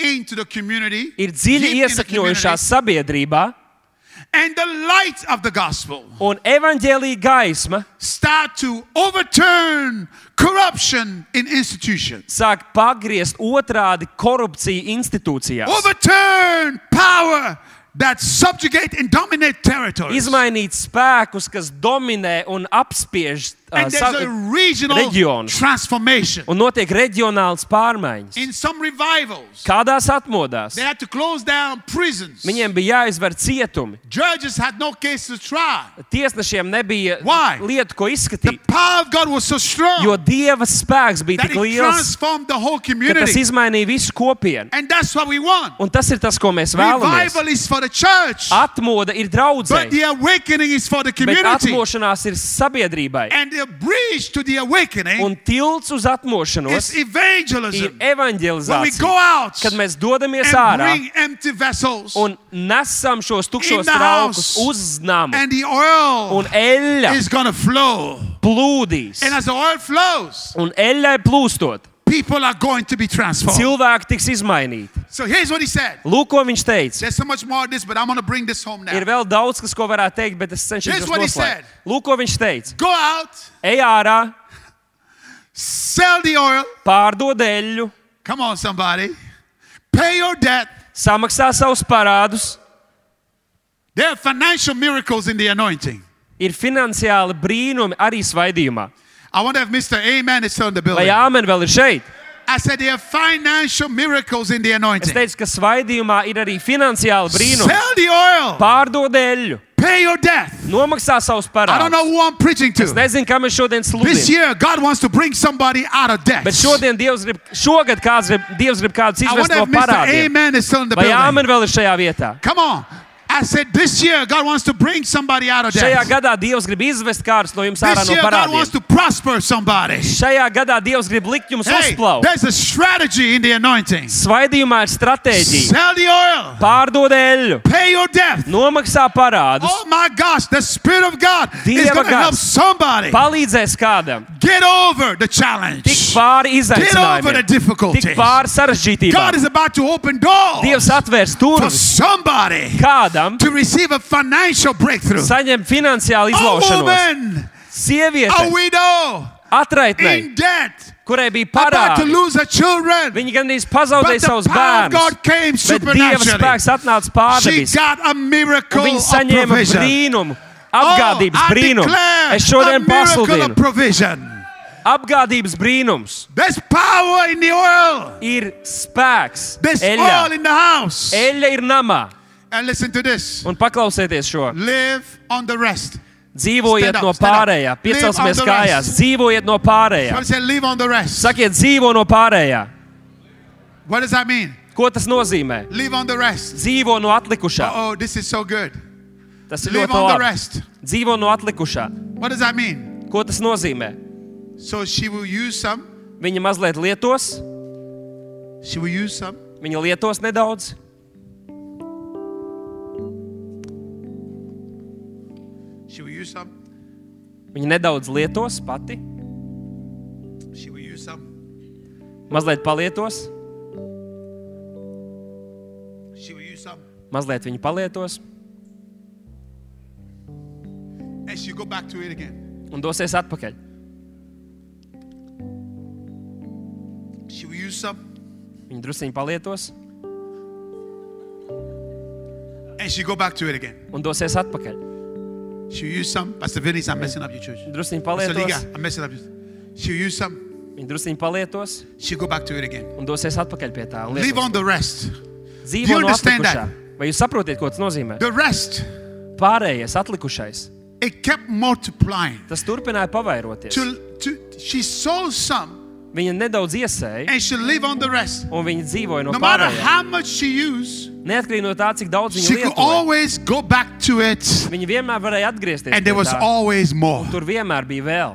Speaker 1: into the community,
Speaker 2: ir
Speaker 1: deep
Speaker 2: dziļi
Speaker 1: in the
Speaker 2: iesakņojušās sabiedrībā,
Speaker 1: community, and the light of the gospel
Speaker 2: un evaņģēlīja gaisma
Speaker 1: start to overturn corruption in institutions,
Speaker 2: sāk pagriezt otrādi korupciju institūcijās.
Speaker 1: overturn power that subjugate and dominate territories.
Speaker 2: Izmainīt spēkus, kas dominē un apspiež uh,
Speaker 1: And there's a
Speaker 2: savu,
Speaker 1: regional
Speaker 2: reģionu.
Speaker 1: transformation.
Speaker 2: un notiek reģionāls pārmaiņas.
Speaker 1: In some revivals,
Speaker 2: Kādās atmodās
Speaker 1: they had to close down prisons.
Speaker 2: viņiem bija jāizver cietumi,
Speaker 1: Judges had no case to try.
Speaker 2: tiesnešiem nebija
Speaker 1: Why?
Speaker 2: lietu, ko
Speaker 1: The
Speaker 2: izskatīt,
Speaker 1: power of God was so strong
Speaker 2: jo dieva spēks bija
Speaker 1: that
Speaker 2: tik
Speaker 1: it
Speaker 2: liels.
Speaker 1: transformed the whole
Speaker 2: ka tas
Speaker 1: community.
Speaker 2: izmainīja visu kopienu.
Speaker 1: And that's what we want.
Speaker 2: Un tas ir tas, ko mēs vēlamies.
Speaker 1: Revival is for the church,
Speaker 2: Ah, Atmoda ir
Speaker 1: but
Speaker 2: draudzēji,
Speaker 1: the awakening is for the
Speaker 2: bet
Speaker 1: community.
Speaker 2: atmošanās ir sabiedrībai.
Speaker 1: And the bridge to the awakening
Speaker 2: Un tilts uz atmošanos
Speaker 1: is
Speaker 2: ir
Speaker 1: evangelism. When we go
Speaker 2: evanģelizācija.
Speaker 1: out
Speaker 2: Kad mēs dodamies
Speaker 1: and
Speaker 2: ārā
Speaker 1: bring empty vessels
Speaker 2: un nesam šos
Speaker 1: In
Speaker 2: tukšos
Speaker 1: the
Speaker 2: traukus
Speaker 1: house.
Speaker 2: uz namu,
Speaker 1: and the oil
Speaker 2: un eļļa
Speaker 1: is going to flow.
Speaker 2: plūdīs.
Speaker 1: And as the oil flows,
Speaker 2: Un eļļai plūstot,
Speaker 1: people are going to be transformed.
Speaker 2: cilvēki tiks izmainīti.
Speaker 1: So here's what he said.
Speaker 2: Lūk, ko viņš teica.
Speaker 1: There's so much more of this, but I'm going to bring this home
Speaker 2: Ir
Speaker 1: now.
Speaker 2: vēl daudz, kas ko varētu teikt, bet es cenšos
Speaker 1: Here's
Speaker 2: jums
Speaker 1: what he
Speaker 2: noslēgt.
Speaker 1: said.
Speaker 2: Lūk, ko viņš teica.
Speaker 1: Go out,
Speaker 2: Ej ārā,
Speaker 1: sell the oil.
Speaker 2: pārdod eļļu,
Speaker 1: Come on, somebody. Pay your debt.
Speaker 2: samaksā savus parādus,
Speaker 1: There are financial miracles in the anointing.
Speaker 2: ir finansiāli brīnumi arī svaidījumā.
Speaker 1: I wonder if Mr. Amen is still in the
Speaker 2: Vai
Speaker 1: building.
Speaker 2: Āmen vēl ir šeit?
Speaker 1: I said there are financial miracles in the
Speaker 2: Es
Speaker 1: anointing.
Speaker 2: teicu, ka svaidījumā ir arī finansiāli brīnumi.
Speaker 1: Sell the oil,
Speaker 2: Pārdod eļļu,
Speaker 1: pay your debt.
Speaker 2: nomaksā savus
Speaker 1: I don't know
Speaker 2: parādus.
Speaker 1: who I'm preaching
Speaker 2: Es
Speaker 1: to.
Speaker 2: nezinu, kam es šodien
Speaker 1: This
Speaker 2: sludinu.
Speaker 1: year, God wants to bring somebody out of debt.
Speaker 2: Bet šodien Dievs grib, šogad kāds grib, Dievs grib kāds
Speaker 1: I
Speaker 2: izvest
Speaker 1: wonder
Speaker 2: no
Speaker 1: if Mr.
Speaker 2: parādiem.
Speaker 1: Amen is still in the
Speaker 2: Vai
Speaker 1: building.
Speaker 2: Āmen vēl ir šajā vietā?
Speaker 1: Come on. I said this year, God wants to bring somebody out of
Speaker 2: Šajā
Speaker 1: debt.
Speaker 2: gadā Dievs grib izvest kāds no jums ārā
Speaker 1: This
Speaker 2: no
Speaker 1: year, God wants
Speaker 2: parādiem.
Speaker 1: to prosper somebody.
Speaker 2: Šajā gadā Dievs grib likt jums
Speaker 1: Hey,
Speaker 2: uzplaukt.
Speaker 1: there's a strategy in the anointing.
Speaker 2: Svaidījumā ir stratēģija.
Speaker 1: Sell the oil,
Speaker 2: Pārdod eļļu,
Speaker 1: pay your
Speaker 2: Oh
Speaker 1: debt.
Speaker 2: nomaksā parādus,
Speaker 1: Oh my gosh, the Spirit of God is
Speaker 2: Dieva
Speaker 1: going to help
Speaker 2: gars.
Speaker 1: somebody
Speaker 2: palīdzēs kādam.
Speaker 1: get over the
Speaker 2: Tik
Speaker 1: challenge,
Speaker 2: pāri
Speaker 1: get over the
Speaker 2: izaicinājumiem, tik
Speaker 1: difficulties.
Speaker 2: pāri
Speaker 1: God
Speaker 2: sarežģītībām.
Speaker 1: is about to open doors
Speaker 2: Dievs atvērs
Speaker 1: for
Speaker 2: durvis
Speaker 1: somebody
Speaker 2: kādam,
Speaker 1: to receive a financial breakthrough.
Speaker 2: saņem finansiālu
Speaker 1: A
Speaker 2: izlaušanos.
Speaker 1: woman, a
Speaker 2: Sieviete,
Speaker 1: widow,
Speaker 2: atraitnē,
Speaker 1: in debt,
Speaker 2: kurai bija
Speaker 1: about to
Speaker 2: parādi,
Speaker 1: lose her children.
Speaker 2: Viņa gandrīz
Speaker 1: But
Speaker 2: pazaudēja
Speaker 1: the
Speaker 2: savus
Speaker 1: power of
Speaker 2: bērnus.
Speaker 1: God came
Speaker 2: Bet Dieva
Speaker 1: supernaturally.
Speaker 2: spēks atnāca
Speaker 1: She
Speaker 2: pārdevis.
Speaker 1: got a miracle
Speaker 2: Viņa
Speaker 1: of
Speaker 2: saņēma
Speaker 1: provision.
Speaker 2: brīnumu,
Speaker 1: Oh,
Speaker 2: apgādības
Speaker 1: I
Speaker 2: brīnumu.
Speaker 1: declare
Speaker 2: Es
Speaker 1: a
Speaker 2: šodien
Speaker 1: miracle of
Speaker 2: pasludinu,
Speaker 1: provision.
Speaker 2: apgādības brīnums
Speaker 1: There's power in the oil.
Speaker 2: ir spēks.
Speaker 1: There's oil
Speaker 2: Eļļa,
Speaker 1: in the house.
Speaker 2: Eļļa ir namā.
Speaker 1: And listen to this.
Speaker 2: Un paklausieties šo.
Speaker 1: Live on the rest.
Speaker 2: Dzīvojiet
Speaker 1: Stand up,
Speaker 2: no
Speaker 1: stand up.
Speaker 2: pārējā, piecelsimies
Speaker 1: Live on the
Speaker 2: kājās,
Speaker 1: rest.
Speaker 2: dzīvojiet no pārējā.
Speaker 1: Somebody said, live on the rest.
Speaker 2: Sakiet, dzīvo no pārējā.
Speaker 1: What does that mean?
Speaker 2: Ko tas nozīmē?
Speaker 1: Live on the rest.
Speaker 2: Dzīvo no atlikušā.
Speaker 1: Oh, this is so good.
Speaker 2: Tas ir
Speaker 1: Live
Speaker 2: ļoti
Speaker 1: on the
Speaker 2: labi.
Speaker 1: rest.
Speaker 2: Dzīvo no atlikušā.
Speaker 1: What does that mean?
Speaker 2: Ko tas nozīmē?
Speaker 1: So she will use some.
Speaker 2: Viņa mazliet lietos,
Speaker 1: She will use some.
Speaker 2: Viņa lietos nedaudz,
Speaker 1: She will use some.
Speaker 2: viņa nedaudz lietos pati,
Speaker 1: She will use some.
Speaker 2: mazliet palietos,
Speaker 1: She will use some.
Speaker 2: mazliet viņa palietos
Speaker 1: And she go back to it again.
Speaker 2: un dosies atpakaļ.
Speaker 1: She will use some.
Speaker 2: Viņa druskuļi palietos
Speaker 1: And she go back to it again.
Speaker 2: un dosies atpakaļ.
Speaker 1: She will use some. Pastor Vinny's, I'm messing up your church.
Speaker 2: Viņa druskuļi
Speaker 1: Pastor Liga,
Speaker 2: palietos,
Speaker 1: I'm messing up. your- She will use some.
Speaker 2: viņa druskuļi palietos
Speaker 1: She go back to it again.
Speaker 2: un dosies atpakaļ pie tā. un
Speaker 1: Live
Speaker 2: lietos.
Speaker 1: on the rest. Do
Speaker 2: Dzīvo
Speaker 1: you
Speaker 2: no
Speaker 1: understand
Speaker 2: atlikušā. Vai jūs saprotat, ko tas nozīmē?
Speaker 1: The rest.
Speaker 2: Pārējais, atlikušais,
Speaker 1: It kept multiplying.
Speaker 2: tas turpināja pavairoties.
Speaker 1: To, to, she sold some
Speaker 2: Viņa nedaudz iesēja
Speaker 1: and she live on the rest.
Speaker 2: un viņa dzīvoja no
Speaker 1: No matter
Speaker 2: pārējā.
Speaker 1: how much she used,
Speaker 2: Neatkarīgi no tā, cik daudz
Speaker 1: she
Speaker 2: viņa
Speaker 1: could
Speaker 2: lietoja.
Speaker 1: always go back to it
Speaker 2: Viņa vienmēr varēja atgriezties.
Speaker 1: and there
Speaker 2: pie
Speaker 1: was
Speaker 2: tā.
Speaker 1: always more.
Speaker 2: Tur vienmēr bija vēl.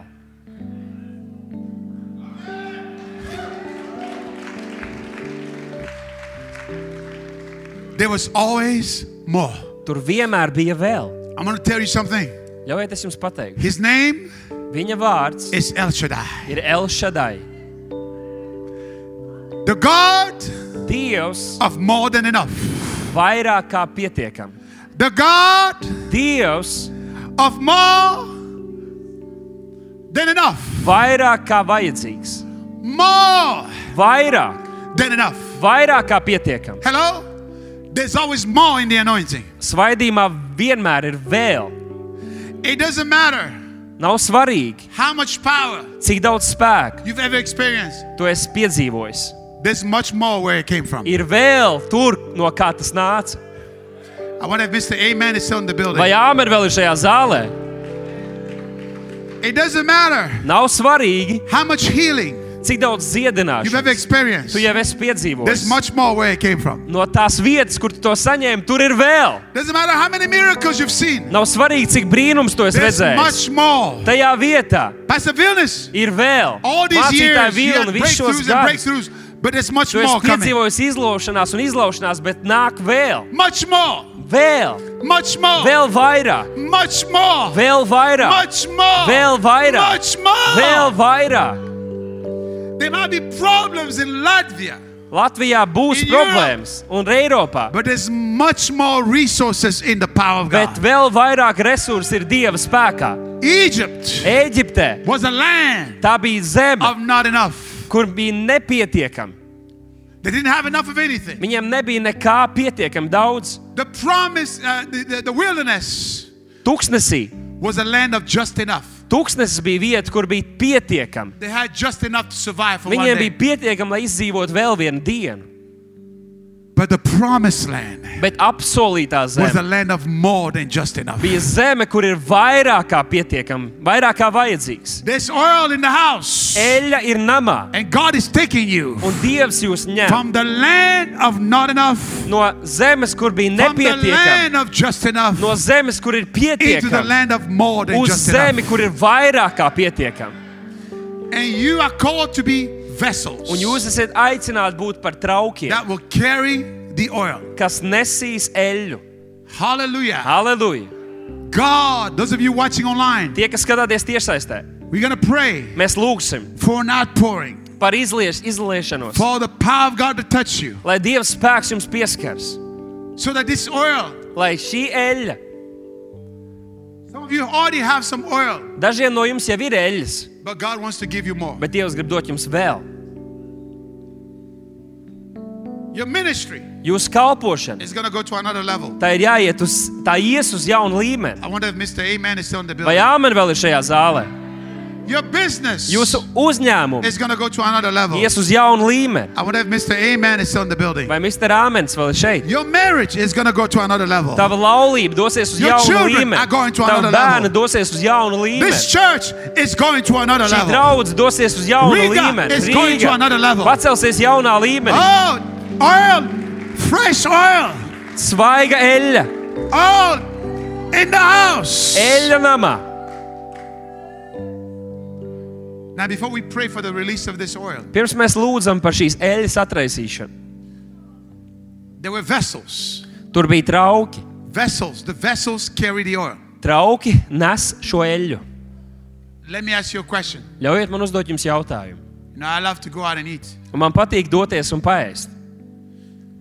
Speaker 1: There was always more.
Speaker 2: Tur vienmēr bija vēl.
Speaker 1: I'm going to tell you something.
Speaker 2: Ļaujiet, es jums pateiktu.
Speaker 1: His name
Speaker 2: Viņa vārds
Speaker 1: is El Shaddai.
Speaker 2: ir Elšadai.
Speaker 1: The God
Speaker 2: Dievs
Speaker 1: of more than enough.
Speaker 2: vairāk kā pietiekam.
Speaker 1: The God
Speaker 2: Dievs
Speaker 1: of more than enough.
Speaker 2: vairāk kā vajadzīgs.
Speaker 1: More
Speaker 2: Vairāk,
Speaker 1: than enough.
Speaker 2: vairāk kā pietiekam.
Speaker 1: Hello? There's always more in the anointing.
Speaker 2: Svaidījumā vienmēr ir vēl.
Speaker 1: It doesn't matter
Speaker 2: Nav svarīgi,
Speaker 1: how much power
Speaker 2: cik daudz spēka
Speaker 1: you've ever experienced.
Speaker 2: tu esi piedzīvojis.
Speaker 1: There's much more where it came from.
Speaker 2: Ir vēl tur, no kā tas nāca.
Speaker 1: I wonder if Mr. Amen is still in the
Speaker 2: Vai
Speaker 1: building.
Speaker 2: Āmers vēl ir šajā zālē?
Speaker 1: It doesn't matter
Speaker 2: Nav svarīgi,
Speaker 1: how much healing
Speaker 2: cik daudz
Speaker 1: you've ever
Speaker 2: ziedināšanas
Speaker 1: experienced.
Speaker 2: tu jau esi
Speaker 1: There's
Speaker 2: piedzīvojis.
Speaker 1: much more where it came from.
Speaker 2: no tās vietas, kur tu to saņēmi, tur ir vēl.
Speaker 1: Doesn't matter how many miracles you've seen.
Speaker 2: Nav svarīgi, cik brīnums to es
Speaker 1: There's
Speaker 2: redzēju.
Speaker 1: much more.
Speaker 2: Tajā vietā
Speaker 1: Pastor Vilnius,
Speaker 2: ir vēl.
Speaker 1: all these
Speaker 2: Mācītāja
Speaker 1: years, you
Speaker 2: vilna
Speaker 1: had
Speaker 2: visus šos
Speaker 1: breakthroughs
Speaker 2: gadus.
Speaker 1: and breakthroughs, but there's much
Speaker 2: Tu esi
Speaker 1: more coming.
Speaker 2: piedzīvojis izlaušanās un izlaušanās, bet nāk vēl,
Speaker 1: Much more.
Speaker 2: vēl,
Speaker 1: Much more.
Speaker 2: vēl vairāk,
Speaker 1: Much more.
Speaker 2: vēl vairāk,
Speaker 1: Much more.
Speaker 2: Vēl vairāk.
Speaker 1: Much more.
Speaker 2: vēl vairāk.
Speaker 1: There might be problems in Latvia,
Speaker 2: Latvijā būs
Speaker 1: In
Speaker 2: problēmas un Eiropā,
Speaker 1: but there's much more resources in the power of
Speaker 2: bet
Speaker 1: God.
Speaker 2: vēl vairāk resursu ir Dieva spēkā.
Speaker 1: Egypt
Speaker 2: Eģiptē
Speaker 1: was a land
Speaker 2: tā bija zeme,
Speaker 1: of not enough.
Speaker 2: kur bija nepietiekami.
Speaker 1: They didn't have enough of anything.
Speaker 2: Viņiem nebija nekā pietiekami daudz.
Speaker 1: The promise, uh, the, the, the wilderness
Speaker 2: Tuksnesī
Speaker 1: was a land of just enough.
Speaker 2: Tuksnesis bija vieta, kur bija pietiekami.
Speaker 1: They had just enough to survive for one
Speaker 2: Viņiem
Speaker 1: day.
Speaker 2: bija pietiekami, lai izdzīvotu vēl vienu dienu.
Speaker 1: But the promised land
Speaker 2: Bet apsolītā
Speaker 1: was a
Speaker 2: zeme
Speaker 1: land of more than just enough.
Speaker 2: bija zeme, kur ir vairāk kā pietiekami, vairāk kā vajadzīgs.
Speaker 1: There's oil in the house.
Speaker 2: Eļļa ir namā,
Speaker 1: And God is taking you
Speaker 2: un Dievs jūs ņem
Speaker 1: from the land of not enough,
Speaker 2: no zemes, kur bija
Speaker 1: from the
Speaker 2: nepietiekami,
Speaker 1: land of just enough,
Speaker 2: no zemes, kur ir
Speaker 1: into the
Speaker 2: pietiekami,
Speaker 1: land of more than
Speaker 2: uz
Speaker 1: just enough.
Speaker 2: zemi, kur ir vairāk kā pietiekami.
Speaker 1: And you are called to be
Speaker 2: Un
Speaker 1: vessels
Speaker 2: jūs esat aicināti būt par traukiem,
Speaker 1: that will carry the oil.
Speaker 2: kas nesīs eļļu.
Speaker 1: Hallelujah.
Speaker 2: Halleluja!
Speaker 1: God, those of you watching online,
Speaker 2: Tie, kas skatāties tiešsaistē,
Speaker 1: we're going to pray
Speaker 2: mēs lūgsim
Speaker 1: for an outpouring,
Speaker 2: par izlieš, izliešanos,
Speaker 1: for the power of God to touch you,
Speaker 2: lai Dieva spēks jums pieskaras,
Speaker 1: so that this oil,
Speaker 2: lai šī eļļa,
Speaker 1: some of you already have some oil,
Speaker 2: dažiem no jums jau ir eļļas,
Speaker 1: but God wants to give you more.
Speaker 2: bet Dievs grib dot jums vēl.
Speaker 1: Your ministry
Speaker 2: Jūsu kalpošana,
Speaker 1: is going to go to another level.
Speaker 2: tā ir jāiet uz, tā ies uz jaunu līmeni.
Speaker 1: I wonder if Mr. Amen is still in the
Speaker 2: Vai
Speaker 1: building.
Speaker 2: āmen vēl ir šajā zālē?
Speaker 1: Your business
Speaker 2: Jūsu uzņēmums
Speaker 1: is going to go to another level.
Speaker 2: ies uz jaunu līmeni.
Speaker 1: I wonder if Mr. Amen is still in the building.
Speaker 2: Vai Mr. Āmens vēl ir šeit?
Speaker 1: Your marriage is going to go to another level.
Speaker 2: Tava laulība dosies uz
Speaker 1: Your
Speaker 2: jaunu
Speaker 1: children
Speaker 2: līmeni.
Speaker 1: are going to
Speaker 2: Tava
Speaker 1: another
Speaker 2: bērni
Speaker 1: level.
Speaker 2: dosies uz jaunu
Speaker 1: This
Speaker 2: līmeni.
Speaker 1: church is going to another
Speaker 2: Šī
Speaker 1: level.
Speaker 2: draudz dosies uz jaunu
Speaker 1: Riga
Speaker 2: līmeni.
Speaker 1: is going to another level.
Speaker 2: pacelsies jaunā līmenī.
Speaker 1: Oh, oil, fresh oil,
Speaker 2: Svaiga eļļa,
Speaker 1: oil in the house.
Speaker 2: eļļa namā.
Speaker 1: Now, before we pray for the release of this oil,
Speaker 2: Pirms mēs lūdzam par šīs eļļas atraisīšanu,
Speaker 1: there were vessels.
Speaker 2: tur bija trauki.
Speaker 1: Vessels. The vessels carry the oil.
Speaker 2: Trauki nes šo eļļu.
Speaker 1: Let me ask you a question.
Speaker 2: Ļaujiet man uzdot jums jautājumu.
Speaker 1: You know, I love to go out and eat.
Speaker 2: Un man patīk doties un paēst.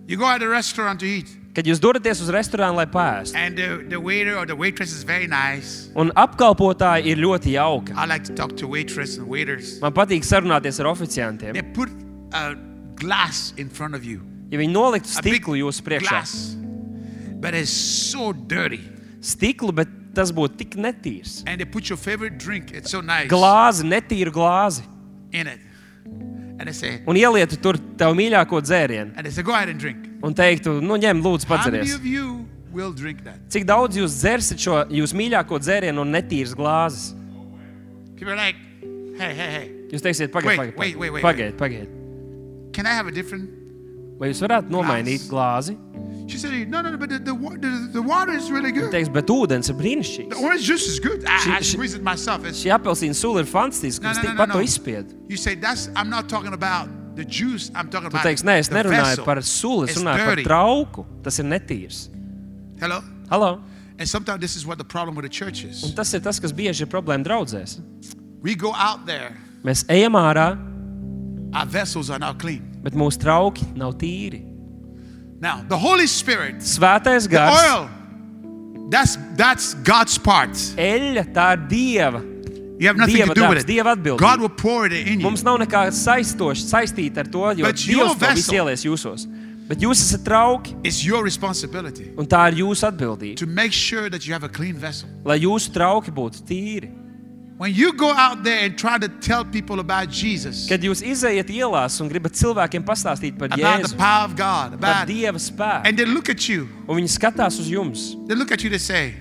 Speaker 1: You go out to a restaurant to eat,
Speaker 2: Kad jūs dodaties uz restorānu, lai paēstu,
Speaker 1: and the, the waiter or the waitress is very nice.
Speaker 2: un apkalpotāji ir ļoti jauki.
Speaker 1: I like to talk to waitresses and waiters.
Speaker 2: Man patīk sarunāties ar oficiantiem.
Speaker 1: They put a glass in front of you.
Speaker 2: Ja viņi noliktu
Speaker 1: A big
Speaker 2: stiklu jūsu priekšā,
Speaker 1: glass. But it's so dirty.
Speaker 2: stiklu, bet tas būtu tik netīrs.
Speaker 1: And they put your favorite drink, it's so nice,
Speaker 2: Glāzi, netīru glāzi.
Speaker 1: in it. And they say,
Speaker 2: Un ielietu tur tavu mīļāko dzērienu
Speaker 1: and they say, go ahead and drink.
Speaker 2: un teiktu, nu ņem, lūdzu,
Speaker 1: How many
Speaker 2: padzeries.
Speaker 1: of you will drink that?
Speaker 2: Cik daudz jūs dzersit šo jūsu mīļāko dzērienu un netīras glāzes?
Speaker 1: People are like, hey, hey, hey,
Speaker 2: Jūs teiksiet,
Speaker 1: Wait,
Speaker 2: pagaidiet,
Speaker 1: wait, wait, wait.
Speaker 2: pagaidiet. Pagaid, pagaid.
Speaker 1: can I have a different?
Speaker 2: Vai jūs varētu nomainīt glāzi?
Speaker 1: She said, no, no, no, but the, the, wa- the, the water is really good.
Speaker 2: Teiks, bet ūdens ir
Speaker 1: The
Speaker 2: brīnišķīgs.
Speaker 1: orange juice is good. I,
Speaker 2: She-
Speaker 1: I
Speaker 2: she-
Speaker 1: squeeze it myself. It's,
Speaker 2: Šī apelsīna sula ir fantastiska.
Speaker 1: No,
Speaker 2: Es
Speaker 1: no, no,
Speaker 2: tikpat
Speaker 1: no,
Speaker 2: to
Speaker 1: no.
Speaker 2: izspiedu.
Speaker 1: you say, that's, I'm not talking about the juice, I'm talking
Speaker 2: Tu
Speaker 1: about
Speaker 2: teiksi, nē, es
Speaker 1: the
Speaker 2: nerunāju
Speaker 1: vessel.
Speaker 2: par sulu, es
Speaker 1: It's
Speaker 2: runāju par
Speaker 1: dirty.
Speaker 2: trauku. Tas ir netīrs.
Speaker 1: Hello?
Speaker 2: Halo?
Speaker 1: And sometimes this is what the problem with the church
Speaker 2: Un
Speaker 1: is.
Speaker 2: tas ir tas, kas bieži ir problēma draudzēs.
Speaker 1: We go out there,
Speaker 2: Mēs ejam ārā,
Speaker 1: our vessels are not clean.
Speaker 2: bet mūsu trauki nav tīri.
Speaker 1: Now, the Holy Spirit,
Speaker 2: Svētais
Speaker 1: the
Speaker 2: gars,
Speaker 1: oil, that's, that's God's part.
Speaker 2: eļļa, tā ir dieva.
Speaker 1: You have nothing
Speaker 2: Dieva
Speaker 1: to do
Speaker 2: darbs,
Speaker 1: with it.
Speaker 2: Dieva atbildība.
Speaker 1: God will pour it in you.
Speaker 2: Mums nav nekā saistoša saistīta ar to, jo
Speaker 1: But your
Speaker 2: Dievs to visu
Speaker 1: vessel-
Speaker 2: ielies jūsos. Bet jūs esat trauki,
Speaker 1: It's your responsibility
Speaker 2: un tā ir jūsu atbildība,
Speaker 1: to make sure that you have a clean vessel.
Speaker 2: lai jūsu trauki būtu tīri.
Speaker 1: When you go out there and try to tell people about Jesus,
Speaker 2: Kad jūs izējat ielās un gribat cilvēkiem pastāstīt par
Speaker 1: about the
Speaker 2: Jēzu,
Speaker 1: power of God,
Speaker 2: par
Speaker 1: about,
Speaker 2: Dieva spēku,
Speaker 1: and they look at you,
Speaker 2: un viņi skatās uz jums,
Speaker 1: they look at you, they say,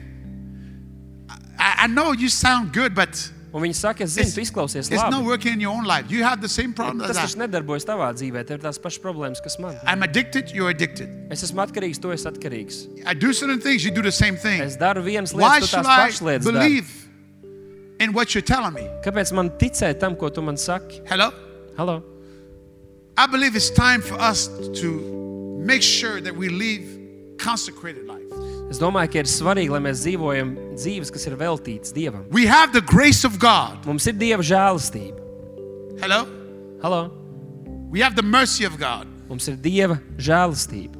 Speaker 1: I, I know you sound good, but
Speaker 2: un viņi saka, es zinu,
Speaker 1: It's-
Speaker 2: tu
Speaker 1: it's
Speaker 2: izklausies
Speaker 1: not
Speaker 2: labi.
Speaker 1: working in your own life. You have the same problem as
Speaker 2: Tas
Speaker 1: I.
Speaker 2: taču nedarbojas tavā dzīvē, tev ir tās pašas problēmas, kas man.
Speaker 1: I'm addicted, you're addicted.
Speaker 2: Es esmu atkarīgs, tu esi atkarīgs.
Speaker 1: I do certain things, you do the same thing.
Speaker 2: Es daru vienas
Speaker 1: Why
Speaker 2: lietas, tu
Speaker 1: should
Speaker 2: tās
Speaker 1: I
Speaker 2: pašas lietas dari.
Speaker 1: believe in what you're telling me?
Speaker 2: Kāpēc man ticēt tam, ko tu man saki?
Speaker 1: Hello?
Speaker 2: Halo?
Speaker 1: I believe it's time for us to make sure that we live consecrated life.
Speaker 2: Es domāju, ka ir svarīgi, lai mēs dzīvojam dzīves, kas ir veltītas Dievam.
Speaker 1: We have the grace of God.
Speaker 2: Mums ir Dieva žēlastība.
Speaker 1: Hello?
Speaker 2: Halo?
Speaker 1: We have the mercy of God.
Speaker 2: Mums ir Dieva žēlastība.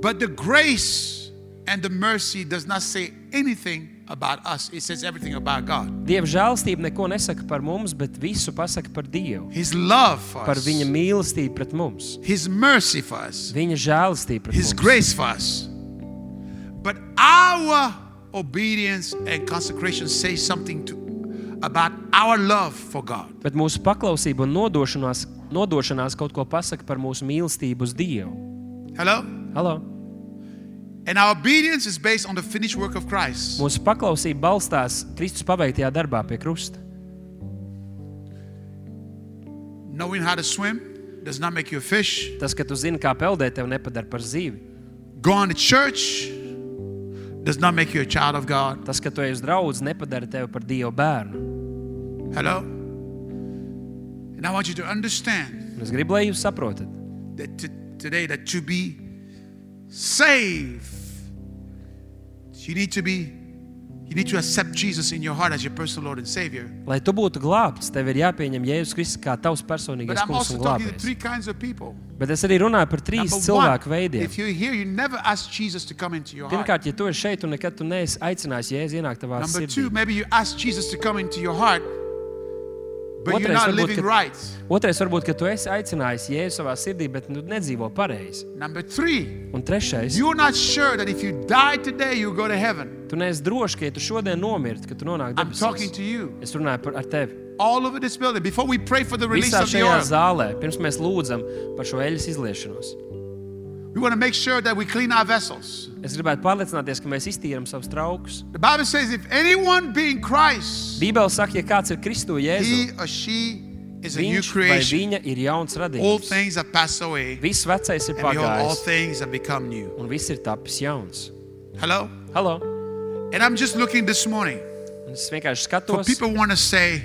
Speaker 1: But the grace and the mercy does not say anything about us. It says everything about God.
Speaker 2: Dieva žēlastība neko nesaka par mums, bet visu pasaka par Dievu.
Speaker 1: His love for
Speaker 2: Par
Speaker 1: us.
Speaker 2: viņa mīlestību pret mums,
Speaker 1: His mercy for us.
Speaker 2: viņa žēlastību pret
Speaker 1: His
Speaker 2: mums.
Speaker 1: grace for us. But our obedience and consecration say something to about our love for God.
Speaker 2: bet mūsu paklausība un nodošanās, nodošanās kaut ko pasaka par mūsu mīlestību uz Dievu.
Speaker 1: Hello?
Speaker 2: Halo?
Speaker 1: And our obedience is based on the finished work of Christ.
Speaker 2: Mūsu paklausība balstās Kristus paveiktajā darbā pie krusta.
Speaker 1: Knowing how to swim does not make you a fish.
Speaker 2: Tas, ka tu zini, kā peldēt, tevi nepadara par zīvi.
Speaker 1: Going to church does not make you a child of God.
Speaker 2: Tas, ka tu ej uz draugu, nepadara tevi par Dieva bērnu.
Speaker 1: Hello? And I want you to understand
Speaker 2: Un es gribu, lai jūs saprotat,
Speaker 1: that t- today that to be saved, you need to be, you need to accept Jesus in your heart as your personal Lord and Savior.
Speaker 2: lai tu būtu glābts, tev ir jāpieņem Jēzus Kristus kā tavs
Speaker 1: But
Speaker 2: personīgais
Speaker 1: I'm
Speaker 2: kungs
Speaker 1: also
Speaker 2: un
Speaker 1: talking to
Speaker 2: glābējs.
Speaker 1: three kinds of people.
Speaker 2: Bet es arī runāju par trīs
Speaker 1: Number
Speaker 2: cilvēku
Speaker 1: one,
Speaker 2: veidiem.
Speaker 1: if you're here, you never ask Jesus to come into your heart.
Speaker 2: Pirmkārt, ja tu esi šeit un nekad tu neesi aicinājis Jēzu ienākt tavā
Speaker 1: Number
Speaker 2: sirdī.
Speaker 1: two, maybe you ask Jesus to come into your heart, but you're
Speaker 2: Otrais
Speaker 1: not
Speaker 2: varbūt,
Speaker 1: living
Speaker 2: ka-
Speaker 1: right.
Speaker 2: Otrais, varbūt, ka tu esi aicinājis Jēzu savā sirdī, bet nu nedzīvo pareizi.
Speaker 1: Number three,
Speaker 2: Un trešais,
Speaker 1: you're not sure that if you die today, you'll go to heaven.
Speaker 2: tu neesi drošs, ka ja tu šodien nomirti, ka tu nonāksi
Speaker 1: I'm talking
Speaker 2: debesīs.
Speaker 1: to you
Speaker 2: Es runāju par ar tevi.
Speaker 1: all over this building. Before we pray for the release
Speaker 2: Visā
Speaker 1: of the
Speaker 2: šajā
Speaker 1: oil,
Speaker 2: zālē, pirms mēs lūdzam par šo eļļas izliešanos,
Speaker 1: we want to make sure that we clean our vessels.
Speaker 2: es gribētu pārliecināties, ka mēs iztīram savus traukus.
Speaker 1: The Bible says, if anyone be in Christ,
Speaker 2: Bībele saka, ja kāds ir Kristu Jēzus,
Speaker 1: he or she is a new
Speaker 2: viņš vai
Speaker 1: creation.
Speaker 2: viņa ir jauns
Speaker 1: All
Speaker 2: radījums.
Speaker 1: things have passed away,
Speaker 2: Viss vecais ir
Speaker 1: and behold, all
Speaker 2: pagājis,
Speaker 1: things have become new.
Speaker 2: un viss ir tapis jauns.
Speaker 1: Hello?
Speaker 2: Halo!
Speaker 1: And I'm just looking this morning
Speaker 2: Un es vienkārši
Speaker 1: for
Speaker 2: skatos
Speaker 1: people who want to say,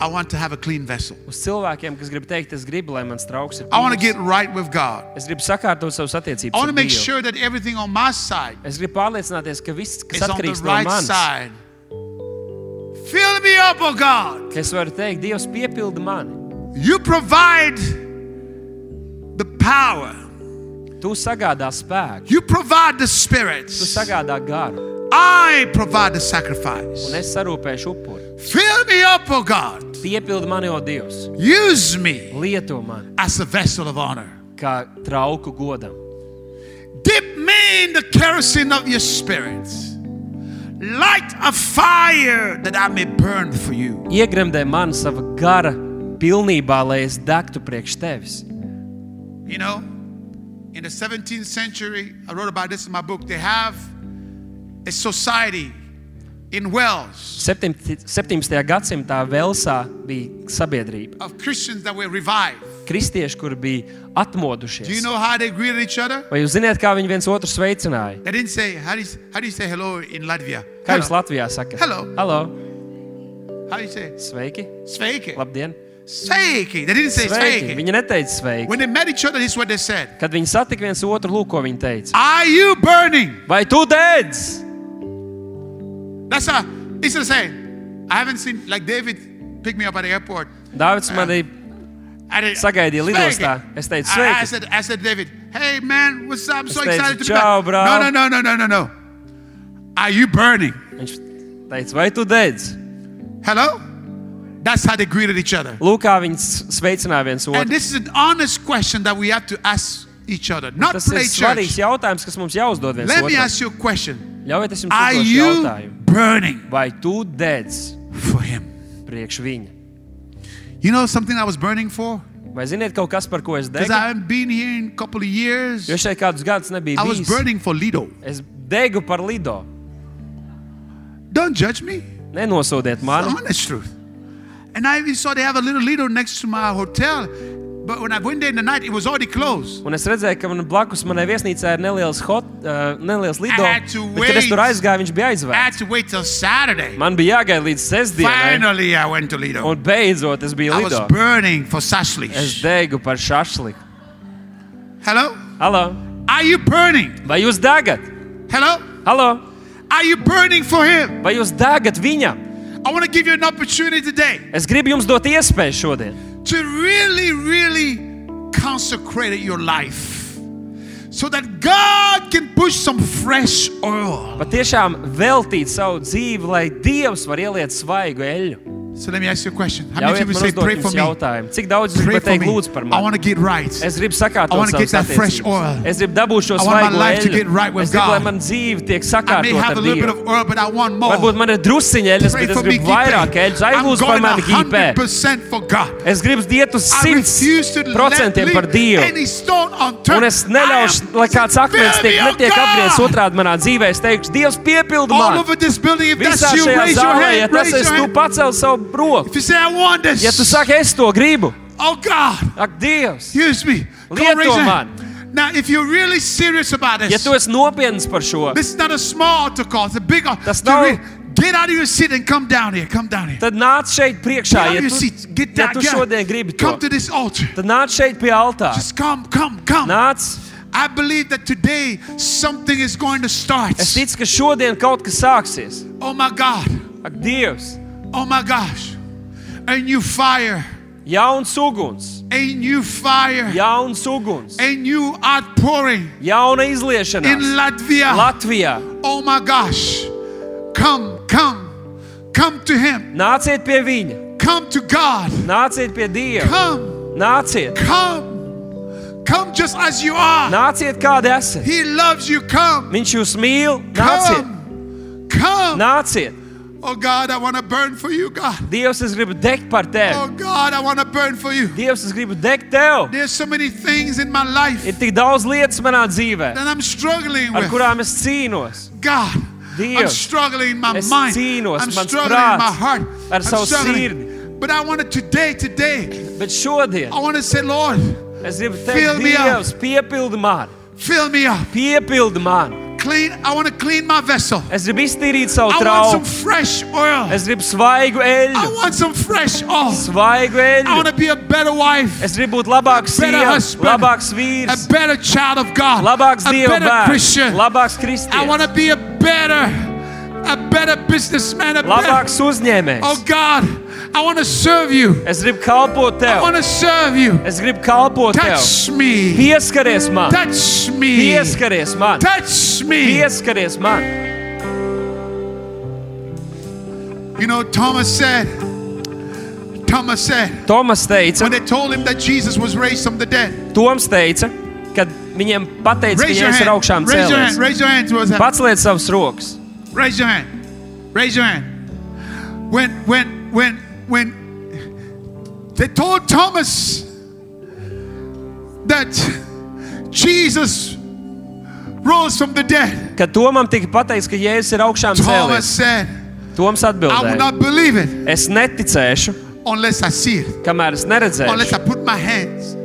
Speaker 1: I want to have a clean vessel.
Speaker 2: uz cilvēkiem, kas grib teikt, es gribu, lai mans trauks ir.
Speaker 1: I want to
Speaker 2: tīrs.
Speaker 1: get right with God.
Speaker 2: Es gribu sakārtot savas attiecības.
Speaker 1: I want to
Speaker 2: ar
Speaker 1: make
Speaker 2: Dievu.
Speaker 1: sure that everything on my side
Speaker 2: Es gribu pārliecināties, ka viss,
Speaker 1: is
Speaker 2: kas
Speaker 1: on the
Speaker 2: atkarīgs no
Speaker 1: right
Speaker 2: manis,
Speaker 1: side. Fill me up, oh God.
Speaker 2: ka es varu teikt, Dievs piepilda mani.
Speaker 1: You provide the power,
Speaker 2: Tu sagādā spēku,
Speaker 1: you provide the
Speaker 2: tu
Speaker 1: spirits.
Speaker 2: sagādā garu,
Speaker 1: I provide the
Speaker 2: un
Speaker 1: sacrifice.
Speaker 2: es sarūpēšu upuri.
Speaker 1: Fill me up, oh God.
Speaker 2: Piepilda mani, o Dievs,
Speaker 1: Use me
Speaker 2: lieto mani
Speaker 1: as a vessel of honor.
Speaker 2: kā trauku godam.
Speaker 1: Dip me in the kerosene of your spirit. Light a fire that I may burn for you.
Speaker 2: Iegremdē mani sava gara pilnībā, lai es degtu priekš tevis.
Speaker 1: You know, in the 17th century, I wrote about this in my book. They have a society in Wales
Speaker 2: 17. 17. gadsimtā Velsā bija sabiedrība.
Speaker 1: of Christians that were revived.
Speaker 2: Kristieši, kuri bija
Speaker 1: Do you
Speaker 2: atmodušies.
Speaker 1: know how they greeted each other?
Speaker 2: Vai jūs zināt, kā viņi viens otru sveicināja?
Speaker 1: They didn't say, how do you, how do you say hello in Latvia?
Speaker 2: Kā jūs
Speaker 1: Hello.
Speaker 2: Latvijā sakat?
Speaker 1: Hello.
Speaker 2: Halo.
Speaker 1: How do you say?
Speaker 2: Sveiki!
Speaker 1: Sveiki.
Speaker 2: Labdien!
Speaker 1: Sveiki. They didn't say
Speaker 2: Sveiki!
Speaker 1: sveiki.
Speaker 2: Viņa neteica sveiki.
Speaker 1: When they met each other, this is what they said.
Speaker 2: Kad viņi satika viens otru, lūk, ko viņi teica.
Speaker 1: Are you burning?
Speaker 2: Vai tu dedz?
Speaker 1: That's a, it's the same. I haven't seen, like David picked me up at the airport.
Speaker 2: Dāvids
Speaker 1: Ah.
Speaker 2: mani
Speaker 1: And it,
Speaker 2: sagaidīja lidostā. Es teicu,
Speaker 1: I, I
Speaker 2: sveiki!
Speaker 1: said, I said, David, hey man, what's up? I'm so
Speaker 2: Es teicu,
Speaker 1: excited to be
Speaker 2: "Čau,
Speaker 1: back.
Speaker 2: brāl."
Speaker 1: No, no, no, no, no, no, no. Are you burning?
Speaker 2: Viņš teica, vai tu dedz?
Speaker 1: Hello? That's how they greeted each other.
Speaker 2: Lūk, kā viņi s- sveicināja viens
Speaker 1: And
Speaker 2: otru.
Speaker 1: this is an honest question that we have to ask each other, not
Speaker 2: Tas ir
Speaker 1: play
Speaker 2: svarīgs
Speaker 1: church.
Speaker 2: jautājums, kas mums jāuzdod viens
Speaker 1: Let me
Speaker 2: otram.
Speaker 1: ask you a question.
Speaker 2: Ļaujiet, es jums
Speaker 1: Are
Speaker 2: uzdošu
Speaker 1: you
Speaker 2: jautājumu.
Speaker 1: burning
Speaker 2: Vai tu dedz
Speaker 1: for him?
Speaker 2: priekš viņa?
Speaker 1: You know something I was burning for?
Speaker 2: Vai ziniet kaut kas, par ko es
Speaker 1: Because
Speaker 2: degu?
Speaker 1: I haven't been here in a couple of years.
Speaker 2: Jo šeit kādus gadus nebija
Speaker 1: I was
Speaker 2: bijis.
Speaker 1: burning for Lido.
Speaker 2: Es degu par lido.
Speaker 1: Don't judge me.
Speaker 2: Nenosodiet
Speaker 1: The
Speaker 2: mani.
Speaker 1: honest truth. And I even saw they have a little Lido next to my hotel. But when I went there in the night, it was already closed.
Speaker 2: Un es redzēju, ka man blakus manai viesnīcā ir neliels, hot, uh, neliels lido.
Speaker 1: had to
Speaker 2: Bet, kad es tur
Speaker 1: wait.
Speaker 2: aizgāju, viņš bija
Speaker 1: I had
Speaker 2: aizvērts.
Speaker 1: to wait till Saturday.
Speaker 2: Man bija jāgaida līdz sestdienai.
Speaker 1: Finally, I went to Lido.
Speaker 2: Un beidzot, es biju
Speaker 1: I was
Speaker 2: lido.
Speaker 1: burning for
Speaker 2: Es
Speaker 1: Sashlish.
Speaker 2: degu par šašliku.
Speaker 1: Hello?
Speaker 2: Halo!
Speaker 1: Are you burning?
Speaker 2: Vai jūs degat?
Speaker 1: Hello?
Speaker 2: Halo!
Speaker 1: Are you burning for him?
Speaker 2: Vai jūs degat viņam?
Speaker 1: I want to give you an opportunity today
Speaker 2: Es gribu jums dot iespēju šodien.
Speaker 1: to really, really consecrate your life so that God can push some fresh oil.
Speaker 2: Patiešām veltīt savu dzīvi, lai Dievs var ieliet svaigu eļļu.
Speaker 1: So let me ask you a question. How many
Speaker 2: Ļaujiet
Speaker 1: people
Speaker 2: man
Speaker 1: say,
Speaker 2: uzdot
Speaker 1: pray for
Speaker 2: jums
Speaker 1: me?
Speaker 2: jautājumu. Cik daudz jūs
Speaker 1: Pray
Speaker 2: gribat
Speaker 1: for
Speaker 2: teikt,
Speaker 1: me.
Speaker 2: lūdzu par
Speaker 1: I want to
Speaker 2: mani?
Speaker 1: get right.
Speaker 2: Es gribu sakāt,
Speaker 1: I wanna get that fresh oil.
Speaker 2: Es gribu dabūt šo
Speaker 1: I want my
Speaker 2: svaigo
Speaker 1: life to get
Speaker 2: eļļu.
Speaker 1: right with
Speaker 2: Es gribu, lai
Speaker 1: God.
Speaker 2: man dzīve
Speaker 1: I
Speaker 2: tiek
Speaker 1: may
Speaker 2: sakārtot
Speaker 1: have a
Speaker 2: ar
Speaker 1: little bit
Speaker 2: Dievu.
Speaker 1: of oil, but I want
Speaker 2: Varbūt
Speaker 1: more.
Speaker 2: man ir drusciņa eļļas,
Speaker 1: Pray
Speaker 2: bet
Speaker 1: for
Speaker 2: es
Speaker 1: me,
Speaker 2: gribu vairāk
Speaker 1: Gipe.
Speaker 2: eļļas.
Speaker 1: I'm
Speaker 2: Aizlūdz par
Speaker 1: going
Speaker 2: mani, Gipē.
Speaker 1: 100% for God.
Speaker 2: Es gribu iet uz
Speaker 1: I refuse to let
Speaker 2: 100% par
Speaker 1: leave
Speaker 2: Dievu.
Speaker 1: any stone
Speaker 2: Un
Speaker 1: unturned.
Speaker 2: es neļaušu, lai kāds akmens tiek, netiek apgriezts otrādi manā dzīvē. Es teikšu, Dievs, piepildi
Speaker 1: All
Speaker 2: mani!
Speaker 1: over this building, if
Speaker 2: Visā
Speaker 1: that's you,
Speaker 2: šajā
Speaker 1: raise your
Speaker 2: zālē, ja
Speaker 1: hand. Raise
Speaker 2: tas ir,
Speaker 1: your hand.
Speaker 2: tu pacēl savu roku.
Speaker 1: If you say, I want this,
Speaker 2: Ja tu saki, es to gribu,
Speaker 1: oh God,
Speaker 2: ak, Dievs!
Speaker 1: use me.
Speaker 2: Lieto
Speaker 1: Come raise your
Speaker 2: man.
Speaker 1: hand. Now, if you're really serious about
Speaker 2: Ja
Speaker 1: this,
Speaker 2: tu esi nopietns par šo,
Speaker 1: this is not a small altar call, it's a big altar.
Speaker 2: Tas nav-
Speaker 1: Get out of your seat and come down here. Come down here.
Speaker 2: tad nāc šeit priekšā.
Speaker 1: Get out
Speaker 2: Ja
Speaker 1: of your
Speaker 2: tu,
Speaker 1: seat. Get
Speaker 2: ja
Speaker 1: down.
Speaker 2: tu
Speaker 1: get out.
Speaker 2: šodien gribi to,
Speaker 1: Come to this altar.
Speaker 2: tad nāc šeit pie altāra.
Speaker 1: Just come, come, come.
Speaker 2: Nāc!
Speaker 1: I believe that today something is going to start.
Speaker 2: Es ticu, ka šodien kaut kas sāksies.
Speaker 1: Oh my God.
Speaker 2: Ak, Dievs!
Speaker 1: Oh my gosh. A new fire.
Speaker 2: Jauns uguns,
Speaker 1: A new fire.
Speaker 2: jauns uguns,
Speaker 1: A new outpouring
Speaker 2: jauna
Speaker 1: in
Speaker 2: izliešana
Speaker 1: Latvia.
Speaker 2: Latvijā.
Speaker 1: oh my gosh. Come, come. Come to Him.
Speaker 2: Nāciet pie viņa,
Speaker 1: Come to God.
Speaker 2: nāciet pie Dieva.
Speaker 1: Come,
Speaker 2: Nāciet,
Speaker 1: come. Come just as you are.
Speaker 2: nāciet kādi esat.
Speaker 1: He loves you. Come.
Speaker 2: Viņš jūs mīl. Nāciet,
Speaker 1: Come. Come.
Speaker 2: nāciet.
Speaker 1: Oh God, I want to burn for you, God.
Speaker 2: Dievs, es gribu degt par tevi.
Speaker 1: Oh God, I want to burn for you.
Speaker 2: Dievs, es gribu degt tev.
Speaker 1: There's so many things in my life
Speaker 2: Ir tik daudz lietas manā dzīvē,
Speaker 1: that I'm struggling
Speaker 2: ar
Speaker 1: with.
Speaker 2: kurām es cīnos.
Speaker 1: God, I'm
Speaker 2: Dievs,
Speaker 1: struggling in my
Speaker 2: es
Speaker 1: mind.
Speaker 2: cīnos,
Speaker 1: I'm
Speaker 2: mans
Speaker 1: struggling in my
Speaker 2: prāts,
Speaker 1: heart.
Speaker 2: ar
Speaker 1: I'm
Speaker 2: savu
Speaker 1: struggling. But I want to today, today,
Speaker 2: Bet šodien
Speaker 1: I want to say, Lord,
Speaker 2: es gribu
Speaker 1: Fill
Speaker 2: teikt,
Speaker 1: me up.
Speaker 2: Dievs, piepildi mani,
Speaker 1: fill me up.
Speaker 2: piepildi mani.
Speaker 1: Clean. I want to clean my vessel.
Speaker 2: Es gribu iztīrīt savu
Speaker 1: I want some
Speaker 2: trauku.
Speaker 1: fresh oil.
Speaker 2: Es gribu svaigu
Speaker 1: I
Speaker 2: eļļu,
Speaker 1: want some fresh oil.
Speaker 2: svaigu
Speaker 1: I want
Speaker 2: eļļu.
Speaker 1: to be a better wife,
Speaker 2: Es gribu būt labāks
Speaker 1: Better
Speaker 2: sievas,
Speaker 1: husband.
Speaker 2: labāks
Speaker 1: a
Speaker 2: vīrs,
Speaker 1: better child of God,
Speaker 2: labāks
Speaker 1: a
Speaker 2: Dieva
Speaker 1: better
Speaker 2: bērns,
Speaker 1: Christian.
Speaker 2: labāks
Speaker 1: I want
Speaker 2: kristietis,
Speaker 1: to be a better, a better businessman, a better.
Speaker 2: labāks uzņēmējs.
Speaker 1: Oh God, I want to serve you.
Speaker 2: Es gribu kalpot
Speaker 1: I
Speaker 2: tev.
Speaker 1: want to serve you.
Speaker 2: Es gribu kalpot tev.
Speaker 1: Touch me.
Speaker 2: Pieskaries man.
Speaker 1: Touch me.
Speaker 2: Pieskaries man.
Speaker 1: Touch me.
Speaker 2: Pieskaries man.
Speaker 1: You know, Thomas said, Thomas said,
Speaker 2: Tomas teica,
Speaker 1: when they told him that Jesus was raised from the dead,
Speaker 2: Toms teica kad viņiem pateica, ka
Speaker 1: raise your
Speaker 2: viņš ir augšām
Speaker 1: hand. Raise your hand.
Speaker 2: cēlies.
Speaker 1: Raise your hand towards heaven.
Speaker 2: Pats liec savas rokas.
Speaker 1: Raise your hand. Raise your hand. When when when when they told Thomas that Jesus rose from the dead,
Speaker 2: Kad Tomam tika pateikts, ka Jēzus ir augšām
Speaker 1: Thomas
Speaker 2: cēlies,
Speaker 1: said,
Speaker 2: Toms
Speaker 1: I will
Speaker 2: atbildēja:
Speaker 1: not believe it
Speaker 2: Es neticēšu,
Speaker 1: unless I see it,
Speaker 2: kamēr es
Speaker 1: unless I
Speaker 2: neredzēšu.
Speaker 1: put my hands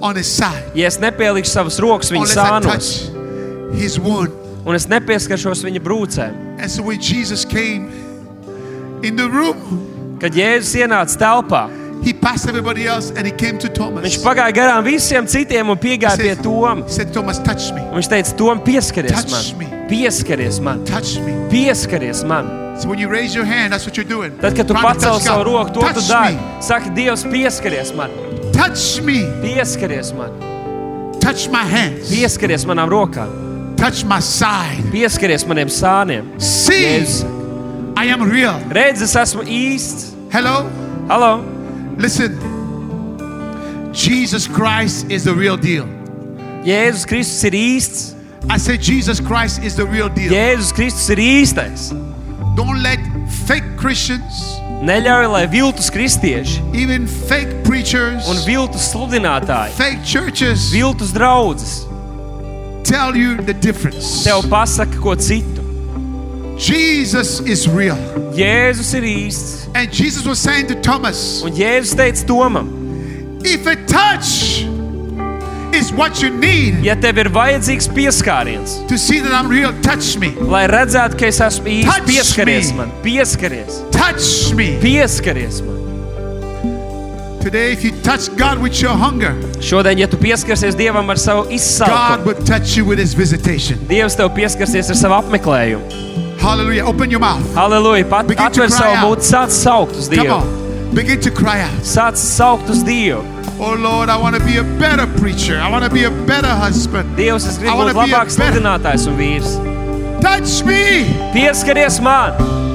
Speaker 1: on his side,
Speaker 2: Ja es nepielikšu savas rokas viņa
Speaker 1: unless I
Speaker 2: sānos,
Speaker 1: touch his wound.
Speaker 2: un es nepieskaršos viņa brūcēm,
Speaker 1: And so when Jesus came in the room,
Speaker 2: kad Jēzus ienāca telpā,
Speaker 1: he passed everybody else and he came to Thomas.
Speaker 2: viņš pagāja garām visiem citiem un piegāja pie Toma.
Speaker 1: He said, Thomas, touch me.
Speaker 2: Un Viņš teica, Tom, pieskaries
Speaker 1: Touch me.
Speaker 2: man, pieskaries man,
Speaker 1: Touch me.
Speaker 2: pieskaries man.
Speaker 1: So when you raise your hand, that's what you're doing.
Speaker 2: Tad, kad tu
Speaker 1: Trying to
Speaker 2: pacēl
Speaker 1: touch
Speaker 2: savu
Speaker 1: God.
Speaker 2: roku, to tu
Speaker 1: touch
Speaker 2: dari.
Speaker 1: me.
Speaker 2: Saki, Dievs, pieskaries man,
Speaker 1: Touch me.
Speaker 2: pieskaries man,
Speaker 1: Touch my hands.
Speaker 2: pieskaries manām rokām,
Speaker 1: Touch my side.
Speaker 2: pieskaries maniem sāniem.
Speaker 1: See,
Speaker 2: Jēzus,
Speaker 1: I am real.
Speaker 2: redz, es esmu īsts.
Speaker 1: Hello?
Speaker 2: Halo!
Speaker 1: Listen. Jesus Christ is the real deal.
Speaker 2: Jēzus Kristus ir īsts.
Speaker 1: I say Jesus Christ is the real deal.
Speaker 2: Jēzus Kristus ir īstais.
Speaker 1: Don't let fake Christians,
Speaker 2: Neļauj, lai viltus kristieši
Speaker 1: even fake preachers,
Speaker 2: un viltus sludinātāji,
Speaker 1: fake churches
Speaker 2: viltus draugs
Speaker 1: tell you the difference.
Speaker 2: tev pasaka ko citu.
Speaker 1: Jesus is real.
Speaker 2: Jēzus ir īsts.
Speaker 1: And Jesus was saying to Thomas,
Speaker 2: Un Jēzus teica Tomam,
Speaker 1: If a touch is what you need
Speaker 2: ja tev ir vajadzīgs pieskāriens,
Speaker 1: to see that I'm real, touch me.
Speaker 2: lai redzētu, ka es esmu īsts,
Speaker 1: Touch
Speaker 2: pieskaries
Speaker 1: me.
Speaker 2: man, pieskaries,
Speaker 1: Touch me.
Speaker 2: pieskaries man.
Speaker 1: Today, if you touch God with your hunger,
Speaker 2: Šodien, ja tu pieskarsies Dievam ar savu
Speaker 1: God
Speaker 2: izsaukumu,
Speaker 1: will touch you with his visitation.
Speaker 2: Dievs tev pieskarsies ar savu apmeklējumu.
Speaker 1: Hallelujah. Open your mouth.
Speaker 2: Halleluja! Pat
Speaker 1: Begin to
Speaker 2: atver
Speaker 1: cry
Speaker 2: savu
Speaker 1: out.
Speaker 2: mūtu, sāc saukt uz
Speaker 1: Come
Speaker 2: Dievu!
Speaker 1: on. Begin to cry out.
Speaker 2: Sāc saukt uz Dievu!
Speaker 1: Oh Lord, I want to be a better preacher. I want to be a better husband.
Speaker 2: Dievs, es
Speaker 1: I
Speaker 2: gribu
Speaker 1: wanna
Speaker 2: būt
Speaker 1: be a
Speaker 2: labāks
Speaker 1: better-
Speaker 2: sludinātājs un vīrs.
Speaker 1: Touch me.
Speaker 2: Pieskaries man,